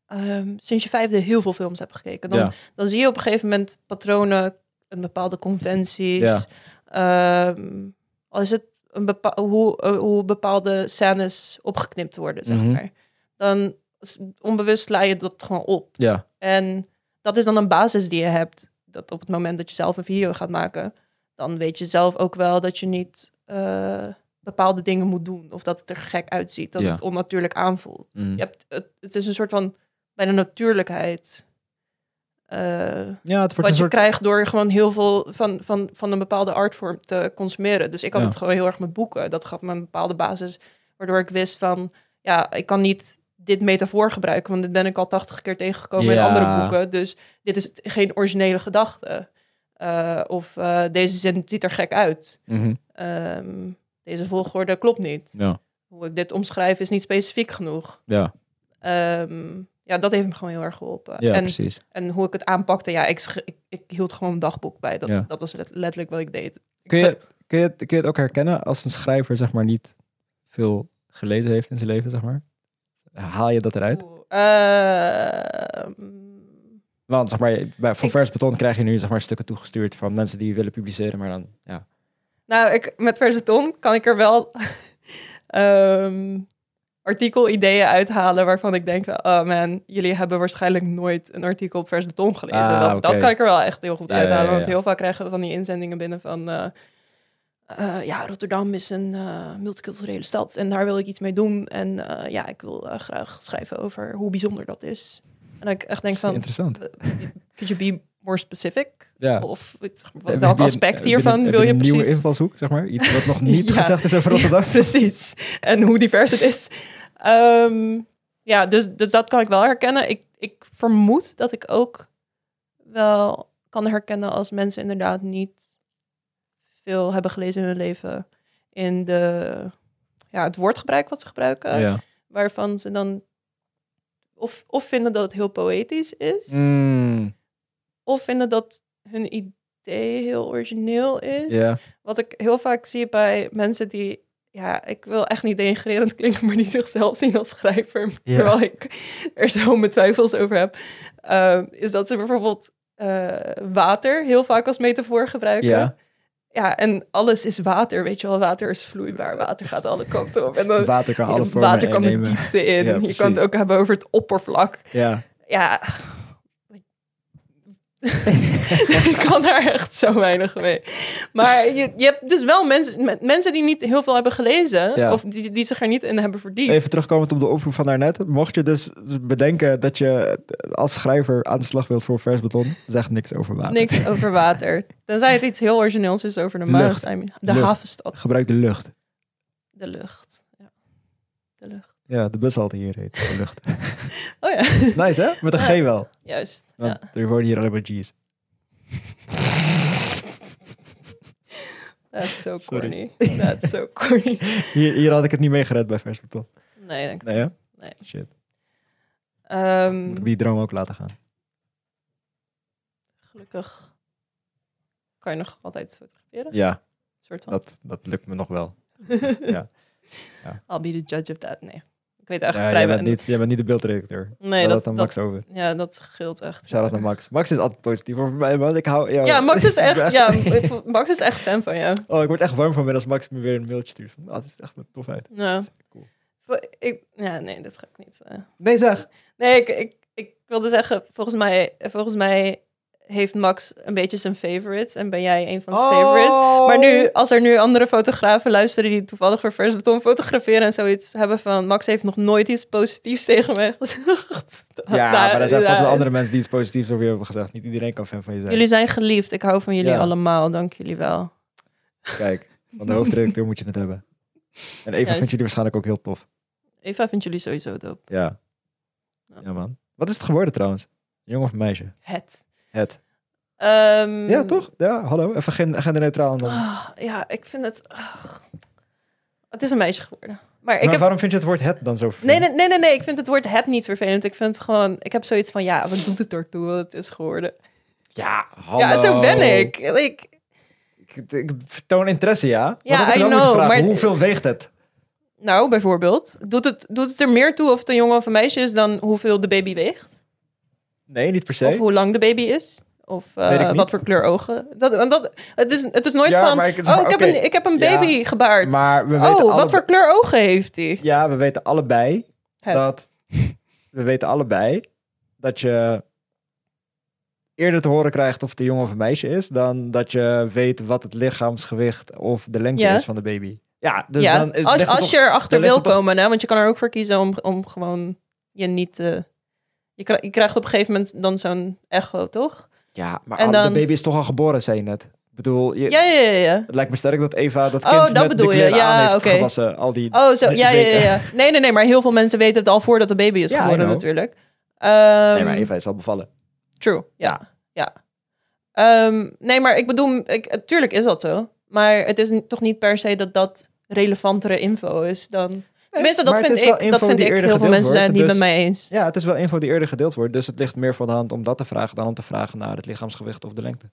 Speaker 2: ehm, sinds je vijfde heel veel films hebt gekeken... dan
Speaker 1: Ja.
Speaker 2: dan zie je op een gegeven moment patronen, een bepaalde conventies. Ehm, al is het een bepa- hoe, eh, hoe bepaalde scènes opgeknipt worden, zeg
Speaker 1: Mhm.
Speaker 2: maar. Dan s- onbewust sla je dat gewoon op.
Speaker 1: Ja,
Speaker 2: En dat is dan een basis die je hebt. Dat op het moment dat je zelf een video gaat maken, dan weet je zelf ook wel dat je niet eh, bepaalde dingen moet doen. Of dat het er gek uitziet, dat
Speaker 1: Ja.
Speaker 2: het onnatuurlijk aanvoelt
Speaker 1: Mhm.
Speaker 2: je hebt, het, het is een soort van bijna natuurlijkheid. eh,
Speaker 1: ja
Speaker 2: wat
Speaker 1: het wordt een
Speaker 2: je
Speaker 1: soort...
Speaker 2: krijgt door gewoon heel veel van, van, van een bepaalde artvorm te consumeren. Dus ik had
Speaker 1: Ja.
Speaker 2: het gewoon heel erg met boeken. Dat gaf me een bepaalde basis. Waardoor ik wist van, ja, ik kan niet dit metafoor gebruiken. Want dit ben ik al tachtig keer tegengekomen in
Speaker 1: Ja.
Speaker 2: andere boeken. Dus dit is geen originele gedachte. Eh, of eh, deze zin ziet er gek uit.
Speaker 1: Mhm.
Speaker 2: Ehm, deze volgorde klopt niet.
Speaker 1: Ja,
Speaker 2: Hoe ik dit omschrijf is niet specifiek genoeg.
Speaker 1: ja.
Speaker 2: Ehm, ja, dat heeft me gewoon heel erg geholpen.
Speaker 1: Ja,
Speaker 2: en,
Speaker 1: precies.
Speaker 2: en hoe ik het aanpakte, ja, ik, sch- ik, ik hield gewoon een dagboek bij. Dat,
Speaker 1: Ja.
Speaker 2: dat was let- letterlijk wat ik deed. Ik
Speaker 1: Kun
Speaker 2: schreef-
Speaker 1: je, kun, je het, kun je het ook herkennen als een schrijver zeg maar niet veel gelezen heeft in zijn leven, zeg maar? Haal je dat eruit?
Speaker 2: Oeh, ehm,
Speaker 1: Want zeg maar, je- bij, voor
Speaker 2: Ik-
Speaker 1: vers beton krijg je nu zeg maar, stukken toegestuurd van mensen die willen publiceren, maar dan ja.
Speaker 2: Nou, ik, met Versaton kan ik er wel ehm artikel-ideeën uithalen waarvan ik denk, oh man, jullie hebben waarschijnlijk nooit een artikel op Versaton gelezen.
Speaker 1: Ah,
Speaker 2: dat, dat
Speaker 1: oké.
Speaker 2: kan ik er wel echt heel goed
Speaker 1: Ja,
Speaker 2: uithalen,
Speaker 1: ja, ja,
Speaker 2: want
Speaker 1: ja.
Speaker 2: heel vaak krijgen we van die inzendingen binnen van, eh, eh, ja, Rotterdam is een eh, multiculturele stad en daar wil ik iets mee doen. En eh, ja, ik wil eh, graag schrijven over hoe bijzonder dat is. En dat ik echt denk
Speaker 1: Dat is
Speaker 2: van,
Speaker 1: interessant.
Speaker 2: could you be more specific?
Speaker 1: Ja. Eh,
Speaker 2: Of weet-
Speaker 1: Heb je
Speaker 2: welk
Speaker 1: een-
Speaker 2: aspect
Speaker 1: heb je
Speaker 2: hiervan
Speaker 1: een- heb
Speaker 2: wil je
Speaker 1: een
Speaker 2: precies?
Speaker 1: nieuwe invalshoek, zeg maar? Iets wat nog niet
Speaker 2: Ja.
Speaker 1: gezegd is over Rotterdam.
Speaker 2: Ja, precies. En hoe divers het is. Ehm, ja, dus, dus dat kan ik wel herkennen. Ik, ik vermoed dat ik ook wel kan herkennen als mensen inderdaad niet veel hebben gelezen in hun leven. In de, ja, het woordgebruik wat ze gebruiken.
Speaker 1: Ja.
Speaker 2: Waarvan ze dan of, of vinden dat het heel poëtisch is.
Speaker 1: Mm,
Speaker 2: Of vinden dat hun idee heel origineel is
Speaker 1: ja.
Speaker 2: wat ik heel vaak zie bij mensen die, ja, ik wil echt niet denigrerend klinken, maar die zichzelf zien als schrijver,
Speaker 1: Ja.
Speaker 2: terwijl ik er zo mijn twijfels over heb, ehm, is dat ze bijvoorbeeld eh, water heel vaak als metafoor gebruiken.
Speaker 1: Ja.
Speaker 2: Ja, en alles is water, weet je wel. Water is vloeibaar, water gaat alle kanten op. En dan,
Speaker 1: Water kan alle vormen
Speaker 2: Oh, water kan de
Speaker 1: innemen.
Speaker 2: diepte in.
Speaker 1: Ja,
Speaker 2: je
Speaker 1: precies.
Speaker 2: kan het ook hebben over het oppervlak
Speaker 1: Ja.
Speaker 2: ja. ik kan daar echt zo weinig mee. Maar je, je hebt dus wel mensen, men- mensen die niet heel veel hebben gelezen.
Speaker 1: Ja.
Speaker 2: Of die, die zich er niet in hebben verdiend.
Speaker 1: Even terugkomend op de oproep van daarnet. Mocht je dus bedenken dat je als schrijver aan de slag wilt voor vers beton, zeg niks over water.
Speaker 2: Niks over water. Tenzij het iets heel origineels is over de Maas.
Speaker 1: Lucht.
Speaker 2: I mean, de
Speaker 1: Lucht.
Speaker 2: havenstad.
Speaker 1: Gebruik de lucht.
Speaker 2: de lucht. Ja. De lucht.
Speaker 1: Ja, de bushalte hier heet de lucht.
Speaker 2: Oh ja,
Speaker 1: Is nice, hè? Met een G wel.
Speaker 2: juist.
Speaker 1: Want
Speaker 2: Ja.
Speaker 1: er worden hier alleen maar G's.
Speaker 2: That's so
Speaker 1: Sorry.
Speaker 2: corny. That's so corny.
Speaker 1: Hier, hier had ik het niet mee gered bij vers beton.
Speaker 2: Nee, denk ik.
Speaker 1: Nee, hè?
Speaker 2: Nee.
Speaker 1: Shit.
Speaker 2: Ehm,
Speaker 1: Moet ik die droom ook laten gaan.
Speaker 2: gelukkig kan je nog altijd fotograferen.
Speaker 1: Ja,
Speaker 2: soort van.
Speaker 1: dat, dat lukt me nog wel. Ja. Ja.
Speaker 2: I'll be the judge of that. Nee, ik weet echt
Speaker 1: Ja,
Speaker 2: vrij
Speaker 1: jij, bent
Speaker 2: weinig.
Speaker 1: niet, jij bent niet de beeldredacteur.
Speaker 2: Nee,
Speaker 1: Laat
Speaker 2: dat,
Speaker 1: aan
Speaker 2: dat,
Speaker 1: Max over.
Speaker 2: ja, dat scheelt echt.
Speaker 1: Shout out naar Max. Max is altijd positief over mij, man. Ik hou, ja,
Speaker 2: Ja, Max is
Speaker 1: ik ben
Speaker 2: echt, ja, ik- Max is echt fan van jou.
Speaker 1: Oh, ik word echt warm van binnen als Max me weer een mailtje stuurt. Van, ah, het is echt een tof uit.
Speaker 2: Ja.
Speaker 1: Cool.
Speaker 2: Vo- Ik, ja, nee, dat ga ik niet. eh.
Speaker 1: Nee, zeg.
Speaker 2: Nee, ik, ik, ik wilde zeggen, volgens mij, volgens mij heeft Max een beetje zijn favorites en ben jij een
Speaker 1: Oh.
Speaker 2: van zijn favorites. Maar nu, als er nu andere fotografen luisteren die toevallig voor Vers Beton fotograferen en zoiets hebben van Max heeft nog nooit iets positiefs tegen mij gezegd.
Speaker 1: Ja, maar er zijn
Speaker 2: pas
Speaker 1: vast wel andere mensen die iets positiefs over je hebben gezegd. Niet iedereen kan fan van je zijn.
Speaker 2: Jullie zijn geliefd. Ik hou van jullie
Speaker 1: Ja.
Speaker 2: allemaal. Dank jullie wel.
Speaker 1: Kijk, van de hoofdredacteur moet je het hebben. En Eva
Speaker 2: Juist.
Speaker 1: vindt jullie waarschijnlijk ook heel tof.
Speaker 2: Eva vindt jullie sowieso dope.
Speaker 1: Ja.
Speaker 2: Ja.
Speaker 1: Ja, man. Wat is het geworden trouwens? Jong of meisje?
Speaker 2: Het.
Speaker 1: Het.
Speaker 2: Ehm,
Speaker 1: Ja, toch? Ja, hallo. Even gen- genderneutraal. en dan-
Speaker 2: ah, ja, ik vind het... ah. Het is een meisje geworden. Maar ik
Speaker 1: Maar
Speaker 2: heb...
Speaker 1: waarom vind je het woord het dan zo
Speaker 2: Nee,
Speaker 1: vervelend?
Speaker 2: nee, nee, nee, nee. Ik vind het woord het niet vervelend. Ik vind het gewoon... Ik heb zoiets van, ja, wat doet het ertoe wat het is geworden?
Speaker 1: Ja, hallo.
Speaker 2: Ja, zo ben ik. ik
Speaker 1: Ik, ik toon interesse, ja.
Speaker 2: Ja,
Speaker 1: Ja,
Speaker 2: I
Speaker 1: ik
Speaker 2: know,
Speaker 1: know, maar...
Speaker 2: maar-
Speaker 1: Hoeveel weegt het?
Speaker 2: nou, bijvoorbeeld. Doet het, doet het er meer toe of het een jongen of een meisje is dan hoeveel de baby weegt?
Speaker 1: Nee, niet per se.
Speaker 2: Of hoe lang de baby is? Of eh,
Speaker 1: Weet ik niet.
Speaker 2: wat voor kleur ogen? Dat, want dat, het, is, het is nooit
Speaker 1: Ja,
Speaker 2: van,
Speaker 1: maar ik-
Speaker 2: oh, ik, heb
Speaker 1: oké.
Speaker 2: een, ik heb een
Speaker 1: Ja,
Speaker 2: baby gebaard.
Speaker 1: Maar we weten
Speaker 2: Oh,
Speaker 1: alle-
Speaker 2: wat voor kleur ogen heeft hij?
Speaker 1: Ja, we weten allebei
Speaker 2: Het.
Speaker 1: dat... We weten allebei dat je eerder te horen krijgt of het een jongen of een meisje is... dan dat je weet wat het lichaamsgewicht of de lengte
Speaker 2: Ja.
Speaker 1: is van de baby. Ja, dus
Speaker 2: ja.
Speaker 1: dan... is-
Speaker 2: als
Speaker 1: ligt het
Speaker 2: als
Speaker 1: toch-
Speaker 2: je erachter
Speaker 1: dan ligt
Speaker 2: wil
Speaker 1: het toch-
Speaker 2: komen, hè, want je kan er ook voor kiezen om, om gewoon je niet te... Je, kri- je krijgt op een gegeven moment dan zo'n echo, toch?
Speaker 1: Ja, maar
Speaker 2: En
Speaker 1: al-
Speaker 2: dan-
Speaker 1: de baby is toch al geboren, zei je net. Ik bedoel, je...
Speaker 2: Ja, ja, ja. ja.
Speaker 1: het lijkt me sterk dat Eva dat
Speaker 2: Oh,
Speaker 1: kind
Speaker 2: dat
Speaker 1: met de
Speaker 2: bedoel je.
Speaker 1: kleren aan
Speaker 2: Ja,
Speaker 1: heeft
Speaker 2: oké.
Speaker 1: gewassen. Al die...
Speaker 2: Oh, zo.
Speaker 1: Die
Speaker 2: Ja, ja, ja,
Speaker 1: weken.
Speaker 2: ja. Nee, nee, nee. Maar heel veel mensen weten het al voordat de baby is
Speaker 1: Ja, I
Speaker 2: geworden,
Speaker 1: know.
Speaker 2: natuurlijk. Ehm,
Speaker 1: Nee, maar Eva is al bevallen.
Speaker 2: True, ja. ja. Ehm, nee, maar ik bedoel, ik, tuurlijk is dat zo. Maar het is n- toch niet per se dat dat relevantere info is dan... Tenminste, dat
Speaker 1: maar het
Speaker 2: vind
Speaker 1: is wel
Speaker 2: ik.
Speaker 1: info
Speaker 2: Dat vind
Speaker 1: die
Speaker 2: ik.
Speaker 1: eerder
Speaker 2: Heel veel
Speaker 1: gedeeld
Speaker 2: mensen zijn het niet
Speaker 1: wordt, Dus-
Speaker 2: met mij eens.
Speaker 1: Ja, het is wel info die eerder gedeeld wordt. Dus het ligt meer voor de hand om dat te vragen dan om te vragen naar het lichaamsgewicht of de lengte.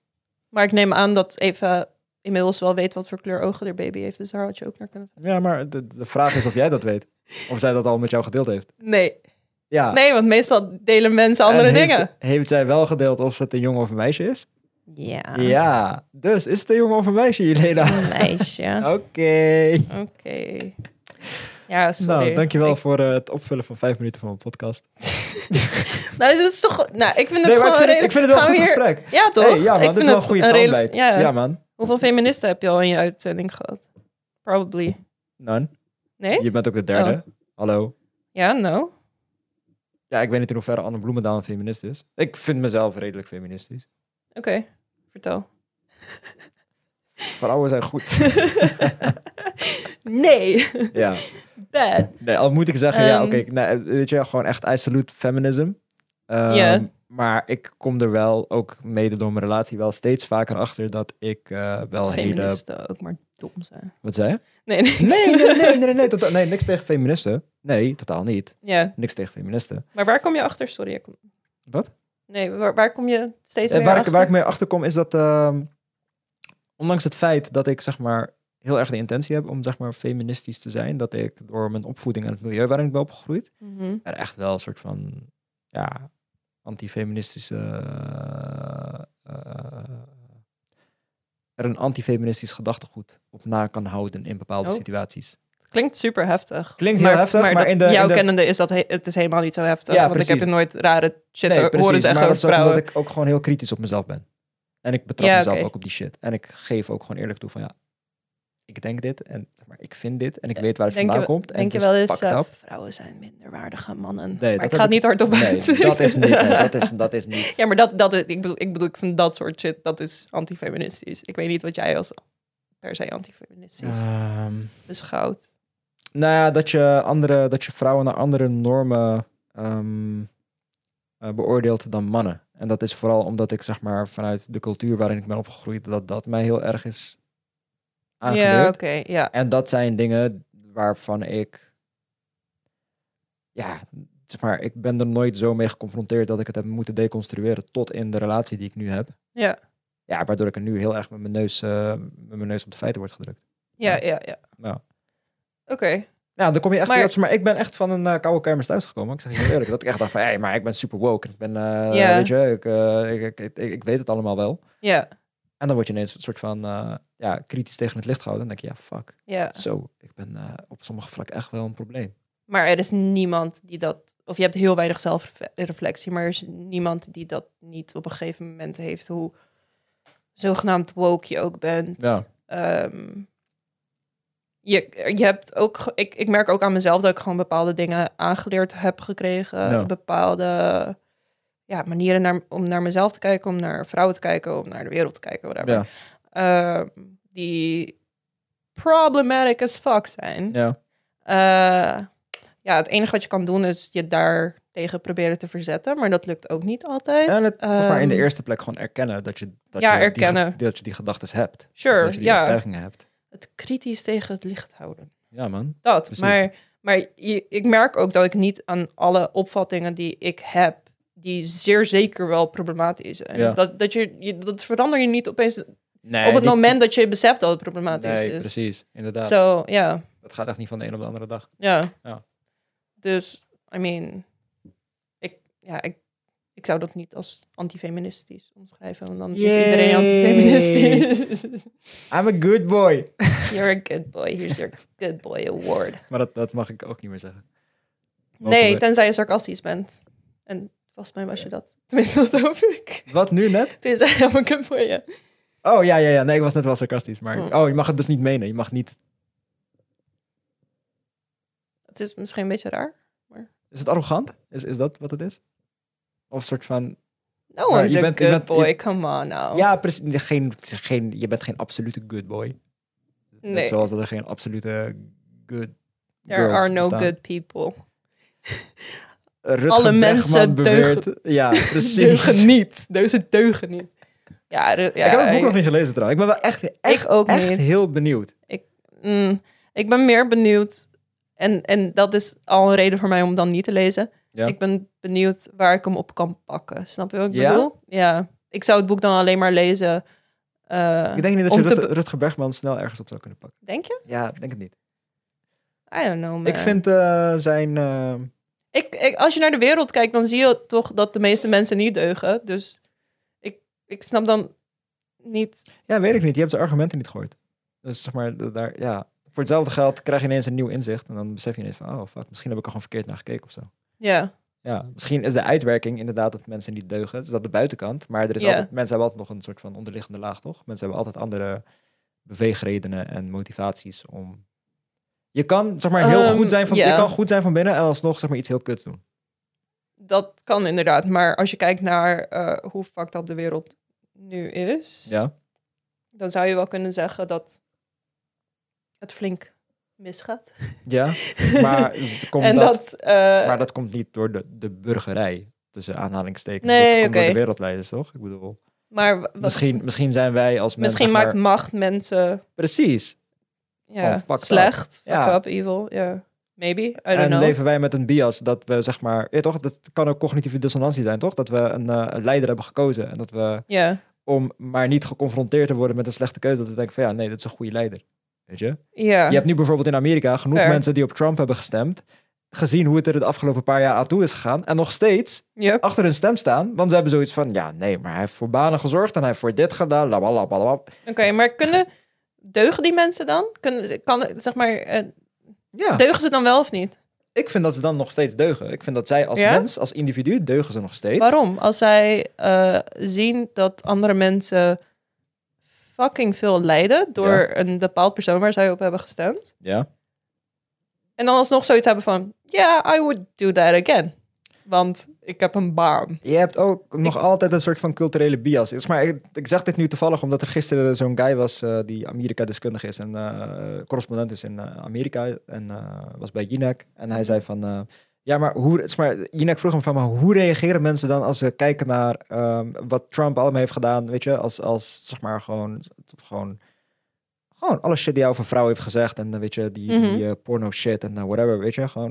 Speaker 2: Maar ik neem aan dat Eva inmiddels wel weet wat voor kleur ogen haar baby heeft. Dus daar had je ook naar kunnen.
Speaker 1: Ja, maar de, de vraag is of jij dat weet. Of zij dat al met jou gedeeld heeft.
Speaker 2: Nee.
Speaker 1: Ja.
Speaker 2: Nee, want meestal delen mensen
Speaker 1: Ah. En
Speaker 2: andere
Speaker 1: heeft
Speaker 2: dingen.
Speaker 1: ze- heeft zij wel gedeeld of het een jongen of een meisje is?
Speaker 2: Ja.
Speaker 1: Ja. Dus is het een jongen of een meisje, Jelena?
Speaker 2: Een meisje.
Speaker 1: Oké.
Speaker 2: Oké. Ja, Oh, sorry.
Speaker 1: Nou, dankjewel
Speaker 2: Ik-
Speaker 1: voor eh, het opvullen van vijf minuten van mijn podcast.
Speaker 2: nou, dit is toch... Nou, ik vind het
Speaker 1: Nee,
Speaker 2: gewoon...
Speaker 1: maar ik vind, het,
Speaker 2: redelijk-
Speaker 1: ik vind het wel een
Speaker 2: gaan
Speaker 1: goed
Speaker 2: we hier-
Speaker 1: gesprek.
Speaker 2: Ja, toch?
Speaker 1: Hey, ja,
Speaker 2: Ik vind
Speaker 1: man, dit is wel
Speaker 2: het
Speaker 1: een goede
Speaker 2: redelijk-
Speaker 1: soundbite.
Speaker 2: Ja.
Speaker 1: Ja, man.
Speaker 2: Hoeveel feministen heb je al in je uitzending gehad? Probably.
Speaker 1: None.
Speaker 2: Nee? Oh.
Speaker 1: Je bent ook de derde. Hallo.
Speaker 2: Ja, nou.
Speaker 1: Ja, ik weet niet in hoeverre Anne Bloemendaal een feminist is. Ik vind mezelf redelijk feministisch.
Speaker 2: Oké, vertel.
Speaker 1: Vrouwen zijn goed.
Speaker 2: nee,
Speaker 1: ja.
Speaker 2: bad.
Speaker 1: Nee, al moet ik zeggen, ja,
Speaker 2: Ehm.
Speaker 1: oké. nee, weet je, gewoon echt I salute feminism. Ehm,
Speaker 2: Ja.
Speaker 1: Maar ik kom er wel, ook mede door mijn relatie, wel steeds vaker achter dat ik eh, wel hele...
Speaker 2: Feministen ook maar dom zijn.
Speaker 1: Wat zei je?
Speaker 2: Nee, nee.
Speaker 1: Nee, nee, nee, nee, nee, nee, totaal- nee, niks tegen feministen. Nee, totaal niet.
Speaker 2: Ja,
Speaker 1: Niks tegen feministen.
Speaker 2: maar waar kom je achter? Sorry. ik-
Speaker 1: Wat?
Speaker 2: Nee, waar, waar kom je steeds
Speaker 1: Eh,
Speaker 2: meer
Speaker 1: waar, ik,
Speaker 2: achter?
Speaker 1: waar ik mee achterkom is dat, ehm, ondanks het feit dat ik zeg maar heel erg de intentie heb om zeg maar feministisch te zijn, dat ik door mijn opvoeding en het milieu waarin ik ben opgegroeid,
Speaker 2: Mhm.
Speaker 1: er echt wel een soort van, ja, antifeministische... eh, eh, er een antifeministisch gedachtegoed op na kan houden in bepaalde
Speaker 2: Oh.
Speaker 1: situaties.
Speaker 2: Klinkt super heftig.
Speaker 1: Klinkt heel heftig, maar
Speaker 2: dat-
Speaker 1: in de- in
Speaker 2: jouw
Speaker 1: de-
Speaker 2: kennende is dat he- het is helemaal niet zo heftig.
Speaker 1: Ja,
Speaker 2: want ik
Speaker 1: precies.
Speaker 2: heb er nooit rare shit
Speaker 1: nee,
Speaker 2: hoor-
Speaker 1: precies,
Speaker 2: horen zeggen
Speaker 1: maar dat
Speaker 2: over
Speaker 1: is ook omdat
Speaker 2: vrouwen.
Speaker 1: ik ook gewoon heel kritisch op mezelf ben. En ik betrap
Speaker 2: Ja,
Speaker 1: mezelf
Speaker 2: oké.
Speaker 1: ook op die shit. En ik geef ook gewoon eerlijk toe van ja, ik denk dit en zeg maar, ik vind dit en ik weet waar het vandaan komt. en
Speaker 2: denk je
Speaker 1: het
Speaker 2: wel
Speaker 1: is
Speaker 2: eens,
Speaker 1: fucked
Speaker 2: eh,
Speaker 1: up.
Speaker 2: vrouwen zijn minder waardig aan mannen.
Speaker 1: dat
Speaker 2: maar ik
Speaker 1: heb
Speaker 2: ga het
Speaker 1: ik-
Speaker 2: niet hardop
Speaker 1: Nee,
Speaker 2: uit.
Speaker 1: dat is niet. hè. Dat is, dat is niet.
Speaker 2: Ja, maar dat, dat, ik, bedoel, ik bedoel, ik vind dat soort shit, dat is antifeministisch. Ik weet niet wat jij als per se antifeministisch
Speaker 1: Ehm,
Speaker 2: beschouwt.
Speaker 1: nou ja, dat je, andere, dat je vrouwen naar andere normen ehm, eh, beoordeelt dan mannen. En dat is vooral omdat ik zeg maar vanuit de cultuur waarin ik ben opgegroeid, dat dat mij heel erg is aangeleerd.
Speaker 2: Ja, oké, ja.
Speaker 1: En dat zijn dingen waarvan ik. Ja, zeg maar, ik ben er nooit zo mee geconfronteerd dat ik het heb moeten deconstrueren tot in de relatie die ik nu heb.
Speaker 2: Ja,
Speaker 1: Ja, waardoor ik er nu heel erg met mijn neus, eh, met mijn neus op de feiten word gedrukt.
Speaker 2: ja, ja. ja.
Speaker 1: Ja.
Speaker 2: Oké,
Speaker 1: Nou, dan kom je echt
Speaker 2: Maar-
Speaker 1: weer op, maar ik ben echt van een eh, koude kermis thuisgekomen. Ik zeg je heel eerlijk, dat ik echt dacht van, hé, maar ik ben super woke. Ik ben, eh,
Speaker 2: Ja.
Speaker 1: weet je, ik, eh, ik, ik, ik, ik weet het allemaal wel.
Speaker 2: ja,
Speaker 1: En dan word je ineens een soort van, eh, ja, kritisch tegen het licht gehouden. En dan denk je, ja, fuck.
Speaker 2: ja.
Speaker 1: Zo, ik ben eh, op sommige vlakken echt wel een probleem.
Speaker 2: Maar er is niemand die dat... Of je hebt heel weinig zelfreflectie, maar er is niemand die dat niet op een gegeven moment heeft. Hoe zogenaamd woke je ook bent.
Speaker 1: Ja.
Speaker 2: Ehm, je, je hebt ook... ge- Ik, ik merk ook aan mezelf dat ik gewoon bepaalde dingen aangeleerd heb gekregen.
Speaker 1: Ja.
Speaker 2: Bepaalde ja, manieren naar, om naar mezelf te kijken, om naar vrouwen te kijken, om naar de wereld te kijken, whatever.
Speaker 1: Ja,
Speaker 2: Ehm, die problematic as fuck zijn.
Speaker 1: ja.
Speaker 2: Eh, ja, het enige wat je kan doen is je daar tegen proberen te verzetten, maar dat lukt ook niet altijd.
Speaker 1: En het, zeg maar in de
Speaker 2: Ehm,
Speaker 1: eerste plek gewoon erkennen dat je, dat
Speaker 2: Ja,
Speaker 1: je, Die,
Speaker 2: erkennen.
Speaker 1: ge- dat je die gedachten hebt. Of
Speaker 2: Sure,
Speaker 1: dat je die
Speaker 2: ja.
Speaker 1: overtuigingen hebt.
Speaker 2: Het kritisch tegen het licht houden.
Speaker 1: Ja, man.
Speaker 2: Dat,
Speaker 1: Precies.
Speaker 2: maar, maar je- ik merk ook dat ik niet aan alle opvattingen die ik heb, die zeer zeker wel problematisch zijn.
Speaker 1: Ja.
Speaker 2: Dat, dat, je, je- dat verander je niet opeens
Speaker 1: Nee,
Speaker 2: op het
Speaker 1: niet-
Speaker 2: moment dat je beseft dat het problematisch
Speaker 1: Nee,
Speaker 2: is.
Speaker 1: precies.
Speaker 2: Zo,
Speaker 1: Inderdaad.
Speaker 2: ja,
Speaker 1: Dat gaat echt niet van de ene op de andere dag.
Speaker 2: ja.
Speaker 1: Ja.
Speaker 2: Dus, I mean, ik, ja, ik, ik zou dat niet als antifeministisch omschrijven, want dan is
Speaker 1: Yay.
Speaker 2: iedereen antifeministisch.
Speaker 1: I'm a good boy.
Speaker 2: You're a good boy, here's your good boy award.
Speaker 1: Maar dat, dat mag ik ook niet meer zeggen.
Speaker 2: Nee,
Speaker 1: Hopelijk.
Speaker 2: tenzij je sarcastisch bent. En volgens mij was je dat. Tenminste, dat hoop ik.
Speaker 1: Wat nu net?
Speaker 2: Tenzij I'm a good boy, ja.
Speaker 1: Oh ja, ja, ja. Nee, ik was net wel sarcastisch. Maar
Speaker 2: Hm.
Speaker 1: oh, je mag het dus niet menen. Je mag niet.
Speaker 2: Het is misschien een beetje raar.
Speaker 1: Is het arrogant? Is, is dat wat het is? Of een soort van.
Speaker 2: No
Speaker 1: Maar
Speaker 2: one's
Speaker 1: je
Speaker 2: a
Speaker 1: bent- je
Speaker 2: good
Speaker 1: bent- je-
Speaker 2: boy, come on now.
Speaker 1: Ja, precies. Geen, geen, je bent geen absolute good boy.
Speaker 2: Nee.
Speaker 1: Net zoals dat er geen absolute good.
Speaker 2: There
Speaker 1: girls
Speaker 2: are no
Speaker 1: bestaan.
Speaker 2: good people.
Speaker 1: Rutger
Speaker 2: Alle
Speaker 1: Bregman
Speaker 2: mensen
Speaker 1: beweert- Ja, precies.
Speaker 2: Deugen niet. Deze deugen niet. Ja, de- ja
Speaker 1: ik heb het boek
Speaker 2: ik-
Speaker 1: nog niet gelezen trouwens. Ik ben wel echt, echt,
Speaker 2: ook
Speaker 1: echt
Speaker 2: niet.
Speaker 1: heel benieuwd.
Speaker 2: Mm, ik ben meer benieuwd. En, en dat is al een reden voor mij om dan niet te lezen.
Speaker 1: Ja.
Speaker 2: Ik ben benieuwd waar ik hem op kan pakken. Snap je wat ik
Speaker 1: Ja?
Speaker 2: bedoel? Ja. Ik zou het boek dan alleen maar lezen. eh,
Speaker 1: Ik denk niet dat
Speaker 2: om
Speaker 1: je
Speaker 2: te
Speaker 1: Rut- Rutger Bergman snel ergens op zou kunnen pakken.
Speaker 2: Denk je?
Speaker 1: Ja, ik denk het niet.
Speaker 2: I don't know, man.
Speaker 1: Ik vind eh, zijn... eh,
Speaker 2: Ik, ik- als je naar de wereld kijkt, dan zie je toch dat de meeste mensen niet deugen. Dus ik, ik snap dan niet...
Speaker 1: ja, weet ik niet. Je hebt zijn argumenten niet gehoord. Dus zeg maar, d- daar, ja. Voor hetzelfde geld krijg je ineens een nieuw inzicht. En dan besef je ineens van, oh fuck, misschien heb ik er gewoon verkeerd naar gekeken of zo.
Speaker 2: Ja,
Speaker 1: Ja, misschien is de uitwerking inderdaad dat mensen niet deugen. Het is dat de buitenkant. Maar er is
Speaker 2: Ja.
Speaker 1: altijd, mensen hebben altijd nog een soort van onderliggende laag, toch? Mensen hebben altijd andere beweegredenen en motivaties om... Je kan, zeg maar, heel
Speaker 2: Ehm,
Speaker 1: goed zijn van,
Speaker 2: ja.
Speaker 1: je kan goed zijn van binnen en alsnog zeg maar, iets heel kuts doen.
Speaker 2: dat kan inderdaad. Maar als je kijkt naar eh, hoe fucked up de wereld nu is...
Speaker 1: Ja.
Speaker 2: dan zou je wel kunnen zeggen dat het flink misgaat.
Speaker 1: ja. Maar, het komt
Speaker 2: en
Speaker 1: dat,
Speaker 2: dat... eh,
Speaker 1: maar dat komt niet door de, de burgerij, tussen aanhalingstekens.
Speaker 2: Nee,
Speaker 1: dat komt door
Speaker 2: oké.
Speaker 1: de wereldleiders, toch? Ik bedoel...
Speaker 2: maar wa-
Speaker 1: Misschien, misschien zijn wij als mensen.
Speaker 2: misschien
Speaker 1: zeg
Speaker 2: maakt
Speaker 1: maar-
Speaker 2: macht mensen
Speaker 1: Precies. Gewoon
Speaker 2: ja,
Speaker 1: fucked up.
Speaker 2: slecht, fucked
Speaker 1: Ja.
Speaker 2: up, evil. ja Maybe, I don't
Speaker 1: En
Speaker 2: know.
Speaker 1: leven wij met een bias dat we zeg maar. Ja, toch? Dat kan ook cognitieve dissonantie zijn, toch? Dat we een, eh, een leider hebben gekozen. En dat we
Speaker 2: Ja,
Speaker 1: om maar niet geconfronteerd te worden met een slechte keuze. Dat we denken van ja, nee, dat is een goede leider. Weet je?
Speaker 2: ja.
Speaker 1: Je hebt nu bijvoorbeeld in Amerika genoeg
Speaker 2: Fair.
Speaker 1: mensen die op Trump hebben gestemd. Gezien hoe het er de afgelopen paar jaar aan toe is gegaan. En nog steeds
Speaker 2: Yep.
Speaker 1: achter hun stem staan. Want ze hebben zoiets van ja, nee, maar hij heeft voor banen gezorgd. En hij heeft voor dit gedaan. Labalabala.
Speaker 2: Oké, maar kunnen deugen die mensen dan? Kunnen, ze- kan, zeg maar, eh,
Speaker 1: Ja.
Speaker 2: deugen ze dan wel of niet?
Speaker 1: Ik vind dat ze dan nog steeds deugen. Ik vind dat zij als
Speaker 2: Ja?
Speaker 1: mens, als individu, deugen ze nog steeds.
Speaker 2: Waarom? Als zij eh, zien dat andere mensen fucking veel lijden door
Speaker 1: Ja.
Speaker 2: een bepaald persoon waar zij op hebben gestemd.
Speaker 1: Ja.
Speaker 2: En dan alsnog zoiets hebben van, ja, I would do that again. Want ik heb een baan.
Speaker 1: Je hebt ook nog altijd een soort van culturele bias. Is maar, ik, ik zeg dit nu toevallig omdat er gisteren zo'n guy was eh, die Amerika-deskundige is en eh, correspondent is in eh, Amerika en eh, was bij Jinek. En hij zei van, eh, ja, maar hoe, is maar Jinek vroeg hem van, maar hoe reageren mensen dan als ze kijken naar ehm, wat Trump allemaal heeft gedaan, weet je, als, als zeg maar gewoon, gewoon, gewoon alle shit die hij over vrouwen heeft gezegd en eh, weet je, die,
Speaker 2: Mhm.
Speaker 1: die eh, porno shit en eh, whatever, weet je, gewoon.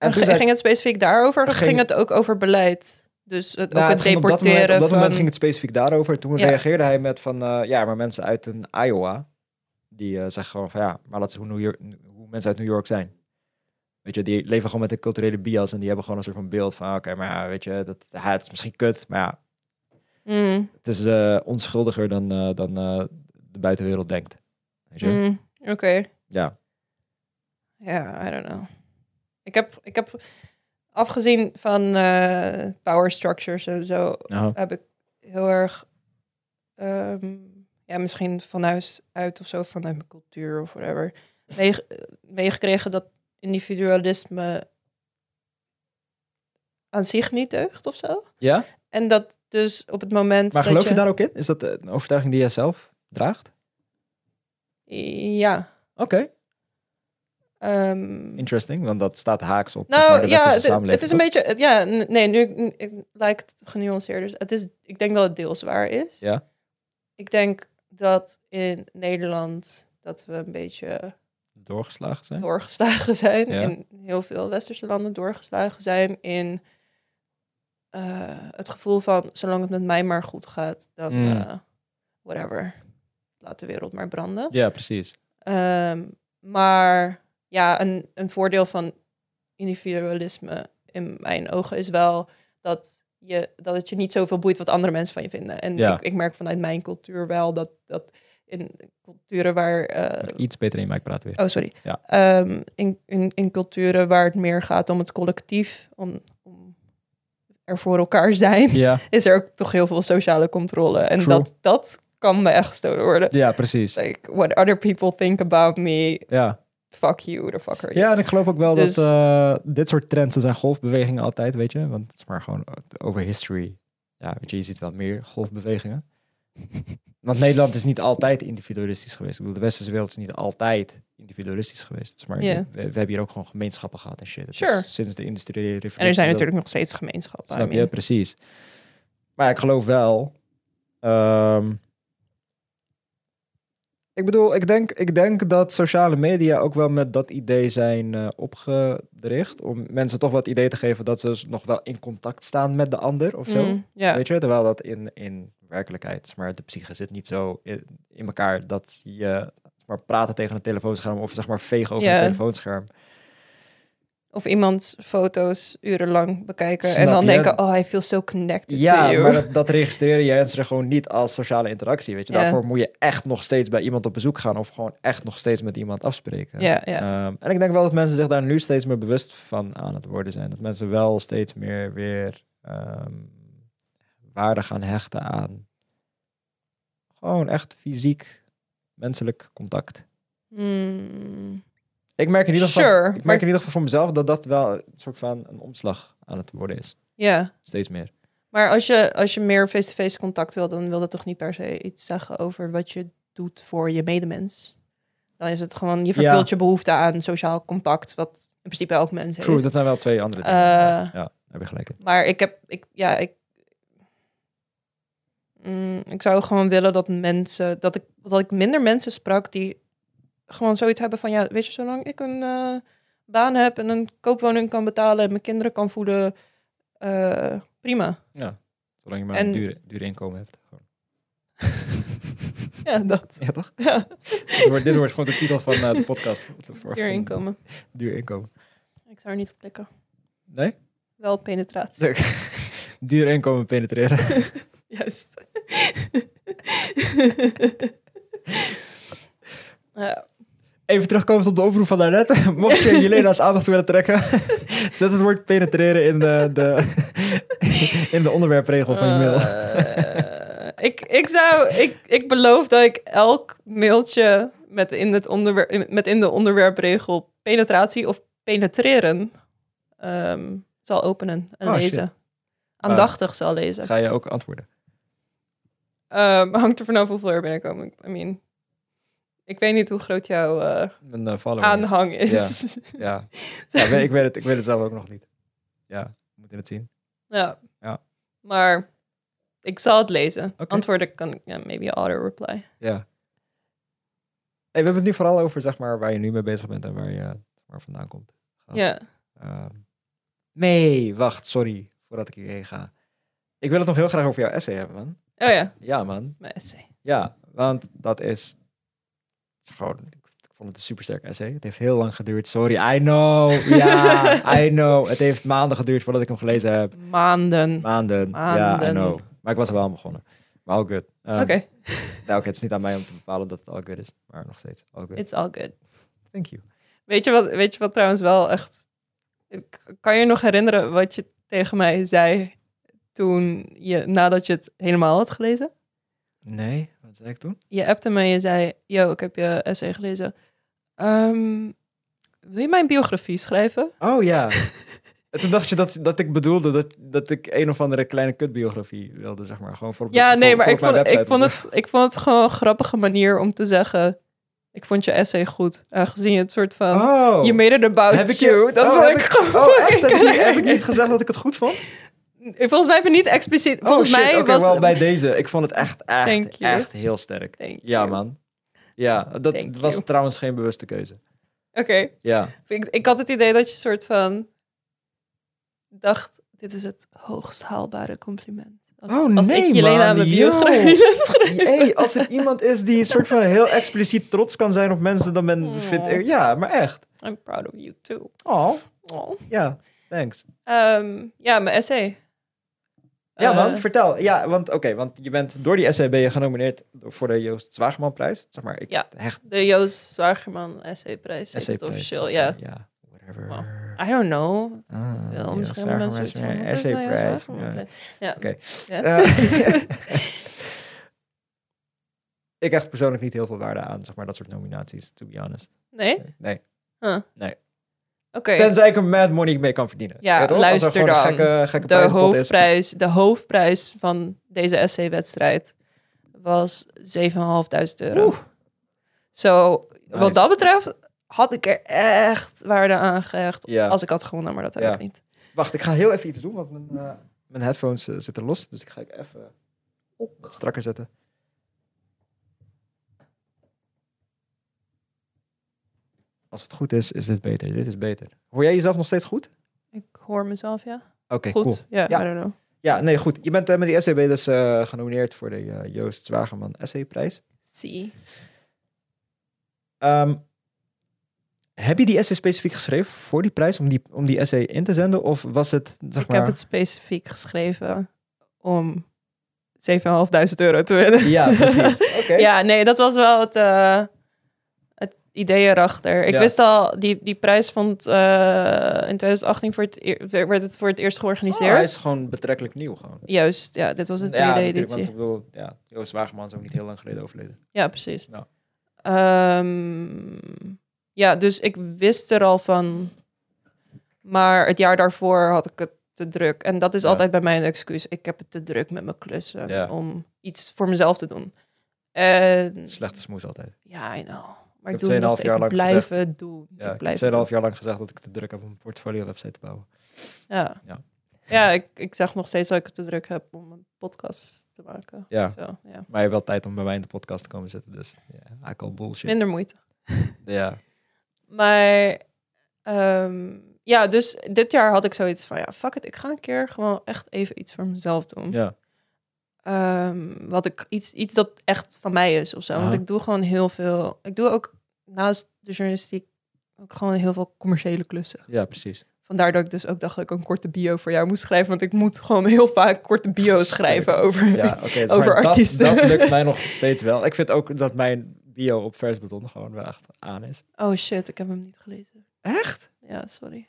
Speaker 2: En
Speaker 1: toen
Speaker 2: ging,
Speaker 1: zei-
Speaker 2: het specifiek daarover? Of
Speaker 1: Ging-
Speaker 2: ging het ook over beleid? Dus het,
Speaker 1: Nou,
Speaker 2: ook het,
Speaker 1: het ging op dat moment,
Speaker 2: deporteren
Speaker 1: op dat moment
Speaker 2: van...
Speaker 1: ging het specifiek daarover. Toen
Speaker 2: Ja.
Speaker 1: reageerde hij met van, eh, ja, maar mensen uit een Iowa, die eh, zeggen gewoon van, ja, maar dat is hoe, New York, hoe mensen uit New York zijn. Weet je, die leven gewoon met een culturele bias en die hebben gewoon een soort van beeld van, oké, maar ja, weet je, dat, ja, het is misschien kut, maar ja,
Speaker 2: Mm,
Speaker 1: het is eh, onschuldiger dan, eh, dan eh, de buitenwereld denkt. Weet je?
Speaker 2: mm, Oké.
Speaker 1: Ja.
Speaker 2: Ja, I don't know. Ik heb, ik heb afgezien van eh, power structures en zo,
Speaker 1: Aha.
Speaker 2: heb ik heel erg, ehm, ja, misschien van huis uit of zo, vanuit mijn cultuur of whatever, meege- eh, meegekregen dat individualisme aan zich niet deugt of zo.
Speaker 1: Ja?
Speaker 2: En dat dus op het moment.
Speaker 1: Maar
Speaker 2: dat
Speaker 1: geloof je daar ook in? Is dat eh, een overtuiging die jij zelf draagt?
Speaker 2: Ja.
Speaker 1: Oké,
Speaker 2: ehm,
Speaker 1: interesting, want dat staat haaks op zeg maar,
Speaker 2: Nou
Speaker 1: de
Speaker 2: ja,
Speaker 1: westerse
Speaker 2: het,
Speaker 1: samenleving.
Speaker 2: het is een
Speaker 1: toch?
Speaker 2: beetje. het- Ja, n- nee, nu n- ik- lijkt het genuanceerder. Het is, ik denk dat het deels waar is.
Speaker 1: Ja.
Speaker 2: Ik denk dat in Nederland dat we een beetje
Speaker 1: Doorgeslagen zijn?
Speaker 2: doorgeslagen zijn.
Speaker 1: Ja.
Speaker 2: In heel veel westerse landen doorgeslagen zijn in eh, het gevoel van zolang het met mij maar goed gaat, dan
Speaker 1: Mm.
Speaker 2: eh, whatever. Laat de wereld maar branden.
Speaker 1: Ja, precies.
Speaker 2: Ehm, maar ja, een, een voordeel van individualisme in mijn ogen is wel dat, je, dat het je niet zoveel boeit wat andere mensen van je vinden. En
Speaker 1: Ja.
Speaker 2: ik, ik merk vanuit mijn cultuur wel dat, dat in culturen waar. eh,
Speaker 1: Iets beter in je mic praten weer.
Speaker 2: oh, sorry.
Speaker 1: Ja.
Speaker 2: Ehm, in, in, in culturen waar het meer gaat om het collectief, om, om er voor elkaar zijn,
Speaker 1: Ja,
Speaker 2: is er ook toch heel veel sociale controle. En
Speaker 1: True.
Speaker 2: dat, dat kan me echt gestolen worden.
Speaker 1: ja, precies.
Speaker 2: Like, what other people think about me
Speaker 1: Ja.
Speaker 2: fuck you, the fucker.
Speaker 1: ja, en ik geloof ook wel
Speaker 2: Dus-
Speaker 1: dat eh, dit soort trends, dat zijn golfbewegingen altijd, weet je. Want het is maar gewoon eh, over history. Ja, weet je, je ziet wel meer golfbewegingen. Want Nederland is niet altijd individualistisch geweest. Ik bedoel, de westerse wereld is niet altijd individualistisch geweest. Het is maar,
Speaker 2: Ja.
Speaker 1: we, we hebben hier ook gewoon gemeenschappen gehad en shit. Het
Speaker 2: Sure.
Speaker 1: is sinds de industriële revolutie.
Speaker 2: En er zijn
Speaker 1: dat-
Speaker 2: natuurlijk nog steeds gemeenschappen. I
Speaker 1: Snap je?
Speaker 2: mean.
Speaker 1: Precies. Maar ik geloof wel. ehm, Ik bedoel, ik denk, ik denk dat sociale media ook wel met dat idee zijn eh, opgericht. Om mensen toch wat idee te geven dat ze dus nog wel in contact staan met de ander of zo.
Speaker 2: Mm, ja.
Speaker 1: Weet je, terwijl dat in, in werkelijkheid, zeg maar de psyche zit niet zo in, in elkaar dat je zeg maar, praten tegen een telefoonscherm of zeg maar vegen over
Speaker 2: Ja.
Speaker 1: een telefoonscherm.
Speaker 2: Of iemand foto's urenlang bekijken
Speaker 1: Snap
Speaker 2: en dan
Speaker 1: je?
Speaker 2: denken, oh, hij feels so connected to
Speaker 1: Ja,
Speaker 2: you.
Speaker 1: maar dat, dat registreren jij mensen gewoon niet als sociale interactie. Weet je,
Speaker 2: Ja.
Speaker 1: daarvoor moet je echt nog steeds bij iemand op bezoek gaan of gewoon echt nog steeds met iemand afspreken.
Speaker 2: ja, ja.
Speaker 1: Ehm, en ik denk wel dat mensen zich daar nu steeds meer bewust van aan het worden zijn. Dat mensen wel steeds meer weer ehm, waarde gaan hechten aan gewoon echt fysiek menselijk contact.
Speaker 2: Mm,
Speaker 1: Ik merk in ieder geval,
Speaker 2: Sure,
Speaker 1: ik merk
Speaker 2: maar-
Speaker 1: in ieder geval voor mezelf dat dat wel een soort van een omslag aan het worden is.
Speaker 2: ja.
Speaker 1: Steeds meer.
Speaker 2: Maar als je, als je meer face-to-face contact wil, dan wil dat toch niet per se iets zeggen over wat je doet voor je medemens. Dan is het gewoon, je
Speaker 1: Ja.
Speaker 2: vervult je behoefte aan sociaal contact, wat in principe elk mens heeft.
Speaker 1: True, dat zijn wel twee andere dingen. ja,
Speaker 2: Eh.
Speaker 1: Ja, daar heb je gelijk in.
Speaker 2: Maar ik heb, ik, ja, ik, Mm, ik zou gewoon willen dat mensen, dat ik, dat ik minder mensen sprak die gewoon zoiets hebben van, ja, weet je, zolang ik een eh, baan heb en een koopwoning kan betalen en mijn kinderen kan voeden, eh, prima.
Speaker 1: Zolang je maar
Speaker 2: En-
Speaker 1: een dure, dure inkomen hebt. Gewoon.
Speaker 2: Ja, dat.
Speaker 1: Ja, toch?
Speaker 2: Ja,
Speaker 1: Dit wordt, dit wordt gewoon de titel van eh, de podcast. Voor-
Speaker 2: weer
Speaker 1: van
Speaker 2: inkomen.
Speaker 1: Duur inkomen.
Speaker 2: Ik zou er niet op klikken.
Speaker 1: Nee?
Speaker 2: Wel penetratie.
Speaker 1: Duur inkomen penetreren.
Speaker 2: Juist. ja.
Speaker 1: Even terugkomend op de oproep van daarnet. Mocht je Jelena's aandacht willen trekken, zet het woord penetreren in de, de, in de onderwerpregel van je mail.
Speaker 2: Eh, ik, ik zou, ik, ik beloof dat ik elk mailtje met in, het onderwerp, in- met in de onderwerpregel penetratie of penetreren ehm, zal openen en
Speaker 1: Oh, shit. Ah.
Speaker 2: lezen. Aandachtig zal lezen.
Speaker 1: Ga je ook antwoorden?
Speaker 2: Ehm, hangt er vanaf hoeveel er binnenkomen. I mean, ik weet niet hoe groot jouw eh,
Speaker 1: Een eh, follower.
Speaker 2: aanhang is.
Speaker 1: Ja, ja ik, weet, ik, weet het, ik weet het zelf ook nog niet. Ja, we moeten het zien.
Speaker 2: Ja.
Speaker 1: Ja.
Speaker 2: Maar ik zal het lezen.
Speaker 1: Oké.
Speaker 2: Antwoorden kan ik, ja, maybe auto reply.
Speaker 1: Ja. Hey, we hebben het nu vooral over zeg maar, waar je nu mee bezig bent en waar je eh, zeg maar, vandaan komt.
Speaker 2: Ja.
Speaker 1: Oh. Ehm, nee, wacht, sorry voordat ik hierheen ga. Ik wil het nog heel graag over jouw essay hebben, man.
Speaker 2: Oh ja,
Speaker 1: Ja, man.
Speaker 2: mijn essay.
Speaker 1: Ja, want dat is is gewoon. Ik vond het een supersterk essay. Het heeft heel lang geduurd. Sorry, I know. Ja, I know. Het heeft maanden geduurd voordat ik hem gelezen heb.
Speaker 2: Maanden.
Speaker 1: Maanden. Ja, I
Speaker 2: Maanden.
Speaker 1: know. Maar ik was er wel aan begonnen. Maar all good. Um,
Speaker 2: Oké,
Speaker 1: Nou, oké, het is niet aan mij om te bepalen dat het all good is. Maar nog steeds all good.
Speaker 2: it's all good.
Speaker 1: Thank you.
Speaker 2: Weet je, wat, weet je wat trouwens wel echt... ik- Kan je nog herinneren wat je tegen mij zei toen je, nadat je het helemaal had gelezen?
Speaker 1: Nee, wat zei ik toen?
Speaker 2: Je appte me en je zei, yo, ik heb je essay gelezen. Ehm, wil je mijn biografie schrijven?
Speaker 1: Oh ja. En toen dacht je dat, dat ik bedoelde dat, dat ik een of andere kleine kutbiografie wilde, zeg maar. Gewoon voor op-
Speaker 2: Ja,
Speaker 1: voor-
Speaker 2: nee, maar
Speaker 1: voor
Speaker 2: ik
Speaker 1: op mijn
Speaker 2: vond, ik,
Speaker 1: website dus-
Speaker 2: vond
Speaker 1: of
Speaker 2: het, ik vond het gewoon een grappige manier om te zeggen... Ik vond je essay goed, aangezien je het soort
Speaker 1: zo.
Speaker 2: van...
Speaker 1: Oh.
Speaker 2: You made it about
Speaker 1: Heb ik je-
Speaker 2: you. Dat is
Speaker 1: oh,
Speaker 2: wat
Speaker 1: heb
Speaker 2: ik
Speaker 1: ik-
Speaker 2: gewoon
Speaker 1: Oh, echt?
Speaker 2: fucking
Speaker 1: Heb ik, niet,
Speaker 2: kan
Speaker 1: heb ik niet
Speaker 2: herinneren.
Speaker 1: gezegd dat ik het goed vond?
Speaker 2: Volgens mij heb je niet expliciet...
Speaker 1: Oh,
Speaker 2: Volgens
Speaker 1: shit,
Speaker 2: mij
Speaker 1: oké,
Speaker 2: was...
Speaker 1: wel bij deze. Ik vond het echt,
Speaker 2: Thank
Speaker 1: echt,
Speaker 2: you.
Speaker 1: echt heel sterk.
Speaker 2: Thank
Speaker 1: Ja,
Speaker 2: you.
Speaker 1: man. Ja, dat
Speaker 2: Thank
Speaker 1: was
Speaker 2: you.
Speaker 1: trouwens geen bewuste keuze.
Speaker 2: Oké.
Speaker 1: Ja.
Speaker 2: Ik, ik had het idee dat je soort van... Dacht, dit is het hoogst haalbare compliment. Als,
Speaker 1: Oh,
Speaker 2: als
Speaker 1: nee,
Speaker 2: ik Jelena
Speaker 1: man,
Speaker 2: mijn
Speaker 1: yo.
Speaker 2: biografie schrijf.
Speaker 1: Hey, als er iemand is die soort van heel expliciet trots kan zijn op mensen, dan ben,
Speaker 2: Oh.
Speaker 1: vind ik... Ja, maar echt.
Speaker 2: I'm proud of you too.
Speaker 1: Oh,
Speaker 2: Oh.
Speaker 1: ja. Thanks.
Speaker 2: Ehm, ja, mijn essay.
Speaker 1: Ja,
Speaker 2: Eh,
Speaker 1: man, vertel. Ja, want oké, want je bent door die essay ben je genomineerd voor de Joost Zwagemanprijs. Zeg maar, ik
Speaker 2: Ja.
Speaker 1: hecht
Speaker 2: de Joost Zwagerman essayprijs. Essay het
Speaker 1: essayprijs.
Speaker 2: officieel, ja.
Speaker 1: Ja, whatever.
Speaker 2: Wow. I don't know.
Speaker 1: Ah,
Speaker 2: Wel,
Speaker 1: Joost
Speaker 2: misschien hebben mensen
Speaker 1: Zwagemanprijs,
Speaker 2: iets van...
Speaker 1: ja,
Speaker 2: wat is nou Joost
Speaker 1: essayprijs, ja.
Speaker 2: Zwagermanprijs? Ja.
Speaker 1: Oké.
Speaker 2: Ja.
Speaker 1: Eh, ik hecht persoonlijk niet heel veel waarde aan, zeg maar, dat soort nominaties, to be honest.
Speaker 2: Nee?
Speaker 1: Nee.
Speaker 2: Huh.
Speaker 1: Nee.
Speaker 2: Oké,
Speaker 1: Tenzij ik er mad money mee kan verdienen.
Speaker 2: Ja,
Speaker 1: Weet je wel? Als er
Speaker 2: luister
Speaker 1: gewoon een
Speaker 2: dan.
Speaker 1: gekke, gekke
Speaker 2: de,
Speaker 1: prijzenpot is.
Speaker 2: hoofdprijs, de hoofdprijs van deze essay-wedstrijd was 7.500 euro.
Speaker 1: Oeh.
Speaker 2: Zo,
Speaker 1: Nice.
Speaker 2: wat dat betreft had ik er echt waarde aan gehecht
Speaker 1: Ja.
Speaker 2: als ik had gewonnen, maar dat heb
Speaker 1: Ja.
Speaker 2: ik niet.
Speaker 1: Wacht, ik ga heel even iets doen, want mijn, eh, mijn headphones eh, zitten los. Dus ik ga ik even wat strakker zetten. Als het goed is, is dit beter. Dit is beter. Hoor jij jezelf nog steeds goed?
Speaker 2: Ik hoor mezelf, ja.
Speaker 1: Oké,
Speaker 2: Goed.
Speaker 1: cool.
Speaker 2: Ja,
Speaker 1: Ja.
Speaker 2: I don't know.
Speaker 1: Ja, nee, goed. Je bent eh, met die essay ben je dus eh, genomineerd voor de eh, Joost E Zwagerman Essayprijs.
Speaker 2: See.
Speaker 1: Ehm, heb je die essay specifiek geschreven voor die prijs, om die, om die essay in te zenden? Of was het, zeg
Speaker 2: Ik
Speaker 1: maar...
Speaker 2: heb het specifiek geschreven om 7.500 euro te winnen.
Speaker 1: Ja, precies. Oké.
Speaker 2: Ja, nee, dat was wel het, eh, het idee erachter. Ik
Speaker 1: Ja.
Speaker 2: wist al, die, die prijs vond eh, in 2018 voor het, eer- werd het voor het eerst
Speaker 1: Oh, hij
Speaker 2: georganiseerd.
Speaker 1: is gewoon betrekkelijk nieuw gewoon.
Speaker 2: Juist, ja, dit was de tweede
Speaker 1: ja, natuurlijk,
Speaker 2: editie.
Speaker 1: want ik bedoel, ja, Joost Wageman is ook niet heel lang geleden overleden.
Speaker 2: Ja, precies.
Speaker 1: Ja.
Speaker 2: Ehm, ja, dus ik wist er al van. Maar het jaar daarvoor had ik het te druk. En dat is
Speaker 1: Ja.
Speaker 2: altijd bij mij een excuus. Ik heb het te druk met mijn klussen
Speaker 1: Ja.
Speaker 2: om iets voor mezelf te doen. En
Speaker 1: Slechte smoes altijd.
Speaker 2: ja, I know. Maar ik,
Speaker 1: heb
Speaker 2: doe het nog
Speaker 1: 2,5
Speaker 2: steeds.
Speaker 1: jaar
Speaker 2: Ik
Speaker 1: lang
Speaker 2: blijf het doen.
Speaker 1: Ja,
Speaker 2: ik
Speaker 1: ik heb
Speaker 2: blijf
Speaker 1: 2,5 jaar lang gezegd dat ik te druk heb om een portfolio website te bouwen.
Speaker 2: Ja,
Speaker 1: Ja.
Speaker 2: ja. ja ik, ik zeg nog steeds dat ik het te druk heb om een podcast te maken.
Speaker 1: Ja,
Speaker 2: Zo, ja.
Speaker 1: maar je hebt wel tijd om bij mij in de podcast te komen zitten, dus ja, I call bullshit.
Speaker 2: Minder moeite.
Speaker 1: Ja,
Speaker 2: Maar ehm, ja, dus dit jaar had ik zoiets van, ja, fuck it, ik ga een keer gewoon echt even iets voor mezelf doen.
Speaker 1: ja.
Speaker 2: Ehm, wat ik, iets, iets dat echt van mij is of zo. Want
Speaker 1: Aha.
Speaker 2: ik doe gewoon heel veel, ik doe ook naast de journalistiek ook gewoon heel veel commerciële klussen.
Speaker 1: ja precies.
Speaker 2: Vandaar dat ik dus ook dacht dat ik een korte bio voor jou moest schrijven. Want ik moet gewoon heel vaak korte bio's schrijven over...
Speaker 1: Ja, oké. dus
Speaker 2: Over
Speaker 1: maar
Speaker 2: artiesten.
Speaker 1: Dat, dat lukt mij nog steeds wel. Ik vind ook dat mijn bio op vers beton gewoon wel echt aan is.
Speaker 2: Oh shit, ik heb hem niet gelezen.
Speaker 1: Echt?
Speaker 2: Ja, sorry.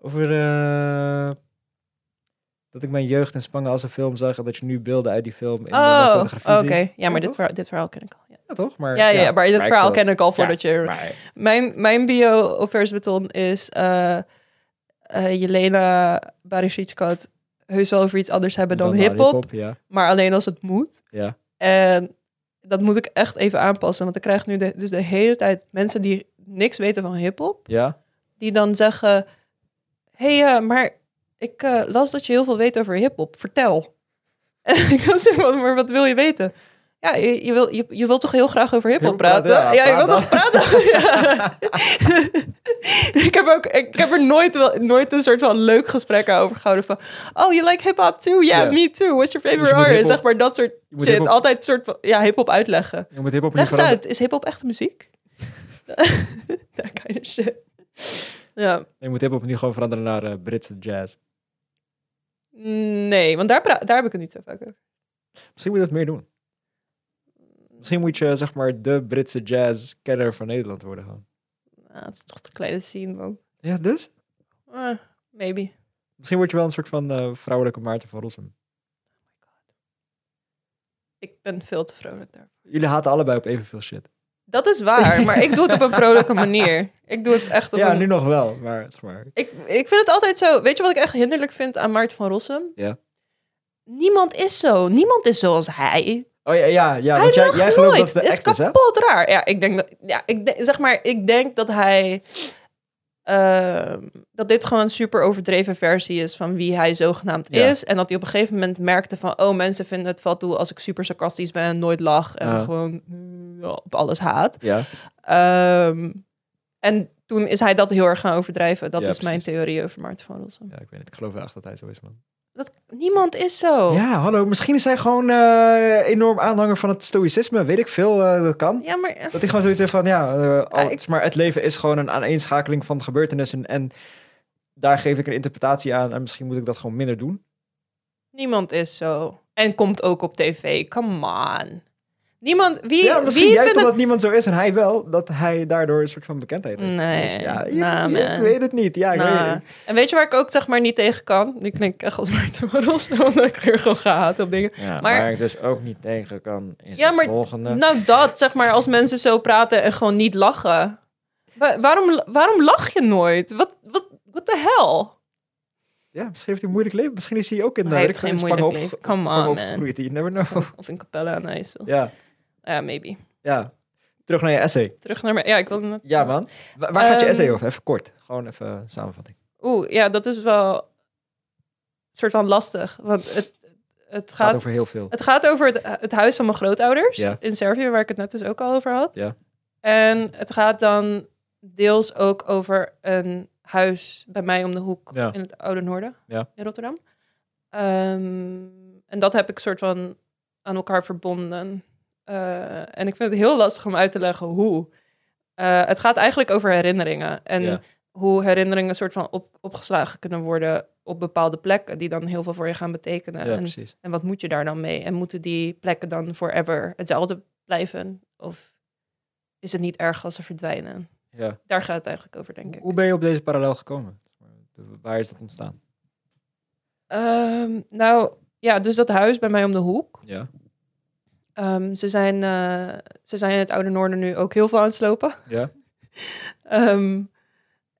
Speaker 1: Over eh, dat ik mijn jeugd in Spangen als een film zag en dat je nu beelden uit die film in de
Speaker 2: oh,
Speaker 1: fotografie
Speaker 2: oké.
Speaker 1: ziet.
Speaker 2: Ja, maar
Speaker 1: Ja, toch?
Speaker 2: dit verhaal, dit verhaal ken ik al. Ja,
Speaker 1: Ja, toch? Maar,
Speaker 2: ja, ja, maar dit
Speaker 1: ik
Speaker 2: verhaal
Speaker 1: wil-
Speaker 2: ken ik al voordat je...
Speaker 1: Maar,
Speaker 2: Mijn, mijn bio op Vers Beton is eh, eh, Jelena Barisichkot heus wel over iets anders hebben dan,
Speaker 1: naar
Speaker 2: hiphop,
Speaker 1: hiphop, Ja,
Speaker 2: maar alleen als het moet.
Speaker 1: ja.
Speaker 2: En dat moet ik echt even aanpassen, want ik krijg nu de, dus de hele tijd mensen die niks weten van hiphop,
Speaker 1: ja.
Speaker 2: die dan zeggen, hé, hey, eh, maar ik eh, las dat je heel veel weet over hiphop, vertel. En ik dan zeg, maar, maar wat wil je weten? Ja, je, je, wil, je, je wilt toch heel graag over hiphop
Speaker 1: Heel
Speaker 2: praten?
Speaker 1: praten, ja,
Speaker 2: Ja, je wilt toch
Speaker 1: praat
Speaker 2: praten? Ja. ik heb ook, ik, heb er nooit, wel, nooit een soort van leuk gesprek over gehouden van, oh, you like hip-hop too? Yeah,
Speaker 1: Ja.
Speaker 2: me too. What's your
Speaker 1: Dus je
Speaker 2: favorite
Speaker 1: moet
Speaker 2: artist?
Speaker 1: hiphop-
Speaker 2: Zeg maar dat soort
Speaker 1: Je moet
Speaker 2: shit.
Speaker 1: hiphop-
Speaker 2: Altijd soort van, ja, hiphop uitleggen.
Speaker 1: Je moet hiphop
Speaker 2: Leg
Speaker 1: niet
Speaker 2: eens
Speaker 1: veranderen.
Speaker 2: uit, is hiphop echt muziek? That kind of shit. dus, eh, Ja,
Speaker 1: Je moet hiphop nu gewoon veranderen naar eh, Britse jazz.
Speaker 2: nee, want daar, pra- daar heb ik het niet zo vaak over.
Speaker 1: Misschien moet je dat meer doen. Misschien moet je eh, zeg maar de Britse jazz-kenner van Nederland worden gewoon.
Speaker 2: Nou, het is toch de kleine scene, man.
Speaker 1: Ja, dus?
Speaker 2: Eh, maybe.
Speaker 1: Misschien word je wel een soort van eh, vrouwelijke Maarten van Rossum.
Speaker 2: Ik ben veel te vrolijk daar.
Speaker 1: Jullie haten allebei op evenveel shit.
Speaker 2: Dat is waar, maar ik doe het op een vrolijke manier. Ik doe het echt op
Speaker 1: Ja,
Speaker 2: een...
Speaker 1: nu nog wel, maar zeg maar.
Speaker 2: Ik, ik vind het altijd zo... Weet je wat ik echt hinderlijk vind aan Maarten van Rossum?
Speaker 1: Ja.
Speaker 2: Niemand is zo. Niemand is zoals hij.
Speaker 1: Oh ja, ja, ja
Speaker 2: hij
Speaker 1: want jij,
Speaker 2: lacht
Speaker 1: jij gelooft
Speaker 2: nooit.
Speaker 1: dat het de
Speaker 2: is
Speaker 1: echt is, hè?
Speaker 2: kapot raar. Ja, ik denk dat, ja, ik denk, zeg maar, ik denk dat hij ehm, dat dit gewoon een super overdreven versie is van wie hij zogenaamd
Speaker 1: Ja.
Speaker 2: is en dat hij op een gegeven moment merkte van oh mensen vinden het valt toe als ik super sarcastisch ben en nooit lach en
Speaker 1: Ja.
Speaker 2: gewoon mm, ja, op alles haat.
Speaker 1: Ja,
Speaker 2: Ehm, en toen is hij dat heel erg gaan overdrijven. Dat
Speaker 1: Ja,
Speaker 2: is mijn
Speaker 1: precies.
Speaker 2: theorie over Maarten van Rossum.
Speaker 1: ja, ik weet het. Ik geloof wel echt dat hij zo is, man.
Speaker 2: Dat niemand is zo. Ja,
Speaker 1: Ja, hallo. Misschien is hij gewoon eh, enorm aanhanger van het stoïcisme. Weet ik veel, eh, dat kan.
Speaker 2: maar eh,
Speaker 1: Dat hij gewoon zoiets heeft van, ja, eh, al-
Speaker 2: Ja, ik-
Speaker 1: het is maar het leven is gewoon een aaneenschakeling van gebeurtenissen. En daar geef ik een interpretatie aan. En misschien moet ik dat gewoon minder doen.
Speaker 2: Niemand is zo. En komt ook op tv. Come on. Niemand. Wie,
Speaker 1: ja, misschien
Speaker 2: wie
Speaker 1: juist
Speaker 2: vindt
Speaker 1: omdat
Speaker 2: het...
Speaker 1: niemand zo is en hij wel, dat hij daardoor een soort van bekendheid heeft.
Speaker 2: Nee.
Speaker 1: Ja, ik,
Speaker 2: nah, man.
Speaker 1: ik-
Speaker 2: Nou.
Speaker 1: ik weet het niet. Ja, ik
Speaker 2: Nah.
Speaker 1: weet het.
Speaker 2: En weet je waar ik ook zeg maar niet tegen kan? Nu klink ik echt als Maarten van Rossum, omdat ik weer gewoon gehaat op dingen.
Speaker 1: Ja,
Speaker 2: Maar- waar
Speaker 1: ik dus ook niet tegen kan is
Speaker 2: Ja, het maar-
Speaker 1: volgende.
Speaker 2: Nou, dat zeg maar als mensen zo praten en gewoon niet lachen. Wa- waarom, waarom lach je nooit? Wat, wat, what the hell?
Speaker 1: Ja, misschien heeft hij een moeilijk leven. Misschien is hij ook in de
Speaker 2: Hij heeft
Speaker 1: ik weet
Speaker 2: geen
Speaker 1: niet, Spangen
Speaker 2: moeilijk leven. Come
Speaker 1: Spangen
Speaker 2: on, man.
Speaker 1: opgegroeid. You never know.
Speaker 2: Of in Capella aan de IJssel. Ja,
Speaker 1: Ja,
Speaker 2: maybe.
Speaker 1: ja. Terug naar je essay.
Speaker 2: Terug naar... mijn- Ja, ik wilde...
Speaker 1: Ja, man. Wa- waar gaat je
Speaker 2: Ehm,
Speaker 1: essay over? Even kort. Gewoon even een samenvatting.
Speaker 2: Oeh, ja, dat is wel... soort van lastig. Want het, het
Speaker 1: Het gaat
Speaker 2: gaat
Speaker 1: over heel veel.
Speaker 2: Het gaat over het, het huis van mijn grootouders
Speaker 1: Ja.
Speaker 2: in Servië, waar ik het net dus ook al over had.
Speaker 1: Ja.
Speaker 2: En het gaat dan deels ook over een huis bij mij om de hoek
Speaker 1: Ja.
Speaker 2: in het Oude Noorden
Speaker 1: Ja.
Speaker 2: in Rotterdam. Ehm, en dat heb ik soort van aan elkaar verbonden. Eh, en ik vind het heel lastig om uit te leggen hoe. Eh, het gaat eigenlijk over herinneringen. En
Speaker 1: Ja.
Speaker 2: hoe herinneringen soort van op, opgeslagen kunnen worden op bepaalde plekken, die dan heel veel voor je gaan betekenen.
Speaker 1: ja,
Speaker 2: eh, en,
Speaker 1: precies.
Speaker 2: en wat moet je daar dan mee? En moeten die plekken dan forever hetzelfde blijven? Of is het niet erg als ze verdwijnen?
Speaker 1: Ja.
Speaker 2: Daar gaat het eigenlijk over, denk ik.
Speaker 1: Hoe ben je op deze parallel gekomen? Waar is dat ontstaan?
Speaker 2: Ehm, nou, ja, dus dat huis bij mij om de hoek.
Speaker 1: Ja.
Speaker 2: Ehm, ze, zijn, eh, ze zijn in het Oude Noorden nu ook heel veel aan het slopen.
Speaker 1: Ja.
Speaker 2: Ehm,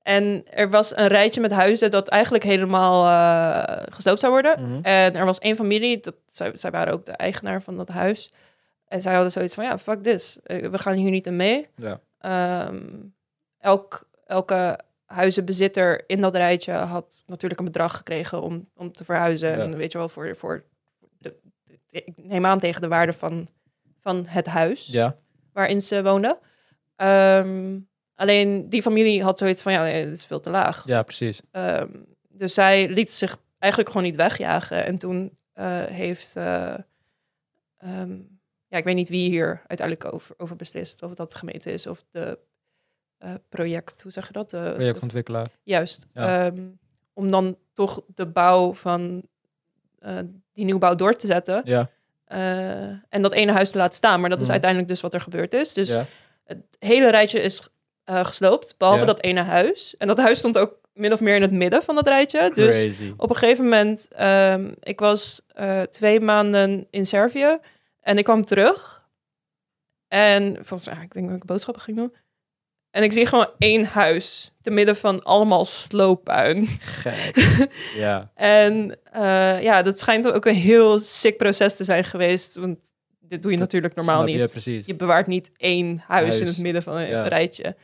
Speaker 2: en er was een rijtje met huizen dat eigenlijk helemaal eh, gesloopt zou worden.
Speaker 1: Mhm.
Speaker 2: En er was één familie, dat, zij, zij waren ook de eigenaar van dat huis. En zij hadden zoiets van, ja, fuck this. Eh, We gaan hier niet in mee.
Speaker 1: Ja.
Speaker 2: Ehm, elk, elke huizenbezitter in dat rijtje had natuurlijk een bedrag gekregen om, om te verhuizen.
Speaker 1: Ja.
Speaker 2: En weet je wel, voor, voor de, ik neem aan tegen de waarde van, van het huis
Speaker 1: Ja.
Speaker 2: waarin ze woonden. Ehm, alleen die familie had zoiets van, ja, nee, dit is veel te laag.
Speaker 1: Ja, precies.
Speaker 2: Ehm, dus zij liet zich eigenlijk gewoon niet wegjagen. En toen eh, heeft, eh, ehm, ja, ik weet niet wie hier uiteindelijk over, over beslist. Of dat de gemeente is of de eh, project, hoe zeg je dat? De,
Speaker 1: Projectontwikkelaar.
Speaker 2: juist.
Speaker 1: Ja.
Speaker 2: Ehm, om dan toch de bouw van eh, die nieuwbouw door te zetten.
Speaker 1: Ja.
Speaker 2: eh, en dat ene huis te laten staan. Maar dat is
Speaker 1: Mhm.
Speaker 2: uiteindelijk dus wat er gebeurd is. Dus
Speaker 1: ja.
Speaker 2: het hele rijtje is eh, gesloopt, behalve
Speaker 1: Ja.
Speaker 2: dat ene huis. En dat huis stond ook min of meer in het midden van dat rijtje. Dus
Speaker 1: Crazy.
Speaker 2: op een gegeven moment, ehm, ik was eh, twee maanden in Servië en ik kwam terug. En volgens mij, ah, ik denk dat ik boodschappen ging doen. En ik zie gewoon één huis, te midden van allemaal slooppuin.
Speaker 1: Gek. ja.
Speaker 2: En eh, ja, dat schijnt ook een heel sick proces te zijn geweest, want dit doe je
Speaker 1: Dat
Speaker 2: natuurlijk normaal
Speaker 1: Snap je,
Speaker 2: niet
Speaker 1: precies.
Speaker 2: je bewaart niet één huis,
Speaker 1: Huis.
Speaker 2: in het midden van een
Speaker 1: Ja.
Speaker 2: rijtje.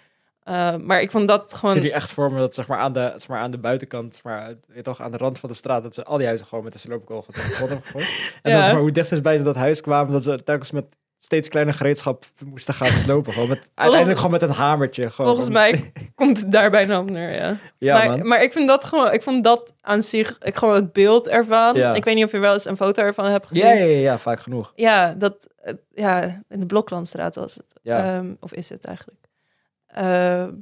Speaker 2: Uh, maar ik vond dat
Speaker 1: Zie
Speaker 2: gewoon...
Speaker 1: je echt voor me dat zeg maar, aan, de, zeg maar, aan de buitenkant, zeg maar, weet je toch, aan de rand van de straat, dat ze al die huizen gewoon met de sloopkogel tegen de grond hebben gegooid. En
Speaker 2: Ja.
Speaker 1: dan zeg maar, hoe dichter ze bij ze dat huis kwamen, dat ze telkens met steeds kleiner gereedschap moesten gaan slopen. Gewoon met, uiteindelijk gewoon met een hamertje. Gewoon,
Speaker 2: Volgens mij komt het daar bijna op neer, ja.
Speaker 1: Ja, man.
Speaker 2: maar, maar ik vind dat gewoon... Ik vond dat aan zich... Ik gewoon het beeld ervan.
Speaker 1: Ja.
Speaker 2: Ik weet niet of je wel eens een foto ervan hebt gezien.
Speaker 1: Ja, ja, ja, ja, vaak genoeg.
Speaker 2: Ja, dat... eh, Ja, in de Bloklandstraat was het.
Speaker 1: Ja.
Speaker 2: Ehm, of is het eigenlijk. Ehm,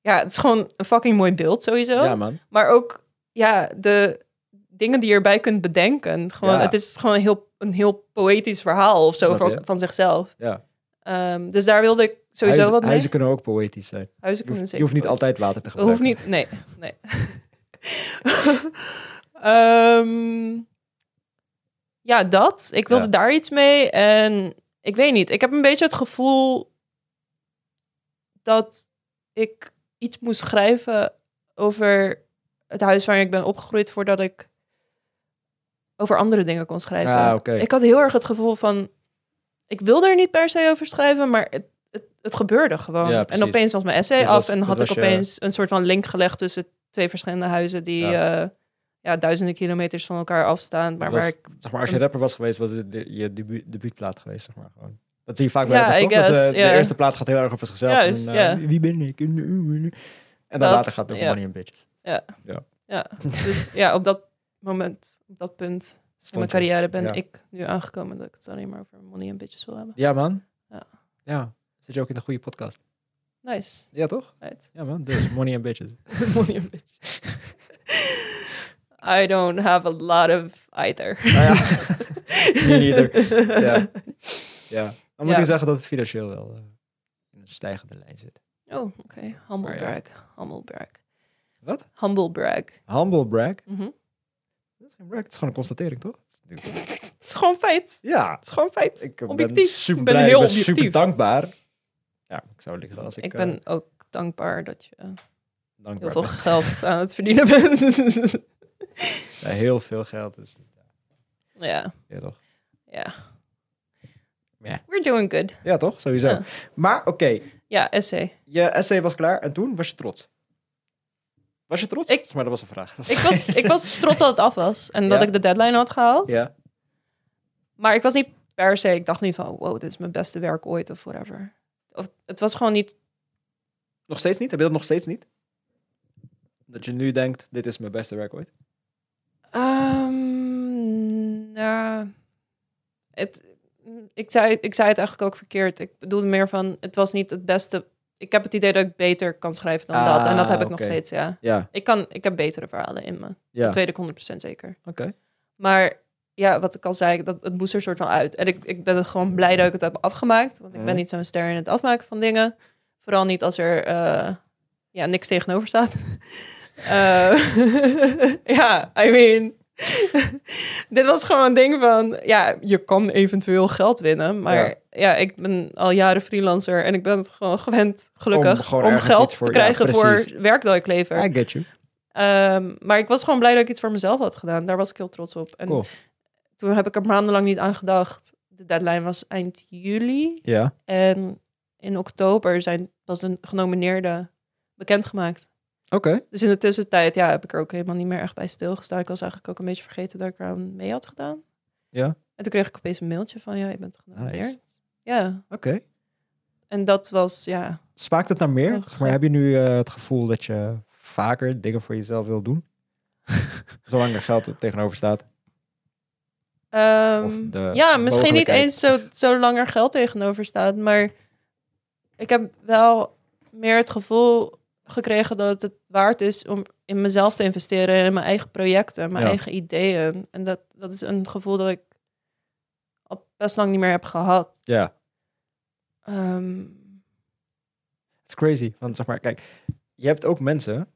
Speaker 2: ja, het is gewoon een fucking mooi beeld sowieso.
Speaker 1: ja, man.
Speaker 2: Maar ook, ja, de dingen die je erbij kunt bedenken. Gewoon,
Speaker 1: Ja.
Speaker 2: Het is gewoon een heel, een heel poëtisch verhaal of zo
Speaker 1: Snap
Speaker 2: van,
Speaker 1: je?
Speaker 2: van zichzelf.
Speaker 1: Ja.
Speaker 2: Ehm, dus daar wilde ik sowieso
Speaker 1: huizen,
Speaker 2: wat mee.
Speaker 1: huizen kunnen ook poëtisch zijn.
Speaker 2: Huizen
Speaker 1: Je hoeft, je
Speaker 2: zeker
Speaker 1: hoeft niet
Speaker 2: poëtisch.
Speaker 1: altijd water te
Speaker 2: Dat hoeft
Speaker 1: gebruiken.
Speaker 2: niet, nee. nee. Ehm, ja, dat. Ik wilde
Speaker 1: Ja.
Speaker 2: daar iets mee. En ik weet niet. Ik heb een beetje het gevoel dat ik iets moest schrijven over het huis waarin ik ben opgegroeid voordat ik over andere dingen kon schrijven.
Speaker 1: Ah, oké.
Speaker 2: Ik had heel erg het gevoel van, ik wilde er niet per se over schrijven, maar het, het, het gebeurde gewoon.
Speaker 1: Ja,
Speaker 2: en
Speaker 1: precies.
Speaker 2: opeens was mijn essay
Speaker 1: Dit
Speaker 2: af
Speaker 1: was-
Speaker 2: en
Speaker 1: dit
Speaker 2: had ik
Speaker 1: was je-
Speaker 2: opeens een soort van link gelegd tussen twee verschillende huizen die
Speaker 1: Ja.
Speaker 2: ja. ja, duizenden kilometers van elkaar afstaan. Maar
Speaker 1: Dat
Speaker 2: waar
Speaker 1: was-
Speaker 2: ik,
Speaker 1: Zeg maar, als je rapper was geweest, was het de- je debu debuutplaat geweest. Zeg maar, gewoon. Dat zie je vaak bij
Speaker 2: Ja,
Speaker 1: rappers,
Speaker 2: I
Speaker 1: toch? Dat,
Speaker 2: guess,
Speaker 1: eh,
Speaker 2: ja.
Speaker 1: De eerste plaat gaat heel erg over zichzelf.
Speaker 2: Juist,
Speaker 1: en,
Speaker 2: ja.
Speaker 1: eh, Wie ben ik? En dan
Speaker 2: Dat,
Speaker 1: later gaat het over
Speaker 2: ja.
Speaker 1: money and bitches.
Speaker 2: dus ja, op dat moment, op dat punt
Speaker 1: Stond
Speaker 2: in mijn
Speaker 1: je.
Speaker 2: carrière ben
Speaker 1: ja.
Speaker 2: ik nu aangekomen dat ik het alleen maar over money en bitches wil hebben.
Speaker 1: Ja, man.
Speaker 2: Ja.
Speaker 1: Ja. Zit je ook in de goede podcast?
Speaker 2: Nice.
Speaker 1: Ja, toch?
Speaker 2: Right.
Speaker 1: Ja, man. Dus money and bitches.
Speaker 2: money and bitches. I don't have a lot of either.
Speaker 1: Nou ja. Me neither. Ja. ja. Dan moet
Speaker 2: Ja.
Speaker 1: ik zeggen dat het financieel wel eh, in een stijgende lijn zit.
Speaker 2: Oh, oké. Humble
Speaker 1: Maar ja.
Speaker 2: brag. Humble brag.
Speaker 1: Wat?
Speaker 2: Humble brag.
Speaker 1: Humble brag.
Speaker 2: Mhm.
Speaker 1: Dat is geen brag. Het is gewoon een constatering, toch? Het is natuurlijk-
Speaker 2: Het is gewoon feit.
Speaker 1: Ja.
Speaker 2: Het is gewoon feit.
Speaker 1: Ik ben
Speaker 2: objectief.
Speaker 1: super
Speaker 2: ik ben
Speaker 1: blij,
Speaker 2: heel
Speaker 1: ik ben
Speaker 2: objectief.
Speaker 1: super dankbaar. Ja, ik zou liggen als ik,
Speaker 2: ik,
Speaker 1: eh,
Speaker 2: ben ook dankbaar dat je heel
Speaker 1: dankbaar
Speaker 2: veel
Speaker 1: ben.
Speaker 2: geld aan het verdienen bent.
Speaker 1: Ja, heel veel geld is niet.
Speaker 2: ja,
Speaker 1: Ja, toch?
Speaker 2: ja.
Speaker 1: Ja.
Speaker 2: We're doing good.
Speaker 1: Ja, toch? Sowieso.
Speaker 2: Ja.
Speaker 1: Maar oké,
Speaker 2: Ja, essay.
Speaker 1: je essay was klaar en toen was je trots. Was je trots?
Speaker 2: Ik-
Speaker 1: Maar dat was een vraag.
Speaker 2: Ik was, ik was trots dat het af was en dat
Speaker 1: Ja.
Speaker 2: ik de deadline had gehaald.
Speaker 1: Ja,
Speaker 2: Maar ik was niet per se, ik dacht niet van, wow, dit is mijn beste werk ooit of whatever. Of, het was gewoon niet
Speaker 1: Nog steeds niet? Heb je dat nog steeds niet? Dat je nu denkt, dit is mijn beste werk ooit?
Speaker 2: Ehm, nou, het, ik, zei, ik zei het eigenlijk ook verkeerd. Ik bedoelde meer van, het was niet het beste. Ik heb het idee dat ik beter kan schrijven dan dat. En dat
Speaker 1: Ah,
Speaker 2: heb ik nog
Speaker 1: oké.
Speaker 2: steeds, ja.
Speaker 1: Ja, ik,
Speaker 2: Ik, kan, ik heb betere verhalen in me.
Speaker 1: ja.
Speaker 2: Dat weet ik 100% zeker.
Speaker 1: Oké.
Speaker 2: Maar ja, wat ik al zei, dat, het moest er soort van uit. En ik, ik ben er gewoon blij dat ik het heb afgemaakt. Want ik ben
Speaker 1: Mhm.
Speaker 2: niet zo'n ster in het afmaken van dingen. Vooral niet als er eh, ja, niks tegenover staat. Eh, ja, I mean... Dit was gewoon een ding van, ja, je kan eventueel geld winnen. Maar
Speaker 1: Ja.
Speaker 2: ja, ik ben al jaren freelancer en ik ben het gewoon gewend, gelukkig,
Speaker 1: gewoon
Speaker 2: om,
Speaker 1: ergens
Speaker 2: geld
Speaker 1: iets voor-
Speaker 2: te
Speaker 1: ja,
Speaker 2: krijgen
Speaker 1: precies.
Speaker 2: voor werk dat ik lever.
Speaker 1: I get you.
Speaker 2: Ehm, maar ik was gewoon blij dat ik iets voor mezelf had gedaan. Daar was ik heel trots op. En
Speaker 1: Cool.
Speaker 2: toen heb ik er maandenlang niet aan gedacht. De deadline was eind juli.
Speaker 1: Ja.
Speaker 2: En in oktober zijn pas de genomineerden bekendgemaakt.
Speaker 1: Oké.
Speaker 2: Dus in de tussentijd ja, heb ik er ook helemaal niet meer echt bij stilgestaan. Ik was eigenlijk ook een beetje vergeten dat ik eraan mee had gedaan.
Speaker 1: Ja.
Speaker 2: En toen kreeg ik opeens een mailtje van, ja, je bent genomineerd. Ja,
Speaker 1: Oké.
Speaker 2: en dat was, ja,
Speaker 1: Smaakt het naar meer?
Speaker 2: Oh,
Speaker 1: zeg maar, heb je nu eh, het gevoel dat je vaker dingen voor jezelf wil doen? Zolang er geld er tegenover staat.
Speaker 2: Ehm,
Speaker 1: Of de
Speaker 2: ja, misschien niet
Speaker 1: mogelijkheid.
Speaker 2: eens zo, zo lang er geld tegenover staat. Maar ik heb wel meer het gevoel gekregen dat het waard is om in mezelf te investeren. en In mijn eigen projecten, mijn
Speaker 1: Ja.
Speaker 2: eigen ideeën. En dat, dat is een gevoel dat ik al best lang niet meer heb gehad.
Speaker 1: Ja.
Speaker 2: Ehm,
Speaker 1: Het is crazy. Want zeg maar, kijk, je hebt ook mensen,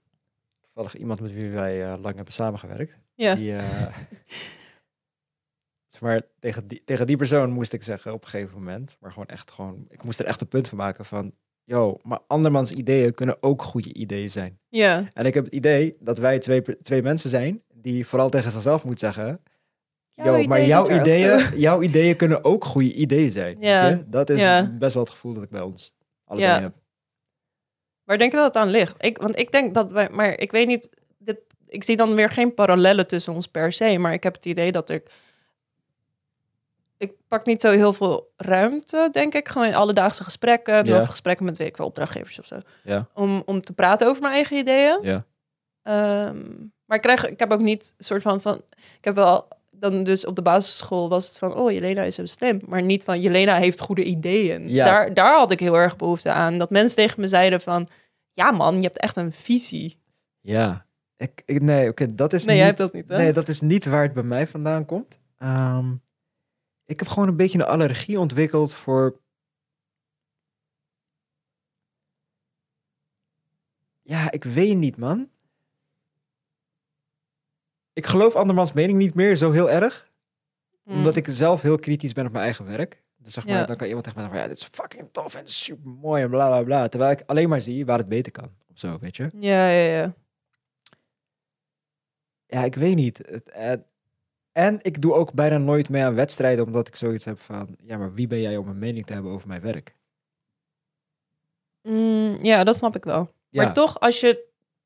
Speaker 1: toevallig iemand met wie wij eh, lang hebben samengewerkt,
Speaker 2: ja.
Speaker 1: die, eh, zeg maar, tegen die, tegen die persoon moest ik zeggen op een gegeven moment, maar gewoon echt gewoon, ik moest er echt een punt van maken van, yo, maar andermans ideeën kunnen ook goede ideeën zijn.
Speaker 2: ja,
Speaker 1: En ik heb het idee dat wij twee, per- twee mensen zijn die vooral tegen zichzelf moet zeggen,
Speaker 2: Jouw
Speaker 1: yo, maar
Speaker 2: ideeën
Speaker 1: jouw
Speaker 2: doet er ook
Speaker 1: ideeën, jouw ideeën kunnen ook goede ideeën zijn. weet
Speaker 2: Ja.
Speaker 1: je? Dat is
Speaker 2: Ja.
Speaker 1: best wel het gevoel dat ik bij ons allebei
Speaker 2: Ja.
Speaker 1: heb.
Speaker 2: Waar denk je dat het aan ligt? Ik, want ik denk dat wij, maar ik weet niet, dit, ik zie dan weer geen parallellen tussen ons per se, maar ik heb het idee dat ik. Ik pak niet zo heel veel ruimte, denk ik, gewoon in alledaagse gesprekken
Speaker 1: Ja.
Speaker 2: of gesprekken met weet ik wel, opdrachtgevers of zo.
Speaker 1: Ja.
Speaker 2: Om, om te praten over mijn eigen ideeën.
Speaker 1: Ja.
Speaker 2: Ehm, maar ik, krijg, ik heb ook niet soort van, van. Ik heb wel dan dus op de basisschool was het van, oh, Jelena is zo slim. Maar niet van, Jelena heeft goede ideeën.
Speaker 1: Ja.
Speaker 2: Daar, daar had ik heel erg behoefte aan. Dat mensen tegen me zeiden van, ja man, je hebt echt een visie.
Speaker 1: Ja. Ik, ik, nee, oké, dat is
Speaker 2: Nee,
Speaker 1: niet...
Speaker 2: jij hebt dat niet, hè?
Speaker 1: Nee, dat is niet waar het bij mij vandaan komt. Ehm, ik heb gewoon een beetje een allergie ontwikkeld voor... Ja, ik weet niet, man. Ik geloof andermans mening niet meer zo heel erg. Omdat ik zelf heel kritisch ben op mijn eigen werk. Dus zeg maar,
Speaker 2: Mm. Ja.
Speaker 1: dan kan iemand tegen mij zeggen... van, Ja, dit is fucking tof en super mooi en bla, bla, bla. Terwijl ik alleen maar zie waar het beter kan. Of zo, weet je?
Speaker 2: Ja, ja, ja.
Speaker 1: ja, ik weet niet. Het, en, en ik doe ook bijna nooit mee aan wedstrijden, omdat ik zoiets heb van, ja, maar wie ben jij om een mening te hebben over mijn werk?
Speaker 2: Mm, ja, dat snap ik wel.
Speaker 1: Ja,
Speaker 2: Maar toch, als je,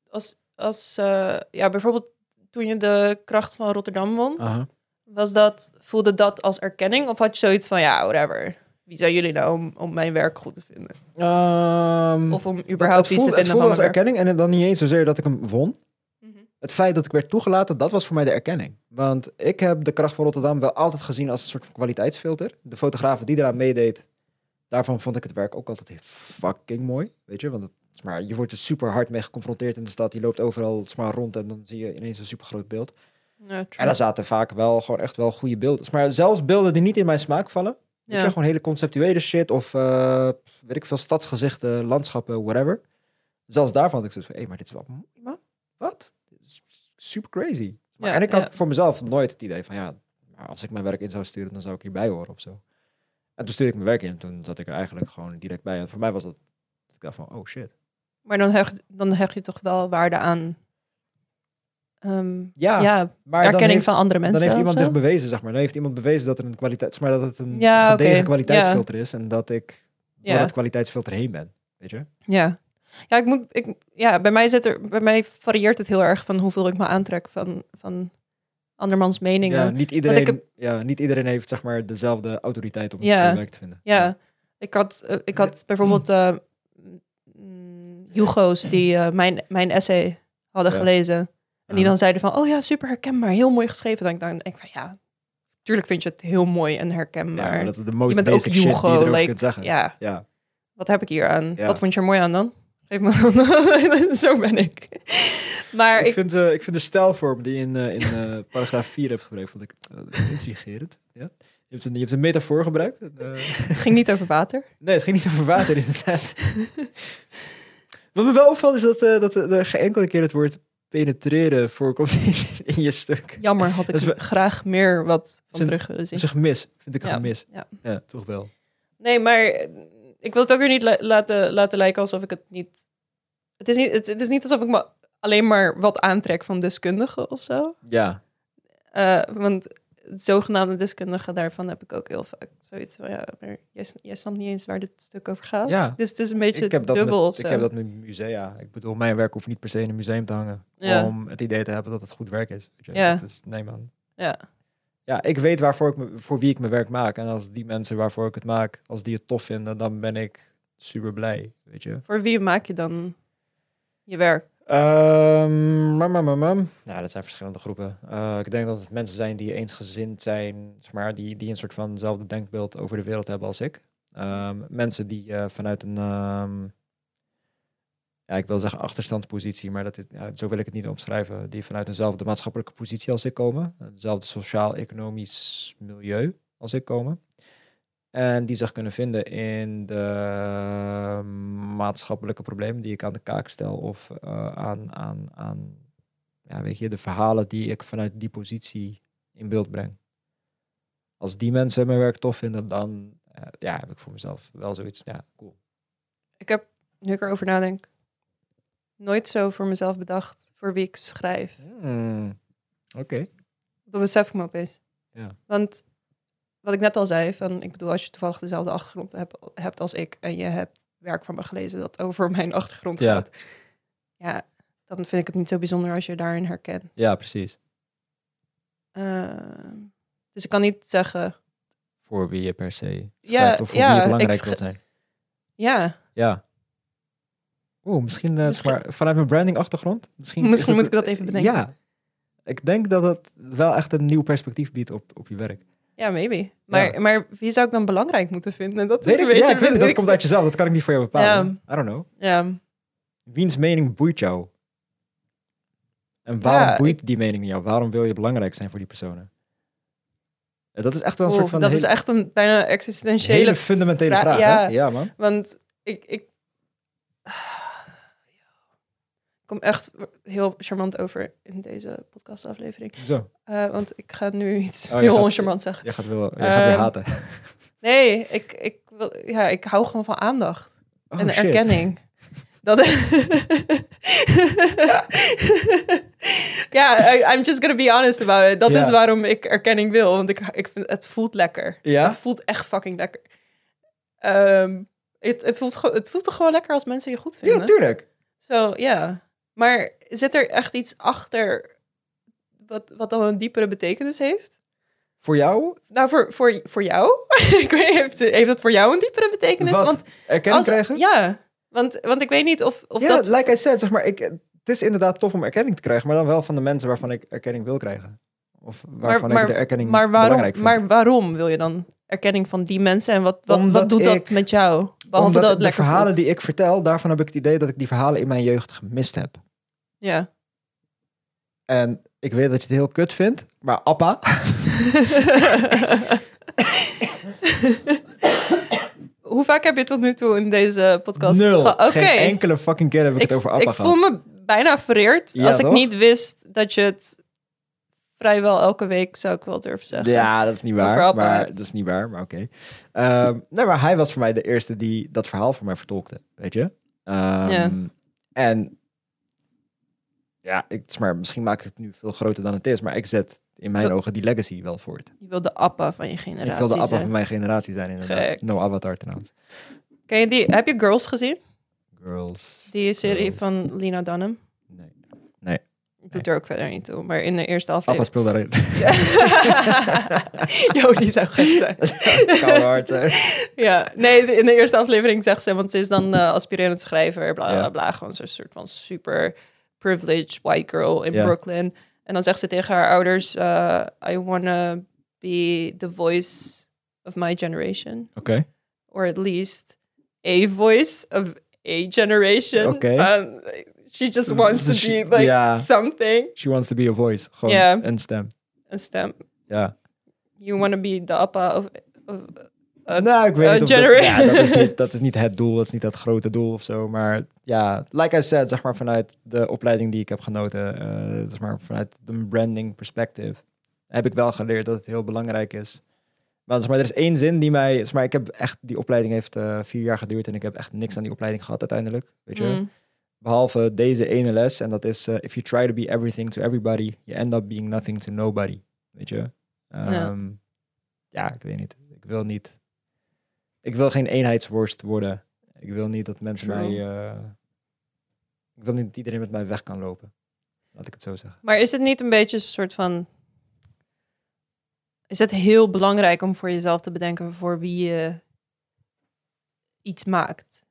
Speaker 2: als, als eh, ja, bijvoorbeeld toen je de kracht van Rotterdam won,
Speaker 1: Aha.
Speaker 2: was dat, voelde dat als erkenning? Of had je zoiets van, ja, whatever. Wie zijn jullie nou om, om mijn werk goed te vinden?
Speaker 1: Ehm,
Speaker 2: Of om
Speaker 1: het-
Speaker 2: überhaupt
Speaker 1: het
Speaker 2: iets te
Speaker 1: voelde, het
Speaker 2: vinden
Speaker 1: voelde
Speaker 2: van
Speaker 1: als
Speaker 2: mijn werk?
Speaker 1: erkenning en dan niet eens zozeer dat ik hem won.
Speaker 2: Mhm.
Speaker 1: Het feit dat ik werd toegelaten, dat was voor mij de erkenning. Want ik heb de kracht van Rotterdam wel altijd gezien als een soort van kwaliteitsfilter. De fotografen die eraan meedeed, daarvan vond ik het werk ook altijd heel fucking mooi. Weet je, want het, zeg maar, je wordt er super hard mee geconfronteerd in de stad. Je loopt overal zeg maar, rond en dan zie je ineens een super groot beeld.
Speaker 2: Mhm. Ja, true.
Speaker 1: En daar zaten vaak wel gewoon echt wel goede beelden. Maar zelfs beelden die niet in mijn smaak vallen. Weet
Speaker 2: Ja.
Speaker 1: je, gewoon hele conceptuele shit of eh, weet ik veel, stadsgezichten, landschappen, whatever. Zelfs daarvan had ik zoiets van, hé, maar dit is wel mooi, man. Wat? Dit is super crazy. Maar,
Speaker 2: Ja,
Speaker 1: en ik had
Speaker 2: ja.
Speaker 1: voor mezelf nooit het idee van, ja, maar als ik mijn werk in zou sturen, dan zou ik hierbij horen of zo. En toen stuurde ik mijn werk in en toen zat ik er eigenlijk gewoon direct bij. En voor mij was dat, ik dacht van, oh shit.
Speaker 2: Maar dan hecht, dan hecht je toch wel waarde aan ehm,
Speaker 1: Ja,
Speaker 2: ja,
Speaker 1: maar dan
Speaker 2: erkenning
Speaker 1: heeft-
Speaker 2: van andere mensen.
Speaker 1: Dan heeft
Speaker 2: of
Speaker 1: iemand
Speaker 2: zo?
Speaker 1: zich bewezen, zeg maar. Dan heeft iemand bewezen dat, er een kwaliteit, maar dat het een
Speaker 2: Ja,
Speaker 1: gedegen
Speaker 2: oké.
Speaker 1: kwaliteitsfilter is. En dat ik door
Speaker 2: ja.
Speaker 1: dat kwaliteitsfilter heen ben. Weet je?
Speaker 2: Ja. Ja, ik moet, ik, ja, bij mij zit er, bij mij varieert het heel erg van hoeveel ik me aantrek van, van andermans meningen.
Speaker 1: Ja, niet, iedereen,
Speaker 2: heb-
Speaker 1: ja, niet iedereen heeft zeg maar, dezelfde autoriteit om het
Speaker 2: Ja.
Speaker 1: ja. werk te vinden.
Speaker 2: Ja, ik had, eh, ik had bijvoorbeeld eh, mm, Hugo's die eh, mijn, mijn essay hadden
Speaker 1: Ja.
Speaker 2: gelezen. En die
Speaker 1: Ah.
Speaker 2: dan zeiden van, oh ja, super herkenbaar, heel mooi geschreven. Dan denk ik dan denk ik van, ja, tuurlijk vind je het heel mooi en herkenbaar.
Speaker 1: maar dat is de most
Speaker 2: je bent
Speaker 1: basic
Speaker 2: ook
Speaker 1: shit die je
Speaker 2: Hugo,
Speaker 1: erover
Speaker 2: like,
Speaker 1: kunt zeggen.
Speaker 2: Ja.
Speaker 1: Ja.
Speaker 2: Wat heb ik hier aan?
Speaker 1: Ja.
Speaker 2: Wat vond je er mooi aan dan? Geef me dan. Zo ben ik. Maar
Speaker 1: Ik,
Speaker 2: ik,
Speaker 1: vind, eh, ik vind de stijlvorm die je in, eh, in eh, paragraaf 4 hebt gebruikt, vond ik eh, intrigerend. Ja? Je, hebt een, je hebt een metafoor gebruikt. eh,
Speaker 2: het ging niet over water.
Speaker 1: Nee, het ging niet over water inderdaad. Wat me wel opvalt is dat, eh, dat eh, er geen enkele keer het woord penetreren voorkomt in- in je stuk.
Speaker 2: Jammer had ik
Speaker 1: Dat is wel-
Speaker 2: graag meer wat van
Speaker 1: Zijn-
Speaker 2: terug willen
Speaker 1: Dat
Speaker 2: zien.
Speaker 1: is een gemis, vind ik een
Speaker 2: Ja,
Speaker 1: gemis.
Speaker 2: ja.
Speaker 1: toch wel.
Speaker 2: Nee, maar eh, ik wil het ook weer niet la- laten, laten lijken alsof ik het niet... Het is niet, het, het is niet alsof ik me alleen maar wat aantrek van deskundigen of zo.
Speaker 1: Ja.
Speaker 2: Eh, want zogenaamde deskundigen daarvan heb ik ook heel vaak zoiets van... Ja, maar jij, s- jij snapt niet eens waar dit stuk over gaat.
Speaker 1: Ja.
Speaker 2: Dus het is een beetje
Speaker 1: Ik heb, dat
Speaker 2: dubbel of
Speaker 1: met,
Speaker 2: zo.
Speaker 1: ik heb dat met musea. Ik bedoel, mijn werk hoeft niet per se in een museum te hangen.
Speaker 2: Ja.
Speaker 1: Om het idee te hebben dat het goed werk is. Weet je,
Speaker 2: Ja.
Speaker 1: dat is nee man.
Speaker 2: Ja.
Speaker 1: Ja, ik weet waarvoor ik me, voor wie ik mijn werk maak. En als die mensen waarvoor ik het maak, als die het tof vinden, dan ben ik super blij. Weet je.
Speaker 2: Voor wie maak je dan je werk?
Speaker 1: Ehm mam, mam, mam, mam. Nou, dat zijn verschillende groepen. Eh, ik denk dat het mensen zijn die eensgezind zijn, zeg maar, die, die een soort van hetzelfde denkbeeld over de wereld hebben als ik. Ehm, mensen die eh, vanuit een, ehm, ja, ik wil zeggen achterstandspositie, maar dat is, ja, zo wil ik het niet omschrijven, die vanuit eenzelfde maatschappelijke positie als ik komen, hetzelfde sociaal-economisch milieu als ik komen. En die zich kunnen vinden in de eh, maatschappelijke problemen die ik aan de kaak stel. Of eh, aan, aan, aan ja, weet je, de verhalen die ik vanuit die positie in beeld breng. Als die mensen mijn werk tof vinden, dan eh, ja, heb ik voor mezelf wel zoiets. Ja, cool.
Speaker 2: Ik heb, nu ik erover nadenk, nooit zo voor mezelf bedacht voor wie ik schrijf.
Speaker 1: Oké.
Speaker 2: Dat besef ik me opeens.
Speaker 1: Ja.
Speaker 2: Want wat ik net al zei, van, ik bedoel, als je toevallig dezelfde achtergrond hebt, hebt als ik en je hebt werk van me gelezen dat over mijn achtergrond
Speaker 1: Ja.
Speaker 2: gaat, ja, dan vind ik het niet zo bijzonder als je daarin herkent.
Speaker 1: Ja, precies.
Speaker 2: Ehm, dus ik kan niet zeggen,
Speaker 1: Voor wie je per se
Speaker 2: Ja,
Speaker 1: schrijft of voor
Speaker 2: ja,
Speaker 1: wie je
Speaker 2: ik
Speaker 1: belangrijk
Speaker 2: sch-
Speaker 1: wilt zijn.
Speaker 2: ja,
Speaker 1: Ja. Oeh, misschien, eh,
Speaker 2: Misschien-
Speaker 1: Maar vanuit mijn branding achtergrond. Misschien, is
Speaker 2: misschien
Speaker 1: het-
Speaker 2: moet ik dat even bedenken.
Speaker 1: Ja, ik denk dat het wel echt een nieuw perspectief biedt op, op je werk.
Speaker 2: Ja, maybe. Maar,
Speaker 1: Ja.
Speaker 2: maar wie zou ik dan belangrijk moeten vinden? Dat is
Speaker 1: Weet
Speaker 2: een
Speaker 1: ik,
Speaker 2: beetje...
Speaker 1: ja, ik weet het, dat komt uit jezelf, dat kan ik niet voor jou bepalen. I don't know.
Speaker 2: Ja,
Speaker 1: Wiens mening boeit jou? En waarom
Speaker 2: Ja,
Speaker 1: boeit die mening jou? Waarom wil je belangrijk zijn voor die personen? En Dat is echt wel een
Speaker 2: oeh,
Speaker 1: soort van
Speaker 2: dat
Speaker 1: hele,
Speaker 2: is echt een bijna existentiële...
Speaker 1: hele fundamentele
Speaker 2: vra-
Speaker 1: vraag.
Speaker 2: ja.
Speaker 1: hè? ja man.
Speaker 2: Want ik, ik... Ik kom echt heel charmant over in deze podcastaflevering.
Speaker 1: Zo,
Speaker 2: Eh, want ik ga nu iets
Speaker 1: Oh, je
Speaker 2: heel
Speaker 1: gaat-
Speaker 2: oncharmant zeggen.
Speaker 1: je gaat, wel, je gaat weer
Speaker 2: Ehm,
Speaker 1: haten.
Speaker 2: Nee, ik, ik, wil- ja, ik hou gewoon van aandacht.
Speaker 1: Oh,
Speaker 2: en
Speaker 1: shit.
Speaker 2: erkenning. Dat... ja, I- I'm just gonna be honest about it. Dat
Speaker 1: Ja.
Speaker 2: is waarom ik erkenning wil, want ik, ik vind, het voelt lekker.
Speaker 1: Ja?
Speaker 2: Het voelt echt fucking lekker. Ehm, het, het, voelt, ge- het voelt toch gewoon lekker als mensen je goed
Speaker 1: Ja,
Speaker 2: vinden?
Speaker 1: tuurlijk.
Speaker 2: Zo, ja. Maar zit er echt iets achter wat, wat dan een diepere betekenis heeft?
Speaker 1: Voor jou,
Speaker 2: Nou, voor, voor, voor jou? ik weet, heeft, heeft dat voor jou een diepere betekenis?
Speaker 1: wat?
Speaker 2: Want
Speaker 1: erkenning
Speaker 2: als-
Speaker 1: krijgen?
Speaker 2: Ja, want, want ik weet niet of, of
Speaker 1: ja,
Speaker 2: dat...
Speaker 1: like I said, zeg maar, ik, het is inderdaad tof om erkenning te krijgen, maar dan wel van de mensen waarvan ik erkenning wil krijgen. Of waarvan
Speaker 2: maar-
Speaker 1: ik de erkenning
Speaker 2: Maar waarom,
Speaker 1: belangrijk vind.
Speaker 2: maar waarom wil je dan erkenning van die mensen? En wat, wat,
Speaker 1: Omdat
Speaker 2: wat doet dat
Speaker 1: ik-
Speaker 2: met jou? Behalve
Speaker 1: Omdat
Speaker 2: dat het
Speaker 1: de
Speaker 2: lekker
Speaker 1: verhalen
Speaker 2: voelt.
Speaker 1: die ik vertel, daarvan heb ik het idee dat ik die verhalen in mijn jeugd gemist heb.
Speaker 2: Ja.
Speaker 1: En ik weet dat je het heel kut vindt, maar appa,
Speaker 2: Hoe vaak heb je tot nu toe in deze podcast...
Speaker 1: nul.
Speaker 2: ge- Oké.
Speaker 1: Geen enkele fucking keer heb ik,
Speaker 2: Ik,
Speaker 1: het over appa
Speaker 2: ik
Speaker 1: gehad.
Speaker 2: voel me bijna vereerd
Speaker 1: Ja,
Speaker 2: als ik
Speaker 1: toch?
Speaker 2: niet wist dat je het vrijwel elke week, zou ik wel durven zeggen.
Speaker 1: Ja, dat is niet waar.
Speaker 2: Over appa
Speaker 1: maar,
Speaker 2: hebt.
Speaker 1: dat is niet waar, maar oké. Ehm, nee, maar hij was voor mij de eerste die dat verhaal voor mij vertolkte, weet je? Ehm,
Speaker 2: Ja.
Speaker 1: En ja, ik, het is maar, misschien maak ik het nu veel groter dan het is, maar ik zet in mijn
Speaker 2: Dat-
Speaker 1: ogen die legacy wel voort.
Speaker 2: Je wil de appa van je generatie
Speaker 1: Ik wil de appa
Speaker 2: zijn.
Speaker 1: van mijn generatie zijn, inderdaad.
Speaker 2: Gek.
Speaker 1: No avatar trouwens.
Speaker 2: Ken je die? Heb je Girls gezien?
Speaker 1: Girls.
Speaker 2: Die serie
Speaker 1: Girls.
Speaker 2: van Lena Dunham.
Speaker 1: Nee.
Speaker 2: doet er ook verder niet toe. Maar in de eerste
Speaker 1: Papa
Speaker 2: aflevering...
Speaker 1: speel daarin.
Speaker 2: Jo, die zou gek zijn.
Speaker 1: Koude hard zijn.
Speaker 2: Ja, nee, in de eerste aflevering zegt ze, want ze is dan eh, aspirerend schrijver, bla bla
Speaker 1: Ja.
Speaker 2: bla. Gewoon zo'n soort van super privileged white girl in
Speaker 1: Ja.
Speaker 2: Brooklyn. En dan zegt ze tegen haar ouders: eh, I wanna be the voice of my generation.
Speaker 1: Oké.
Speaker 2: Or at least a voice of a generation.
Speaker 1: Oké.
Speaker 2: Um, she just wants
Speaker 1: Dus
Speaker 2: to
Speaker 1: she-
Speaker 2: be like
Speaker 1: ja.
Speaker 2: something.
Speaker 1: She wants to be a voice. Gewoon
Speaker 2: Ja.
Speaker 1: een stem.
Speaker 2: Een stem.
Speaker 1: Ja.
Speaker 2: You wanna be the appa of. of Eh,
Speaker 1: nou, ik weet
Speaker 2: eh,
Speaker 1: niet of dat,
Speaker 2: genera-
Speaker 1: ja, dat, is niet, dat is niet het doel, dat is niet het grote doel of zo. Maar ja, like I said, zeg maar vanuit de opleiding die ik heb genoten, eh, zeg maar vanuit een branding perspective, heb ik wel geleerd dat het heel belangrijk is. Want zeg maar, er is één zin die mij, zeg maar, ik heb echt, die opleiding heeft eh, vier jaar geduurd en ik heb echt niks aan die opleiding gehad uiteindelijk, weet je.
Speaker 2: mm,
Speaker 1: Behalve deze ene les. En dat is, eh, if you try to be everything to everybody, you end up being nothing to nobody. Weet je?
Speaker 2: Ja.
Speaker 1: Ehm, ja, ik weet niet. Ik wil niet... Ik wil geen eenheidsworst worden. Ik wil niet dat mensen
Speaker 2: True.
Speaker 1: mij... eh, ik wil niet dat iedereen met mij weg kan lopen. Laat ik het zo zeggen.
Speaker 2: Maar is het niet een beetje een soort van. Is het heel belangrijk om voor jezelf te bedenken voor wie je iets maakt?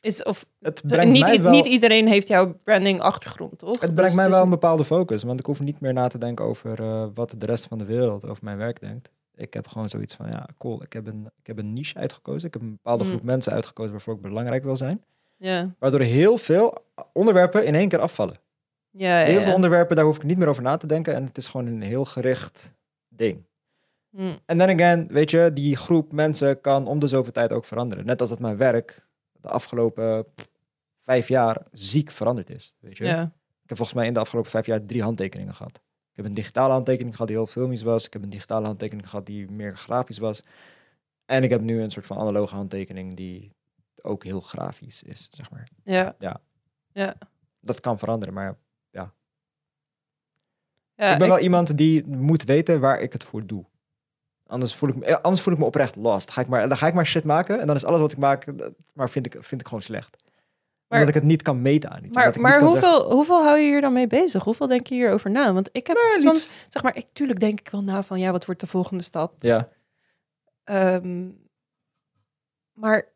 Speaker 2: Is, of,
Speaker 1: Het
Speaker 2: niet, i- niet iedereen heeft jouw branding achtergrond, toch?
Speaker 1: Het brengt
Speaker 2: Dus
Speaker 1: mij
Speaker 2: is
Speaker 1: wel een
Speaker 2: een-
Speaker 1: bepaalde focus, want ik hoef niet meer na te denken over eh, wat de rest van de wereld over mijn werk denkt. Ik heb gewoon zoiets van, ja, cool, ik heb een, ik heb een niche uitgekozen. Ik heb een bepaalde
Speaker 2: Mm.
Speaker 1: groep mensen uitgekozen waarvoor ik belangrijk wil zijn.
Speaker 2: Ja,
Speaker 1: Waardoor heel veel onderwerpen in één keer afvallen.
Speaker 2: ja, ja.
Speaker 1: Heel veel
Speaker 2: ja.
Speaker 1: onderwerpen, daar hoef ik niet meer over na te denken. En het is gewoon een heel gericht ding.
Speaker 2: Hm.
Speaker 1: En dan again, weet je, die groep mensen kan om de zoveel tijd ook veranderen. Net als dat mijn werk de afgelopen pff, vijf jaar ziek veranderd is, weet je.
Speaker 2: Ja.
Speaker 1: Ik heb volgens mij in de afgelopen vijf jaar drie handtekeningen gehad. Ik heb een digitale handtekening gehad die heel filmisch was. Ik heb een digitale handtekening gehad die meer grafisch was. En ik heb nu een soort van analoge handtekening die ook heel grafisch is, zeg maar.
Speaker 2: Ja.
Speaker 1: Dat kan veranderen, maar
Speaker 2: Ja,
Speaker 1: ik ben
Speaker 2: Eh, ik-
Speaker 1: wel iemand die moet weten waar ik het voor doe. Anders voel ik me, eh, anders voel ik me oprecht lost. Ga ik maar, dan ga ik maar shit maken en dan is alles wat ik maak, dat- maar vind ik, vind ik gewoon slecht.
Speaker 2: Maar-
Speaker 1: Omdat ik het niet kan meten aan iets. omdat
Speaker 2: maar
Speaker 1: ik niet
Speaker 2: maar
Speaker 1: kan
Speaker 2: hoeveel, hoeveel hou je hier dan mee bezig? Hoeveel denk je hierover na? Want ik heb
Speaker 1: niet-
Speaker 2: soms, zeg maar, ik, tuurlijk denk ik wel na van, ja, wat wordt de volgende stap?
Speaker 1: zeggen- Ja,
Speaker 2: Ehm, maar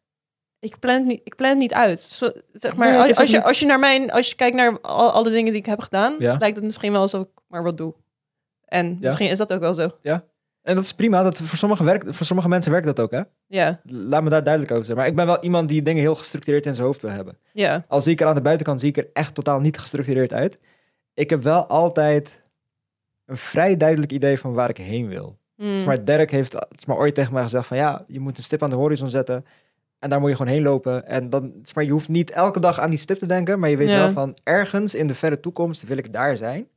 Speaker 2: ik plan het niet, ik plan het niet uit. Zo, zeg maar,
Speaker 1: Nee, het
Speaker 2: als,
Speaker 1: is ook
Speaker 2: als je,
Speaker 1: niet-
Speaker 2: als je naar mijn, als je kijkt naar al, alle dingen die ik heb gedaan,
Speaker 1: Ja.
Speaker 2: lijkt het misschien wel alsof ik maar wat doe. En misschien is dat ook wel zo.
Speaker 1: en dat is prima. Dat, voor, sommige werkt, voor sommige mensen werkt dat ook, hè?
Speaker 2: Ja,
Speaker 1: Laat me daar duidelijk over zijn. Maar ik ben wel iemand die dingen heel gestructureerd in zijn hoofd wil hebben.
Speaker 2: ja,
Speaker 1: Al zie ik er aan de buitenkant, zie ik er echt totaal niet gestructureerd uit. Ik heb wel altijd een vrij duidelijk idee van waar ik heen wil.
Speaker 2: Hmm.
Speaker 1: Dus maar Derek heeft zeg maar, ooit tegen mij gezegd van ja, je moet een stip aan de horizon zetten. En daar moet je gewoon heen lopen. En dan, zeg maar, je hoeft niet elke dag aan die stip te denken, maar je weet
Speaker 2: Ja.
Speaker 1: wel van ergens in de verre toekomst wil ik daar zijn.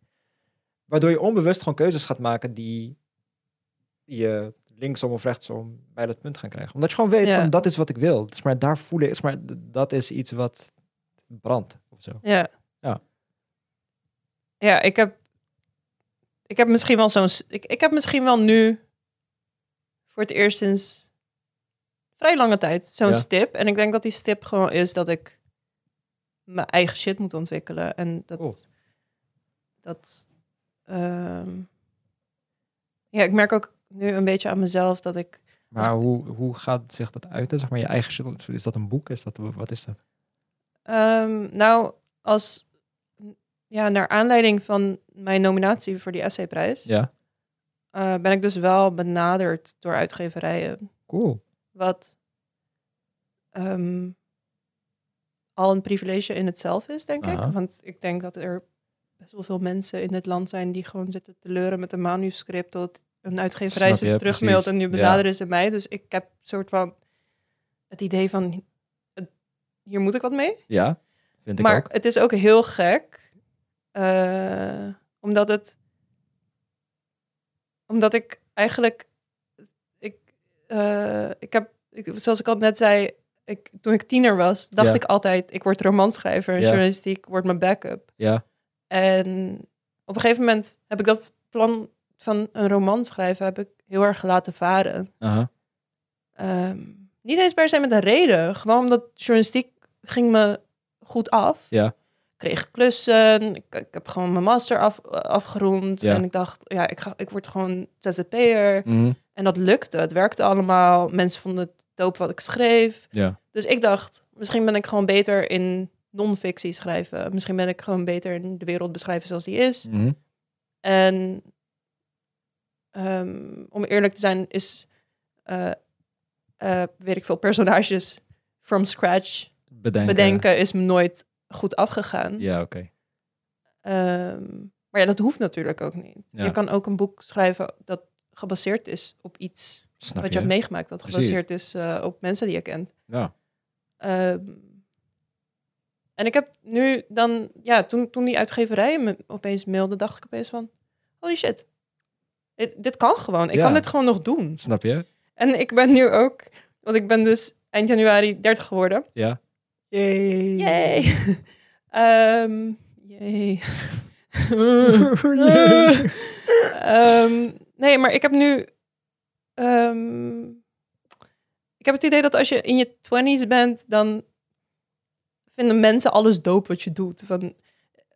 Speaker 1: Waardoor je onbewust gewoon keuzes gaat maken die die je linksom of rechtsom bij dat punt gaan krijgen. Omdat je gewoon weet
Speaker 2: Ja.
Speaker 1: van dat is wat ik wil. Dus maar daar voelen is maar d- dat is iets wat brandt of zo.
Speaker 2: ja.
Speaker 1: Ja.
Speaker 2: Ja, ik heb, ik heb misschien wel zo'n, s- ik, ik heb misschien wel nu voor het eerst sinds vrij lange tijd zo'n
Speaker 1: Ja.
Speaker 2: stip. En ik denk dat die stip gewoon is dat ik mijn eigen shit moet ontwikkelen. En dat...
Speaker 1: Cool.
Speaker 2: dat ehm, ja, ik merk ook nu een beetje aan mezelf dat ik
Speaker 1: Maar hoe, hoe gaat zich dat uit? Zeg maar je eigen shit. Is dat een boek? Is dat wat is dat?
Speaker 2: Ehm, nou, als ja, naar aanleiding van mijn nominatie voor die essayprijs,
Speaker 1: Ja.
Speaker 2: eh, ben ik dus wel benaderd door uitgeverijen.
Speaker 1: Cool.
Speaker 2: Wat ehm, al een privilege in het zelf is, denk
Speaker 1: Aha.
Speaker 2: ik. Want ik denk dat er best wel veel mensen in dit land zijn die gewoon zitten te leuren met een manuscript tot een uitgeverij
Speaker 1: Snap
Speaker 2: ze
Speaker 1: je,
Speaker 2: terugmailt
Speaker 1: precies.
Speaker 2: en nu
Speaker 1: Ja.
Speaker 2: benaderen ze mij. Dus ik heb soort van het idee van het- hier moet ik wat mee.
Speaker 1: Ja, vind ik
Speaker 2: Maar
Speaker 1: ook.
Speaker 2: het is ook heel gek. eh, omdat het. Omdat ik eigenlijk. Ik, eh, ik heb. Ik, zoals ik al net zei. Ik, toen ik tiener was, dacht
Speaker 1: Ja.
Speaker 2: ik altijd: ik word romanschrijver. En
Speaker 1: Ja.
Speaker 2: journalistiek wordt mijn backup.
Speaker 1: Ja.
Speaker 2: En op een gegeven moment heb ik dat plan van een roman schrijven. heb ik heel erg laten varen.
Speaker 1: Aha.
Speaker 2: Ehm, niet eens per se met een reden. Gewoon omdat journalistiek ging me goed af.
Speaker 1: Ja.
Speaker 2: kreeg klussen. Ik, ik heb gewoon mijn master af, eh, afgerond.
Speaker 1: Ja.
Speaker 2: En ik dacht, ja, ik, ga, ik word gewoon zzp'er.
Speaker 1: Mhm.
Speaker 2: En dat lukte. Het werkte allemaal. Mensen vonden het dope wat ik schreef.
Speaker 1: Ja.
Speaker 2: Dus ik dacht, misschien ben ik gewoon beter in non-fictie schrijven. Misschien ben ik gewoon beter in de wereld beschrijven zoals die is.
Speaker 1: Mhm.
Speaker 2: En ehm, om eerlijk te zijn, is, eh, eh, weet ik veel, personages from scratch
Speaker 1: Bedenken.
Speaker 2: bedenken is me nooit goed afgegaan.
Speaker 1: Ja, oké.
Speaker 2: Ehm, maar ja, dat hoeft natuurlijk ook niet.
Speaker 1: Ja.
Speaker 2: Je kan ook een boek schrijven dat gebaseerd is op iets
Speaker 1: Snap
Speaker 2: wat je
Speaker 1: je?
Speaker 2: hebt meegemaakt, dat
Speaker 1: Precies.
Speaker 2: gebaseerd is eh, op mensen die je kent.
Speaker 1: ja.
Speaker 2: Ehm, en ik heb nu dan, ja, toen, toen die uitgeverij me opeens mailde, dacht ik opeens van, holy shit, dit, dit kan gewoon. Ik
Speaker 1: Ja.
Speaker 2: kan dit gewoon nog doen.
Speaker 1: Snap je?
Speaker 2: En ik ben nu ook, want ik ben dus eind januari 30 geworden.
Speaker 1: Ja. Yay.
Speaker 2: Yay! Ehm, yay. Eh. Ehm, nee, maar ik heb nu. ehm, ik heb het idee dat als je in je twenties bent, dan vinden mensen alles dope wat je doet. Van,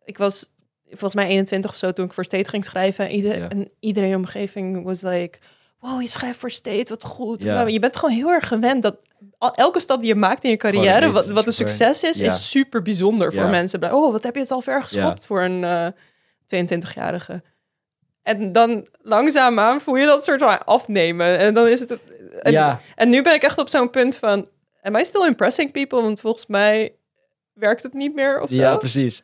Speaker 2: ik was volgens mij 21 of zo toen ik voor State ging schrijven. En, ieder-
Speaker 1: Ja.
Speaker 2: en iedereen in de omgeving was like... Wow, je schrijft voor State, wat goed.
Speaker 1: Ja.
Speaker 2: Je bent gewoon heel erg gewend dat al- elke stap die je maakt in je
Speaker 1: Gewoon
Speaker 2: carrière,
Speaker 1: iets
Speaker 2: wat, wat een
Speaker 1: super-
Speaker 2: succes is,
Speaker 1: Ja.
Speaker 2: is super bijzonder voor
Speaker 1: Ja.
Speaker 2: mensen. Oh, wat heb je het al ver geschopt voor een eh, 22-jarige. En dan langzaamaan voel je dat soort van afnemen. En dan is het. En,
Speaker 1: Ja.
Speaker 2: en nu ben ik echt op zo'n punt van. Am I still impressing people? Want volgens mij werkt het niet meer of zo.
Speaker 1: Ja, precies.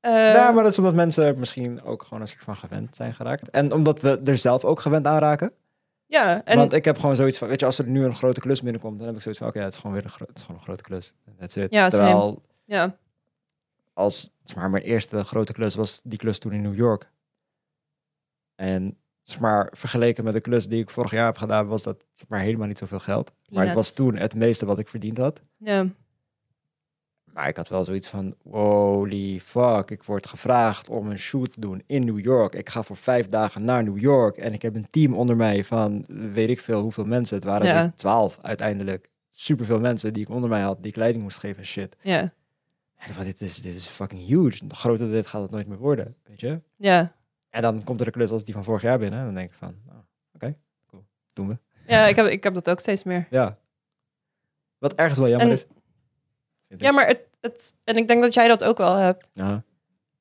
Speaker 2: Eh,
Speaker 1: ja, maar dat is omdat mensen misschien ook gewoon een soort van gewend zijn geraakt. En omdat we er zelf ook gewend aan raken.
Speaker 2: ja, en
Speaker 1: Want ik heb gewoon zoiets van, weet je, als er nu een grote klus binnenkomt, dan heb ik zoiets van, oké, het is gewoon weer een, gro- het is gewoon een grote klus. That's it.
Speaker 2: Ja, same.
Speaker 1: Terwijl
Speaker 2: ja,
Speaker 1: als zeg maar, mijn eerste grote klus was die klus toen in New York. En zeg maar, vergeleken met de klus die ik vorig jaar heb gedaan, was dat zeg maar, helemaal niet zoveel geld. Maar het was
Speaker 2: Peanuts.
Speaker 1: toen het meeste wat ik verdiend had.
Speaker 2: ja,
Speaker 1: Maar ik had wel zoiets van, holy fuck, ik word gevraagd om een shoot te doen in New York. Ik ga voor vijf dagen naar New York en ik heb een team onder mij van weet ik veel hoeveel mensen. Het waren
Speaker 2: Ja.
Speaker 1: er twaalf uiteindelijk. Superveel mensen die ik onder mij had, die ik leiding moest geven en shit.
Speaker 2: ja,
Speaker 1: En ik dacht, dit is, dit is fucking huge. Groter dan dit gaat het nooit meer worden, weet je?
Speaker 2: ja.
Speaker 1: En dan komt er een klus als die van vorig jaar binnen. En dan denk ik van, oh, oké, cool, doen we.
Speaker 2: Ja, ik heb, ik heb dat ook steeds meer.
Speaker 1: Ja. Wat ergens wel jammer
Speaker 2: En-
Speaker 1: is. Vind ik.
Speaker 2: Ja, maar het, het. En ik denk dat jij dat ook wel hebt.
Speaker 1: Ja.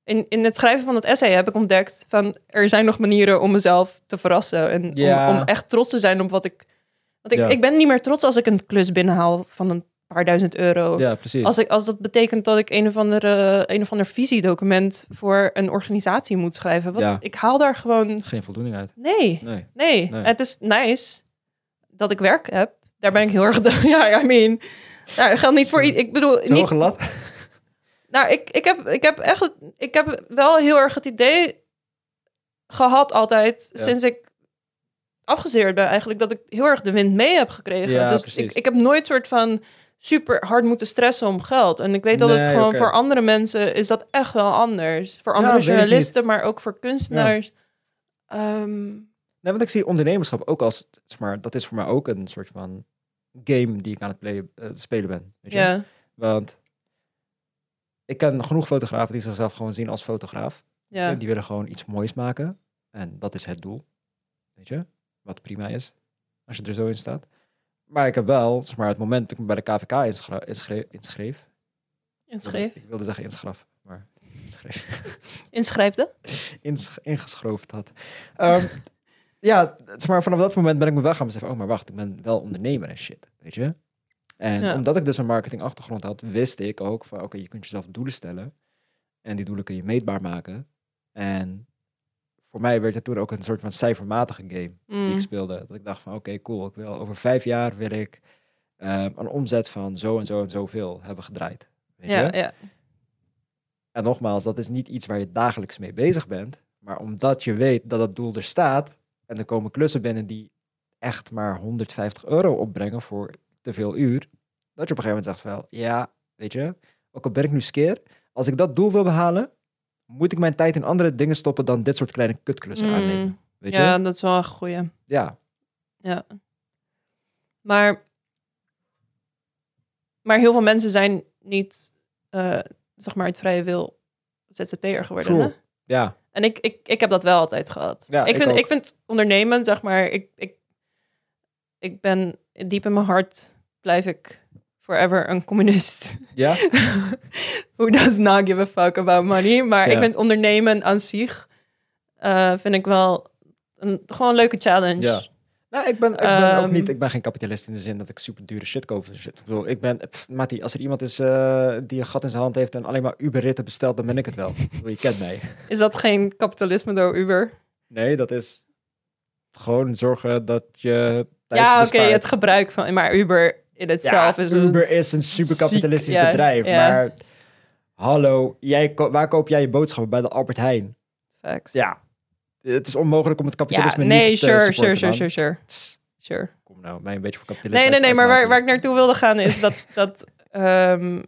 Speaker 2: in, in het schrijven van het essay heb ik ontdekt van er zijn nog manieren om mezelf te verrassen en om-
Speaker 1: Ja.
Speaker 2: om, echt trots te zijn op wat ik. Want ik,
Speaker 1: Ja.
Speaker 2: ik ben niet meer trots als ik een klus binnenhaal van een paar duizend euro.
Speaker 1: ja, precies.
Speaker 2: Als, ik, als dat betekent dat ik een of, andere, een of ander visiedocument voor een organisatie moet schrijven. Wat,
Speaker 1: Ja.
Speaker 2: Ik haal daar gewoon.
Speaker 1: Geen voldoening uit.
Speaker 2: Nee,
Speaker 1: Nee.
Speaker 2: nee,
Speaker 1: Nee.
Speaker 2: Het is nice dat ik werk heb. Daar ben ik heel erg. Ja, I mean. Nou, geldt niet voor. i- Ik bedoel,
Speaker 1: Zo
Speaker 2: niet,
Speaker 1: gelat.
Speaker 2: nou, ik, ik, heb, ik heb echt. het- Ik heb wel heel erg het idee gehad altijd
Speaker 1: Ja.
Speaker 2: sinds ik afgezeerd ben, eigenlijk dat ik heel erg de wind mee heb gekregen.
Speaker 1: Ja,
Speaker 2: dus
Speaker 1: precies.
Speaker 2: ik, ik heb nooit soort van super hard moeten stressen om geld. En ik weet dat het
Speaker 1: Nee,
Speaker 2: gewoon
Speaker 1: oké.
Speaker 2: voor andere mensen is dat echt wel anders. Voor andere
Speaker 1: weet ik niet.
Speaker 2: journalisten, maar ook voor kunstenaars. Ehm,
Speaker 1: Nee, want ik zie ondernemerschap ook als, zeg maar, dat is voor mij ook een soort van game die ik aan het playen- eh, spelen ben. Weet je?
Speaker 2: ja,
Speaker 1: Want ik ken genoeg fotografen die zichzelf gewoon zien als fotograaf.
Speaker 2: ja,
Speaker 1: En Die willen gewoon iets moois maken. En dat is het doel. Weet je? Wat prima is. Als je er zo in staat. Maar ik heb wel, zeg maar, het moment dat ik me bij de KVK inschra- inschre- inschreef.
Speaker 2: inschreef.
Speaker 1: Ik wilde zeggen inschraf, maar inschreef.
Speaker 2: Inschrijfde.
Speaker 1: Insch- ingeschroefd had. Ehm, ja, zeg maar, vanaf dat moment ben ik me wel gaan beseffen. Oh, maar wacht, ik ben wel ondernemer en shit. Weet je? En
Speaker 2: Ja.
Speaker 1: omdat ik dus een marketingachtergrond had, wist ik ook van, oké, je kunt jezelf doelen stellen. En die doelen kun je meetbaar maken. En voor mij werd het toen ook een soort van cijfermatige game die
Speaker 2: Mm,
Speaker 1: ik speelde. Dat ik dacht van, oké, cool, ik wil over vijf jaar wil ik ehm, een omzet van zo en zo en zoveel hebben gedraaid. Weet je?
Speaker 2: ja, ja,
Speaker 1: En nogmaals, dat is niet iets waar je dagelijks mee bezig bent. Maar omdat je weet dat dat doel er staat. En er komen klussen binnen die echt maar 150 euro opbrengen voor te veel uur. Dat je op een gegeven moment zegt wel, ja, weet je, ook al ben ik nu skeer. Als ik dat doel wil behalen, moet ik mijn tijd in andere dingen stoppen dan dit soort kleine kutklussen
Speaker 2: Mm,
Speaker 1: aannemen. Weet
Speaker 2: ja,
Speaker 1: je?
Speaker 2: dat is wel een goeie.
Speaker 1: Ja.
Speaker 2: Maar, maar heel veel mensen zijn niet, eh, zeg maar, het vrije wil ZZP'er geworden.
Speaker 1: True.
Speaker 2: Hè?
Speaker 1: Ja,
Speaker 2: En ik, ik, ik heb dat wel altijd gehad.
Speaker 1: Ja,
Speaker 2: ik,
Speaker 1: ik
Speaker 2: vind,
Speaker 1: ook.
Speaker 2: ik vind ondernemen, zeg maar, ik, ik, ik ben diep in mijn hart blijf ik forever een communist.
Speaker 1: ja,
Speaker 2: Who does not give a fuck about money? Maar
Speaker 1: Ja.
Speaker 2: ik vind ondernemen aan zich eh, vind ik wel een, gewoon een leuke challenge.
Speaker 1: ja. Nou, ik ben, ik ben ook
Speaker 2: Ehm.
Speaker 1: niet, ik ben geen kapitalist in de zin dat ik super dure shit koop. en shit. Ik bedoel, ik ben, pff, Mattie, als er iemand is eh, die een gat in zijn hand heeft en alleen maar Uber-ritten bestelt, dan ben ik het wel. Ik bedoel, je kent mij.
Speaker 2: Is dat geen kapitalisme door Uber?
Speaker 1: Nee, dat is gewoon zorgen dat je tijd
Speaker 2: ja, oké,
Speaker 1: bespaart.
Speaker 2: het gebruik van, maar Uber in het
Speaker 1: Ja,
Speaker 2: zelf is een-
Speaker 1: Uber is een superkapitalistisch
Speaker 2: ziek- ja,
Speaker 1: bedrijf,
Speaker 2: ja.
Speaker 1: maar hallo, jij, ko- waar koop jij je boodschappen? Bij de Albert Heijn.
Speaker 2: Facts.
Speaker 1: Ja, het is onmogelijk om het
Speaker 2: ja
Speaker 1: kapitalisme
Speaker 2: nee,
Speaker 1: niet te
Speaker 2: sure,
Speaker 1: supporten,
Speaker 2: sure, sure,
Speaker 1: man.
Speaker 2: sure, sure,
Speaker 1: Tss,
Speaker 2: sure.
Speaker 1: Kom nou, mij een beetje voor kapitalist
Speaker 2: Nee, nee, nee, maar waar,
Speaker 1: uitmaken.
Speaker 2: waar ik naartoe wilde gaan is dat, dat, ehm,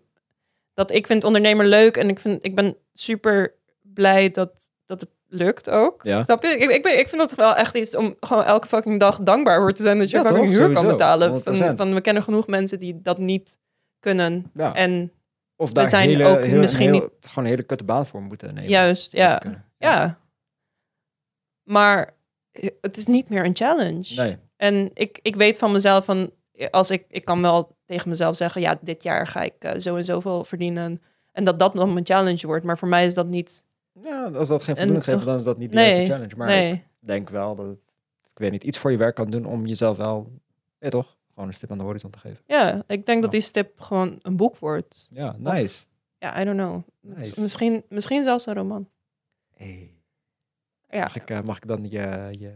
Speaker 2: dat ik vind ondernemer leuk en ik, vind, ik ben super blij dat, dat het lukt ook.
Speaker 1: Ja.
Speaker 2: Snap je? Ik, ik, ben, ik vind dat wel echt iets om gewoon elke fucking dag dankbaar voor te zijn dat je
Speaker 1: Ja,
Speaker 2: fucking
Speaker 1: toch?
Speaker 2: huur kan
Speaker 1: Sowieso.
Speaker 2: betalen. Van,
Speaker 1: 100%.
Speaker 2: van, we kennen genoeg mensen die dat niet kunnen.
Speaker 1: Ja.
Speaker 2: En
Speaker 1: Of daar
Speaker 2: zijn
Speaker 1: hele,
Speaker 2: ook
Speaker 1: heel-
Speaker 2: misschien
Speaker 1: heel- Gewoon een hele kutte baan voor moeten nemen.
Speaker 2: juist,
Speaker 1: om te
Speaker 2: ja,
Speaker 1: kunnen.
Speaker 2: ja. Maar het is niet meer een challenge.
Speaker 1: Nee,
Speaker 2: En ik, ik weet van mezelf van als ik, ik kan wel tegen mezelf zeggen, ja, dit jaar ga ik eh, zo en zoveel verdienen. En dat dat dan mijn challenge wordt. Maar voor mij is dat niet.
Speaker 1: ja, als dat
Speaker 2: En
Speaker 1: geen voldoening
Speaker 2: toch-
Speaker 1: geeft, dan is dat niet de
Speaker 2: Nee,
Speaker 1: juiste challenge. Maar
Speaker 2: nee.
Speaker 1: ik denk wel dat het, ik weet niet, iets voor je werk kan doen om jezelf wel, ja, toch, gewoon een stip aan de horizon te geven.
Speaker 2: Ja, ik denk dat
Speaker 1: Ja.
Speaker 2: die stip gewoon een boek wordt.
Speaker 1: Ja, nice.
Speaker 2: Ja, I don't know. Het is
Speaker 1: Nice.
Speaker 2: Misschien, misschien zelfs een roman.
Speaker 1: Hey.
Speaker 2: Ja.
Speaker 1: Mag, ik, eh, mag ik dan je, je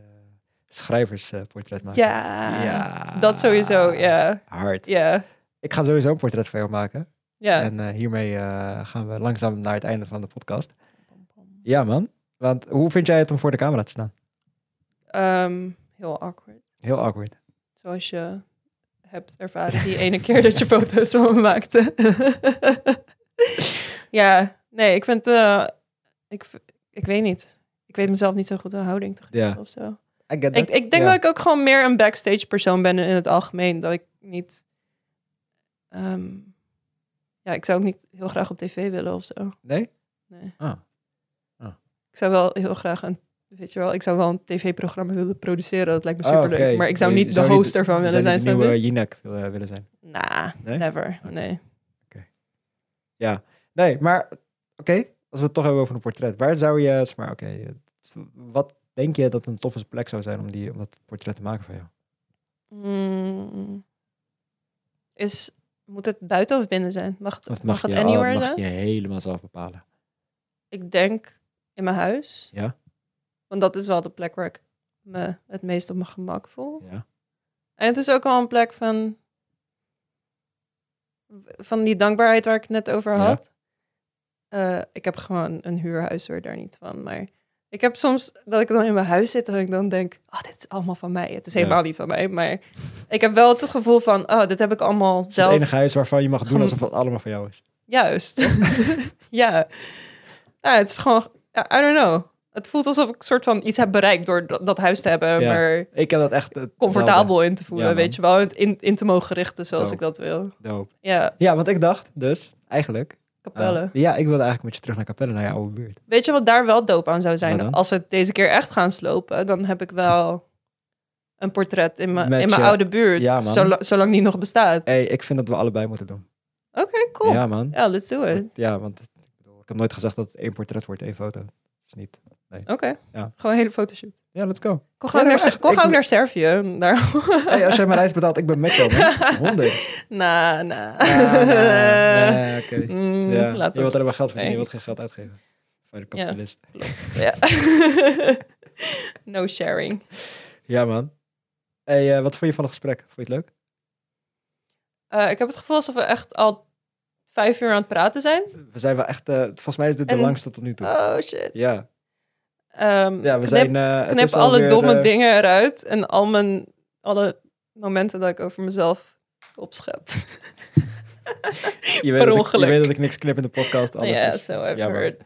Speaker 1: schrijversportret maken?
Speaker 2: Ja.
Speaker 1: Ja.
Speaker 2: Dat sowieso. Ja.
Speaker 1: Hard.
Speaker 2: Ja.
Speaker 1: Ik ga sowieso een portret van jou maken.
Speaker 2: Ja.
Speaker 1: En eh, hiermee eh, gaan we langzaam naar het einde van de podcast. Ja, man. Want hoe vind jij het om voor de camera te staan?
Speaker 2: Ehm, heel awkward.
Speaker 1: Heel awkward.
Speaker 2: Zoals je hebt ervaren die ene keer dat je foto's van me maakte. ja, nee, ik vind... eh, ik, v- ik weet niet. Ik weet mezelf niet zo goed een houding te geven
Speaker 1: Ja.
Speaker 2: of zo.
Speaker 1: I get
Speaker 2: Ik,
Speaker 1: that.
Speaker 2: ik denk
Speaker 1: Ja.
Speaker 2: dat ik ook gewoon meer een backstage persoon ben in het algemeen. Dat ik niet... ehm, ja, ik zou ook niet heel graag op tv willen of zo.
Speaker 1: Nee?
Speaker 2: Nee.
Speaker 1: Ah. Ah.
Speaker 2: Ik zou wel heel graag een... Weet je wel, ik zou wel een tv-programma willen produceren. Dat lijkt me
Speaker 1: Oh,
Speaker 2: superleuk.
Speaker 1: oké.
Speaker 2: Maar ik zou
Speaker 1: Je
Speaker 2: niet
Speaker 1: zou
Speaker 2: de
Speaker 1: niet-
Speaker 2: host ervan
Speaker 1: Zou
Speaker 2: willen
Speaker 1: je
Speaker 2: zijn.
Speaker 1: de
Speaker 2: snap je?
Speaker 1: nieuwe Jinek willen, willen zijn?
Speaker 2: Nah,
Speaker 1: Nee?
Speaker 2: never.
Speaker 1: Oké.
Speaker 2: Nee.
Speaker 1: Nee, maar oké. Als we het toch hebben over een portret. Waar zou je, zeg maar, oké. eh, wat denk je dat een toffe plek zou zijn om, die, om dat portret te maken van jou?
Speaker 2: Mm. Is, moet het buiten of binnen zijn? Mag het,
Speaker 1: Dat
Speaker 2: mag
Speaker 1: mag,
Speaker 2: het
Speaker 1: je, al-
Speaker 2: anywhere
Speaker 1: mag
Speaker 2: zijn?
Speaker 1: je helemaal zelf bepalen.
Speaker 2: Ik denk in mijn huis.
Speaker 1: Ja.
Speaker 2: Want dat is wel de plek waar ik me het meest op mijn gemak voel.
Speaker 1: Ja.
Speaker 2: En het is ook wel een plek van... Van die dankbaarheid waar ik het net over
Speaker 1: Ja.
Speaker 2: had. Eh, ik heb gewoon een huurhuis, hoor, daar niet van. Maar ik heb soms dat ik dan in mijn huis zit en ik dan denk... Oh, dit is allemaal van mij. Het is
Speaker 1: Ja.
Speaker 2: helemaal niet van mij, maar... Ik heb wel het gevoel van, oh, dit heb ik allemaal
Speaker 1: Het is het
Speaker 2: zelf.
Speaker 1: enige huis waarvan je mag doen
Speaker 2: Gewoon-
Speaker 1: alsof het allemaal van jou is.
Speaker 2: Juist. ja. Nou, het is gewoon, ja, I don't know. Het voelt alsof ik soort van iets heb bereikt door dat, dat huis te hebben,
Speaker 1: Ja.
Speaker 2: maar
Speaker 1: Ik heb dat echt... eh,
Speaker 2: comfortabel in te voelen,
Speaker 1: Ja, man.
Speaker 2: weet je wel. En in, in te mogen richten zoals
Speaker 1: Oh.
Speaker 2: ik dat wil.
Speaker 1: hetzelfde. Dope.
Speaker 2: Ja,
Speaker 1: Ja, want ik dacht dus, eigenlijk...
Speaker 2: kapellen.
Speaker 1: eh, ja, ik wilde eigenlijk met je terug naar Capelle, naar je oude buurt.
Speaker 2: Weet je wat daar wel doop aan zou zijn?
Speaker 1: Wat dan?
Speaker 2: Als we het deze keer echt gaan slopen, dan heb ik wel een portret in mijn,
Speaker 1: Met
Speaker 2: in mijn
Speaker 1: je-
Speaker 2: oude buurt,
Speaker 1: Ja, man.
Speaker 2: zolang, zolang die nog bestaat.
Speaker 1: hey, ik vind dat we allebei moeten doen.
Speaker 2: Oké, cool. Ja.
Speaker 1: Ja, man.
Speaker 2: let's do it.
Speaker 1: Ja, want ik, bedoel, ik heb nooit gezegd dat het één portret wordt, één foto. Dat is niet...
Speaker 2: Oké,
Speaker 1: Ja.
Speaker 2: gewoon een hele fotoshoot.
Speaker 1: Ja, let's go.
Speaker 2: Kom
Speaker 1: Ja,
Speaker 2: gewoon
Speaker 1: nee,
Speaker 2: naar,
Speaker 1: echt,
Speaker 2: Ser- kom
Speaker 1: ik
Speaker 2: gewoon
Speaker 1: moet-
Speaker 2: naar Servië. Daar.
Speaker 1: Hey, als jij mijn reis betaalt, ik ben met jou, man. 100.
Speaker 2: Na, na.
Speaker 1: Ah, nee, oké.
Speaker 2: Mm,
Speaker 1: Ja,
Speaker 2: laat
Speaker 1: je wilt
Speaker 2: het.
Speaker 1: alleen maar geld verdienen, je
Speaker 2: Nee.
Speaker 1: wilt geen geld uitgeven. Voor de kapitalist. Ja,
Speaker 2: Klopt, ja. no sharing.
Speaker 1: man. Hey, eh, wat vond je van het gesprek? Vond je het leuk?
Speaker 2: Eh, ik heb het gevoel alsof we echt al vijf uur aan het praten zijn.
Speaker 1: We zijn wel echt... eh, volgens mij is dit de
Speaker 2: En-
Speaker 1: langste tot nu toe.
Speaker 2: Oh shit.
Speaker 1: ja.
Speaker 2: Ehm,
Speaker 1: ja, we
Speaker 2: knip,
Speaker 1: zijn... eh, het
Speaker 2: knip
Speaker 1: is
Speaker 2: alle
Speaker 1: alweer,
Speaker 2: domme
Speaker 1: eh,
Speaker 2: dingen eruit en al mijn, alle momenten dat ik over mezelf opschep.
Speaker 1: Je weet, dat ik-
Speaker 2: ongeluk.
Speaker 1: je weet dat ik niks knip in de podcast. Alles
Speaker 2: Ja,
Speaker 1: is.
Speaker 2: so I've
Speaker 1: Ja, maar-
Speaker 2: heard.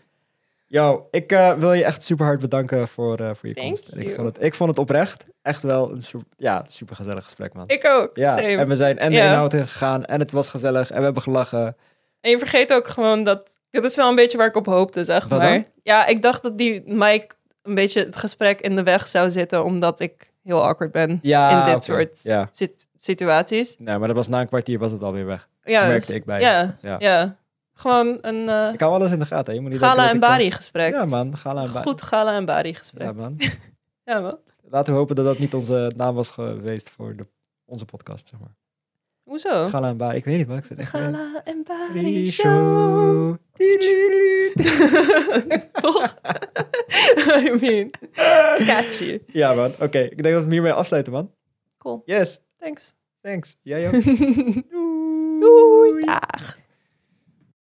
Speaker 1: Yo, ik eh, wil je echt super hard bedanken voor, eh, voor je
Speaker 2: Thank
Speaker 1: komst. En ik,
Speaker 2: you.
Speaker 1: vond het, ik vond het oprecht echt wel een super, ja, super gezellig gesprek, man.
Speaker 2: Ik ook,
Speaker 1: ja,
Speaker 2: same.
Speaker 1: en we zijn en de
Speaker 2: Ja.
Speaker 1: inhoud ingegaan en het was gezellig en we hebben gelachen.
Speaker 2: En je vergeet ook gewoon dat Dat is wel een beetje waar ik op hoopte, zeg
Speaker 1: Wat
Speaker 2: maar.
Speaker 1: dan?
Speaker 2: Ja, ik dacht dat die Mike een beetje het gesprek in de weg zou zitten, omdat ik heel awkward ben
Speaker 1: Ja,
Speaker 2: in dit
Speaker 1: oké.
Speaker 2: soort
Speaker 1: Ja,
Speaker 2: sit- situaties.
Speaker 1: nee, maar dat was na een kwartier was het alweer weg.
Speaker 2: Ja,
Speaker 1: Merkte
Speaker 2: dus-
Speaker 1: ik bij
Speaker 2: Ja,
Speaker 1: je. Ja.
Speaker 2: ja. gewoon een eh,
Speaker 1: Ik hou alles in de gaten. hè. Je moet niet
Speaker 2: gala en
Speaker 1: denken dat ik,
Speaker 2: bari
Speaker 1: eh,
Speaker 2: gesprek.
Speaker 1: Ja man, gala en bari.
Speaker 2: Goed gala en bari gesprek.
Speaker 1: Ja man.
Speaker 2: Ja, man.
Speaker 1: Laten we hopen dat dat niet onze naam was geweest voor de, onze podcast, zeg maar.
Speaker 2: Hoezo?
Speaker 1: Gala en bari. Ik weet niet, maar ik vind
Speaker 2: De
Speaker 1: het echt...
Speaker 2: Oh. gala en bari
Speaker 1: Bari
Speaker 2: show.
Speaker 1: show. Tududu.
Speaker 2: Toch? I mean, it's catchy.
Speaker 1: Ja man, oké. Ik denk dat we hiermee afsluiten man.
Speaker 2: Cool,
Speaker 1: Yes,
Speaker 2: thanks.
Speaker 1: thanks. Jij ook.
Speaker 2: Doei. Ah. Doei. Dag.